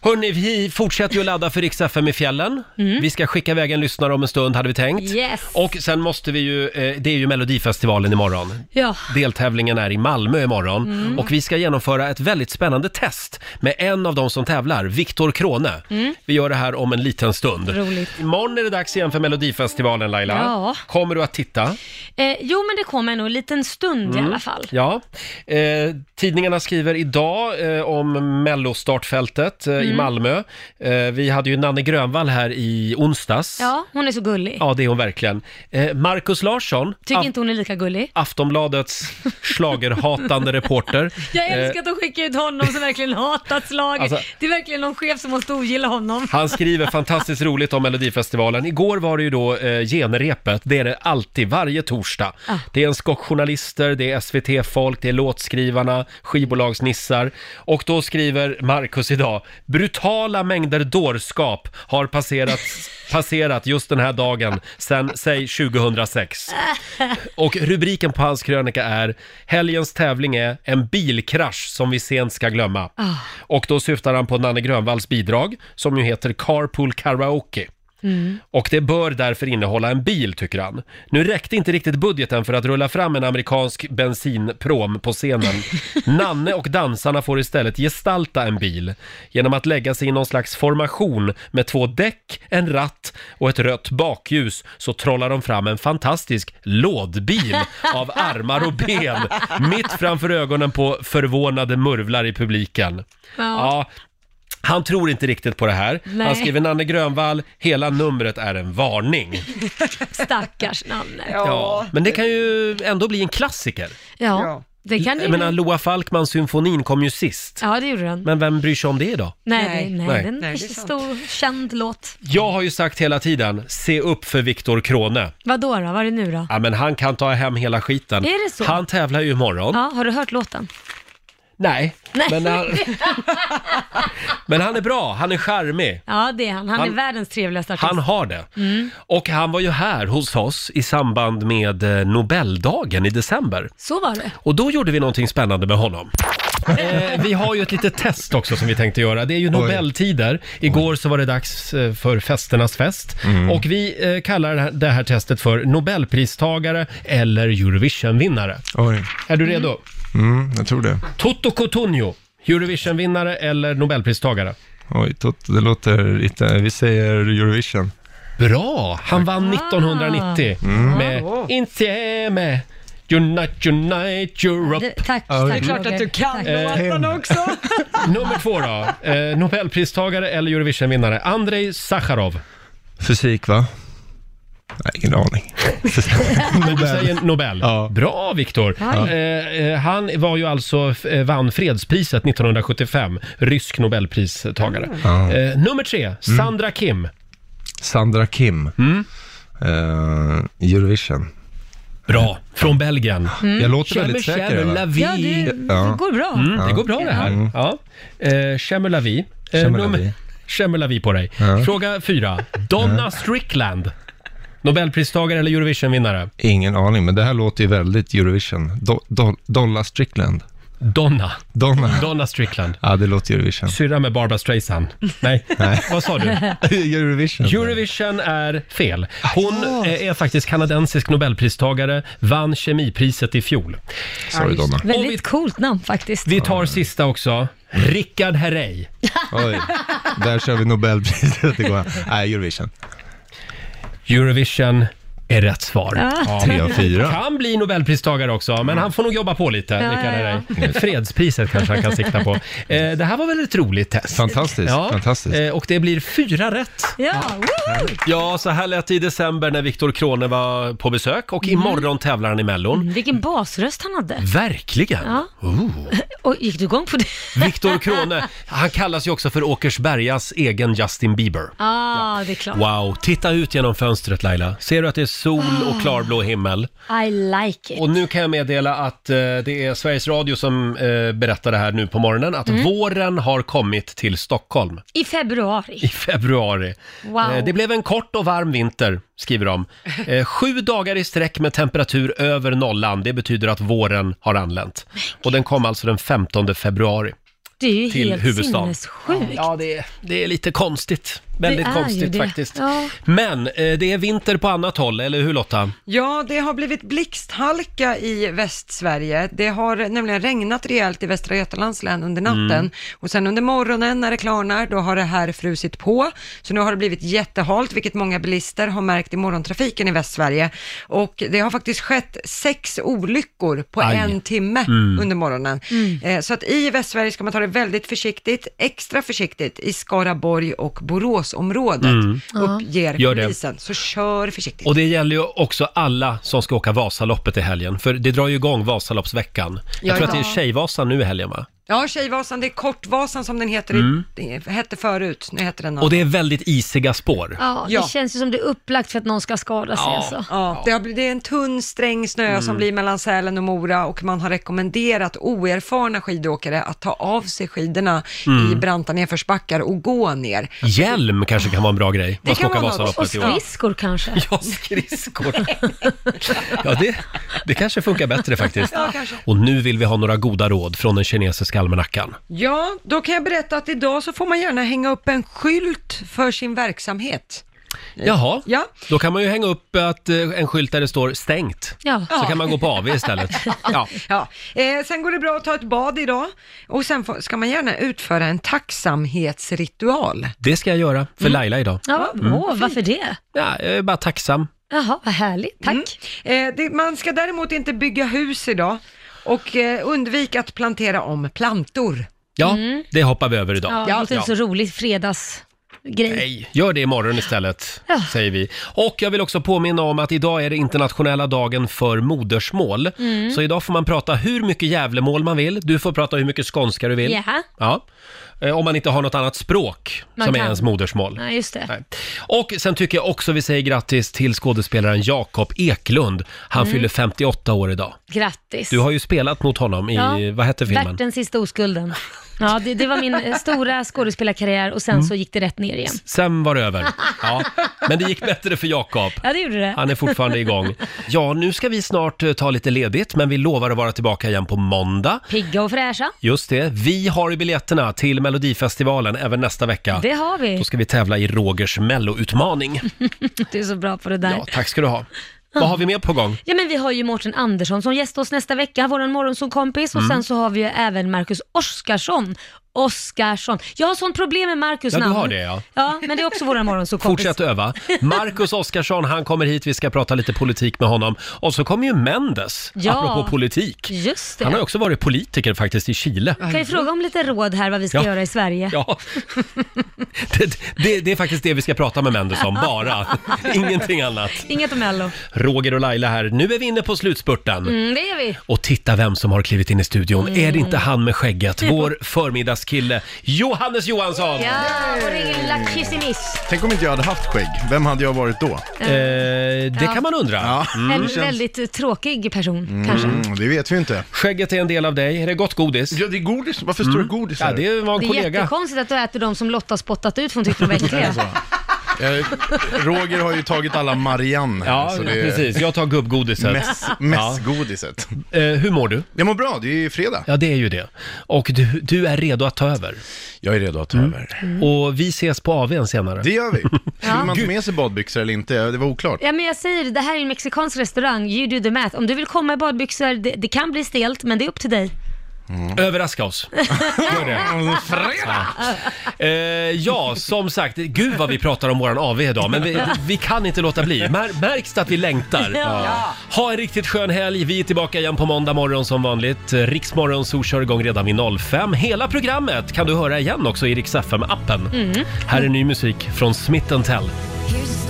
[SPEAKER 1] Hörni, vi fortsätter ju att ladda för Rix FM i fjällen. Vi ska skicka iväg en lyssnare om en stund, hade vi tänkt.
[SPEAKER 2] Mm. Yes.
[SPEAKER 1] Och sen måste vi ju, eh, det är ju Melodifestivalen imorgon.
[SPEAKER 2] Ja.
[SPEAKER 1] Deltävlingen är i Malmö imorgon
[SPEAKER 2] Mm.
[SPEAKER 1] och vi ska genomföra ett väldigt spännande test med en av de som tävlar, Viktor Krone.
[SPEAKER 2] Mm.
[SPEAKER 1] Vi gör det här om en liten stund.
[SPEAKER 2] Roligt.
[SPEAKER 1] Imorgon är det dags igen för Melodifestivalen Laila.
[SPEAKER 2] Ja.
[SPEAKER 1] Kommer du att titta?
[SPEAKER 2] Eh, jo, men det kommer nog en liten stund i
[SPEAKER 1] Mm.
[SPEAKER 2] alla fall.
[SPEAKER 1] Ja. Eh, tidningarna skriver idag eh, om mellostartfältet eh, i
[SPEAKER 2] Mm.
[SPEAKER 1] Malmö. Eh, vi hade ju Nanne Grönvall här i onsdags.
[SPEAKER 2] Ja, hon är så gullig.
[SPEAKER 1] Ja, det är hon verkligen. Eh, Markus Larsson,
[SPEAKER 2] Tycker
[SPEAKER 1] Af-
[SPEAKER 2] inte hon är lika gullig. [LAUGHS]
[SPEAKER 1] Aftonbladets schlagerhatande reporter.
[SPEAKER 2] Jag
[SPEAKER 1] Eh,
[SPEAKER 2] älskar att de skickar ut honom som verkligen hatat slaget.
[SPEAKER 1] Alltså-
[SPEAKER 2] det är verkligen någon chef som måste ogilla honom.
[SPEAKER 1] Han skriver fantastiskt roligt om Melodifestivalen. Igår var det ju då eh, genrepet, det är det alltid, varje torsdag.
[SPEAKER 2] Ah.
[SPEAKER 1] Det är en skock journalister, det är SVT-folk, det är låtskrivarna, skivbolagsnissar. Och då skriver Marcus idag, brutala mängder dårskap har passerat, [LAUGHS] passerat just den här dagen sedan, säg 2006. Och rubriken på hans krönika är “Helgens tävling är en bilkrasch som vi sent ska glömma”.
[SPEAKER 16] Ah.
[SPEAKER 1] Och då syftar han på Nanne Grönvalls bidrag som ju heter Carpool Karaoke.
[SPEAKER 16] Mm.
[SPEAKER 1] Och det bör därför innehålla en bil, tycker han. Nu räckte inte riktigt budgeten för att rulla fram en amerikansk bensinprom
[SPEAKER 16] [LAUGHS]
[SPEAKER 1] på scenen. Nanne och dansarna får istället gestalta en bil genom att lägga sig i någon slags formation med två däck, en ratt och ett rött bakljus så trollar de fram en fantastisk lådbil av armar och ben mitt framför ögonen på förvånade murvlar i publiken.
[SPEAKER 16] Ja.
[SPEAKER 1] ja han tror inte riktigt på det här. Han
[SPEAKER 2] Nej.
[SPEAKER 1] skriver Nanne Grönvall, hela numret är en varning.
[SPEAKER 2] Stackars Nanne.
[SPEAKER 1] Ja, men det kan ju ändå bli en klassiker.
[SPEAKER 2] Ja, det kan det
[SPEAKER 1] Jag menar,
[SPEAKER 2] ju.
[SPEAKER 1] Loa Falkmans symfonin kom ju sist.
[SPEAKER 2] Ja, det gjorde den.
[SPEAKER 1] Men vem bryr sig om det idag?
[SPEAKER 2] Nej, nej, nej,
[SPEAKER 1] Nej.
[SPEAKER 2] den
[SPEAKER 1] Nej,
[SPEAKER 2] är en stor känd låt.
[SPEAKER 1] Jag har ju sagt hela tiden, se upp för Viktor Krone.
[SPEAKER 2] Vad då, då? Vad är det nu då?
[SPEAKER 1] Ja, men han kan ta hem hela skiten.
[SPEAKER 2] Är det så?
[SPEAKER 1] Han tävlar ju imorgon.
[SPEAKER 2] Ja, har du hört låten?
[SPEAKER 1] Nej,
[SPEAKER 2] Nej.
[SPEAKER 1] Men,
[SPEAKER 2] [LAUGHS]
[SPEAKER 1] han, men han är bra, han är charmig.
[SPEAKER 2] Ja, det är han. Han,
[SPEAKER 1] Han-
[SPEAKER 2] är världens trevligaste artist.
[SPEAKER 1] Han har det.
[SPEAKER 2] Mm.
[SPEAKER 1] Och han var ju här hos oss i samband med eh, Nobeldagen i december.
[SPEAKER 2] Så var det.
[SPEAKER 1] Och då gjorde vi någonting spännande med honom. Eh, vi har ju ett litet test också som vi tänkte göra. Det är ju Nobeltider. Igår så var det dags eh, för festernas fest. Och vi eh, kallar det här- det här testet för Nobelpristagare eller Eurovisionvinnare. Är du redo?
[SPEAKER 16] Mm, jag tror det.
[SPEAKER 1] Toto Cotugno, Eurovisionvinnare eller Nobelpristagare?
[SPEAKER 16] Oj, tot, det låter lite... Vi säger Eurovision.
[SPEAKER 1] Bra! Han vann 1990
[SPEAKER 16] Ah. Mm.
[SPEAKER 1] med Insieme Unite Unite Europe.
[SPEAKER 2] Det- tack,
[SPEAKER 1] Ja,
[SPEAKER 2] tack
[SPEAKER 1] det-
[SPEAKER 2] Roger. Tack.
[SPEAKER 1] eh,
[SPEAKER 3] också.
[SPEAKER 1] Nummer två då. Eh, Nobelpristagare eller Eurovisionvinnare? Andrei Sacharov.
[SPEAKER 16] Fysik, va? Nej, ingen aning.
[SPEAKER 1] Men du säger Nobel. Bra Viktor!
[SPEAKER 16] Ja.
[SPEAKER 1] Eh, eh, han var ju alltså, f- eh, vann fredspriset 1975. Rysk nobelpristagare.
[SPEAKER 16] Mm. Ja. Mm.
[SPEAKER 1] Eh, nummer tre, Sandra Kim.
[SPEAKER 16] Sandra Kim.
[SPEAKER 17] Mm.
[SPEAKER 16] Eh, Eurovision.
[SPEAKER 1] Bra, från Belgien.
[SPEAKER 2] Mm.
[SPEAKER 16] Jag låter
[SPEAKER 1] Chemme,
[SPEAKER 16] väldigt säker.
[SPEAKER 1] chemme,
[SPEAKER 16] va?
[SPEAKER 1] la vie. Ja,
[SPEAKER 2] det- det går bra.
[SPEAKER 1] Mm,
[SPEAKER 2] Ja.
[SPEAKER 1] Det går bra det här.
[SPEAKER 16] Mm.
[SPEAKER 1] Ja. Eh, Chemme la vie. Eh,
[SPEAKER 16] Chemme la
[SPEAKER 1] nummer-
[SPEAKER 16] vie.
[SPEAKER 1] Chemme la vie på dig. Fråga fyra. Donna Strickland. Nobelpristagare eller Eurovisionvinnare?
[SPEAKER 16] Ingen aning, men det här låter ju väldigt Eurovision. Do, do, Dolla Strickland.
[SPEAKER 1] Donna.
[SPEAKER 16] Donna.
[SPEAKER 1] Donna Strickland.
[SPEAKER 16] Ja, det låter Eurovision.
[SPEAKER 1] Syrra med Barbra Streisand. Nej.
[SPEAKER 16] [LAUGHS]
[SPEAKER 1] vad sa du?
[SPEAKER 16] [LAUGHS] Eurovision.
[SPEAKER 1] Eurovision är fel.
[SPEAKER 16] Ah,
[SPEAKER 1] Hon eh, är faktiskt kanadensisk nobelpristagare, vann kemipriset i fjol.
[SPEAKER 16] Sorry, Donna.
[SPEAKER 2] Väldigt coolt namn faktiskt.
[SPEAKER 1] Vi tar sista också. Rickard Herrey.
[SPEAKER 16] [LAUGHS] Oj, där kör vi Nobelpriset igår. Nej, Eurovision.
[SPEAKER 1] Eurovision är rätt svar.
[SPEAKER 16] Ja. Tre av fyra.
[SPEAKER 1] Kan bli nobelpristagare också, men han får nog jobba på lite.
[SPEAKER 16] Ja, ja,
[SPEAKER 1] Rickard
[SPEAKER 16] ja.
[SPEAKER 1] Herrey. Fredspriset kanske han kan
[SPEAKER 16] [LAUGHS]
[SPEAKER 1] sikta på. Eh, det här var väl ett roligt test?
[SPEAKER 16] Fantastiskt, fantastiskt.
[SPEAKER 1] eh, Och det blir fyra rätt.
[SPEAKER 2] Ja, woo!
[SPEAKER 1] Ja, så här lät det i december när Viktor Krone var på besök och imorgon tävlar han i Mellon.
[SPEAKER 16] Mm.
[SPEAKER 2] Vilken basröst han hade.
[SPEAKER 1] Verkligen!
[SPEAKER 2] Ja.
[SPEAKER 1] Oh.
[SPEAKER 2] Och gick du igång
[SPEAKER 1] [LAUGHS]
[SPEAKER 2] på det?
[SPEAKER 1] Viktor Krone, han kallas ju också för Åkersbergas egen Justin Bieber.
[SPEAKER 2] Ah, det är klart.
[SPEAKER 1] Wow, titta ut genom fönstret Laila. Ser du att det är sol
[SPEAKER 2] Ah.
[SPEAKER 1] och klarblå himmel?
[SPEAKER 2] I like it.
[SPEAKER 1] Och nu kan jag meddela att eh, det är Sveriges Radio som eh, berättar det här nu på morgonen, att
[SPEAKER 2] Mm.
[SPEAKER 1] våren har kommit till Stockholm
[SPEAKER 2] I februari.
[SPEAKER 1] i februari.
[SPEAKER 2] Wow.
[SPEAKER 1] Eh, Det blev en kort och varm vinter, skriver de. Eh, Sju dagar i sträck med temperatur över nollan, det betyder att våren har anlänt. Och den kom alltså den 15 februari.
[SPEAKER 2] Det är ju
[SPEAKER 1] till
[SPEAKER 2] helt
[SPEAKER 1] huvudstaden.
[SPEAKER 2] sinnessjukt.
[SPEAKER 1] Ja, det är, det är lite konstigt. Väldigt
[SPEAKER 2] Det är ju
[SPEAKER 1] konstigt
[SPEAKER 2] det.
[SPEAKER 1] faktiskt.
[SPEAKER 2] Ja.
[SPEAKER 1] Men eh, det är vinter på annat håll, eller hur Lotta?
[SPEAKER 3] Ja, det har blivit blixthalka i Västsverige. Det har nämligen regnat rejält i Västra Götalands län under natten
[SPEAKER 13] Mm.
[SPEAKER 3] och sen under morgonen när det klarnar, då har det här frusit på. Så nu har det blivit jättehalt, vilket många bilister har märkt i morgontrafiken i Västsverige. Och det har faktiskt skett sex olyckor på
[SPEAKER 13] Aj.
[SPEAKER 3] en timme
[SPEAKER 13] Mm.
[SPEAKER 3] under morgonen. Eh, Så att i Västsverige ska man ta det väldigt försiktigt, extra försiktigt i Skaraborg och Boråsområdet,
[SPEAKER 1] Mm. Ja.
[SPEAKER 3] uppger
[SPEAKER 1] Gör det.
[SPEAKER 3] polisen. Så kör försiktigt.
[SPEAKER 1] Och det gäller ju också alla som ska åka Vasaloppet i helgen, för det drar ju igång Vasaloppsveckan. Jag
[SPEAKER 3] Ja,
[SPEAKER 1] tror att det är
[SPEAKER 3] ja.
[SPEAKER 1] Tjejvasan nu i helgen va?
[SPEAKER 3] Ja, Tjejvasan, det är Kortvasan som den heter,
[SPEAKER 1] Mm.
[SPEAKER 3] i, hette förut, nu heter den något.
[SPEAKER 1] Och det är väldigt isiga spår.
[SPEAKER 2] Ja, det
[SPEAKER 3] Ja.
[SPEAKER 2] känns ju som det är upplagt för att någon ska skada sig alltså.
[SPEAKER 3] Ja, det, har, blivit- det är en tunn sträng snö
[SPEAKER 2] Mm.
[SPEAKER 3] som blir mellan Sälen och Mora och man har rekommenderat oerfarna skidåkare att ta av sig skidorna
[SPEAKER 1] Mm.
[SPEAKER 3] i branta nedförsbackar och gå ner.
[SPEAKER 1] Hjälm kanske kan vara en bra grej.
[SPEAKER 3] Det
[SPEAKER 1] Man ska
[SPEAKER 3] kan
[SPEAKER 1] åka
[SPEAKER 3] vara något.
[SPEAKER 2] Och
[SPEAKER 1] Vasaloppet i år.
[SPEAKER 2] skridskor kanske.
[SPEAKER 1] Ja, skridskor. Ja, det, det kanske funkar bättre faktiskt.
[SPEAKER 3] Ja, kanske.
[SPEAKER 1] Och nu vill vi ha några goda råd från den kinesiska almanackan.
[SPEAKER 3] Ja, då kan jag berätta att idag så får man gärna hänga upp en skylt för sin verksamhet.
[SPEAKER 1] Jaha,
[SPEAKER 3] Ja.
[SPEAKER 1] då kan man ju hänga upp att, eh, en skylt där det står stängt.
[SPEAKER 3] Ja.
[SPEAKER 1] Så kan man gå på AV
[SPEAKER 2] [LAUGHS]
[SPEAKER 1] istället. Ja.
[SPEAKER 3] Ja. Eh, sen går det bra att ta ett bad idag och sen får, ska man gärna utföra en tacksamhetsritual.
[SPEAKER 1] Det ska jag göra för Laila idag.
[SPEAKER 2] Ja,
[SPEAKER 1] Mm.
[SPEAKER 2] åh, varför det?
[SPEAKER 1] Ja, jag är bara tacksam.
[SPEAKER 2] Jaha, vad härligt. Tack.
[SPEAKER 3] Mm. Eh, det, man ska däremot inte bygga hus idag och eh, undvik att plantera om plantor.
[SPEAKER 2] Mm.
[SPEAKER 1] Ja, det hoppar vi över idag.
[SPEAKER 2] Ja, det låter inte så roligt. Fredags... grej.
[SPEAKER 1] Nej, gör det imorgon istället,
[SPEAKER 2] Ja.
[SPEAKER 1] säger vi. Och jag vill också påminna om att idag är det internationella dagen för modersmål.
[SPEAKER 2] Mm.
[SPEAKER 1] Så idag får man prata hur mycket Gävlemål man vill. Du får prata hur mycket skånska du vill.
[SPEAKER 2] Jaha.
[SPEAKER 1] Ja. Eh, Om man inte har något annat språk
[SPEAKER 2] Man
[SPEAKER 1] som är
[SPEAKER 2] kan.
[SPEAKER 1] ens modersmål.
[SPEAKER 2] Nej, just det.
[SPEAKER 1] Och sen tycker jag också vi säger grattis till skådespelaren Jakob Eklund. Han
[SPEAKER 2] Mm.
[SPEAKER 1] fyller 58 år idag.
[SPEAKER 2] Grattis.
[SPEAKER 1] Du har ju spelat mot honom i,
[SPEAKER 2] Ja.
[SPEAKER 1] vad hette filmen?
[SPEAKER 2] Värt den sista oskulden. Ja, det, det var min
[SPEAKER 1] [LAUGHS]
[SPEAKER 2] eh, stora skådespelarkarriär och
[SPEAKER 1] Mm.
[SPEAKER 2] sen så gick det rätt ner igen.
[SPEAKER 1] Sen var det
[SPEAKER 2] [LAUGHS]
[SPEAKER 1] över. Ja. Men det gick bättre för Jakob.
[SPEAKER 2] Ja, det gjorde det.
[SPEAKER 1] Han är fortfarande igång. Ja, nu ska vi snart eh, ta lite ledigt, men vi lovar att vara tillbaka igen på måndag.
[SPEAKER 2] Pigga och fräscha.
[SPEAKER 1] Just det, vi har ju biljetterna till Melodifestivalen även nästa vecka.
[SPEAKER 2] Det har vi.
[SPEAKER 1] Då ska vi tävla i Rogers melloutmaning.
[SPEAKER 2] Du är så bra på det där. [LAUGHS]
[SPEAKER 1] Ja, tack ska du ha. Vad har vi mer på gång?
[SPEAKER 2] Ja men vi har ju Mårten Andersson som gästar oss nästa vecka, vår morgonsåkompis och
[SPEAKER 1] Mm.
[SPEAKER 2] sen så har vi ju även Marcus Oskarsson. Oskarsson. Jag har sånt problem med Marcus
[SPEAKER 1] Ja, du
[SPEAKER 2] namn.
[SPEAKER 1] har det ja.
[SPEAKER 2] Ja, men det är också
[SPEAKER 1] [LAUGHS]
[SPEAKER 2] vår morgonsåkompis.
[SPEAKER 1] Fortsätt öva. Marcus Oskarsson, han kommer hit, vi ska prata lite politik med honom. Och så kommer ju Mendes,
[SPEAKER 2] Ja.
[SPEAKER 1] apropå politik.
[SPEAKER 2] Just det.
[SPEAKER 1] Han har ju också varit politiker faktiskt i Chile.
[SPEAKER 2] Kan vi fråga om lite råd här vad vi ska
[SPEAKER 1] Ja.
[SPEAKER 2] göra i Sverige?
[SPEAKER 1] Ja, [LAUGHS] det, det, det är faktiskt det vi ska prata med Mendes om, bara. Ingenting annat.
[SPEAKER 2] Inget om Mello.
[SPEAKER 1] Roger och Laila här. Nu är vi inne på slutspurten.
[SPEAKER 2] Mm, det är vi.
[SPEAKER 1] Och titta vem som har klivit in i studion.
[SPEAKER 2] Mm.
[SPEAKER 1] Är det inte han med skägget? Vår förmiddagskille, Johannes Johansson!
[SPEAKER 2] Ja, och ringer lilla kissemiss.
[SPEAKER 17] Tänk om inte jag hade haft skägg, vem hade jag varit då?
[SPEAKER 1] Eh, det kan man undra.
[SPEAKER 17] Ja.
[SPEAKER 2] En väldigt eh, tråkig person kanske.
[SPEAKER 17] Mm, det vet vi inte.
[SPEAKER 1] Skägget är en del av dig. Är det gott godis?
[SPEAKER 17] Ja, det är godis. Varför står Mm. det godis
[SPEAKER 1] Ja,
[SPEAKER 17] här?
[SPEAKER 1] det var en
[SPEAKER 2] Det är
[SPEAKER 1] kollega.
[SPEAKER 2] jättekonstigt att du äter de som Lotta spottat ut för hon tyckte de var äckliga.
[SPEAKER 17] Eh, [LAUGHS] Roger har ju tagit alla Marianne här.
[SPEAKER 1] Ja, precis. Jag tar gubbgodiset.
[SPEAKER 17] Mäss- Mässgodiset.
[SPEAKER 1] Eh, hur mår du?
[SPEAKER 17] Jag mår bra, det är ju fredag.
[SPEAKER 1] Ja, det är ju det. Och du, du är redo att ta över.
[SPEAKER 17] Jag är redo att ta över.
[SPEAKER 1] Och vi ses på AWn senare.
[SPEAKER 17] Det gör vi.
[SPEAKER 2] Ja.
[SPEAKER 17] Skulle man ta med sig badbyxor eller inte? Det var oklart.
[SPEAKER 2] Ja men jag säger det, det här är en mexikansk restaurang, you do the math. Om du vill komma i badbyxor, det, det kan bli stelt men det är upp till dig.
[SPEAKER 1] Överraska oss. Gör det.
[SPEAKER 17] Fredag!
[SPEAKER 1] Eh, ja, som sagt, gud vad vi pratar om våran AV idag, men vi, vi kan inte låta bli. Mär, märks det att vi längtar?
[SPEAKER 9] Ja.
[SPEAKER 1] Ha en riktigt skön helg. Vi är tillbaka igen på måndag morgon som vanligt. Riksmorgon så kör igång redan vid 05. Hela programmet kan du höra igen också i Rix FM-appen.
[SPEAKER 9] Mm.
[SPEAKER 1] Här är ny musik från Smith Tell.
[SPEAKER 9] Here's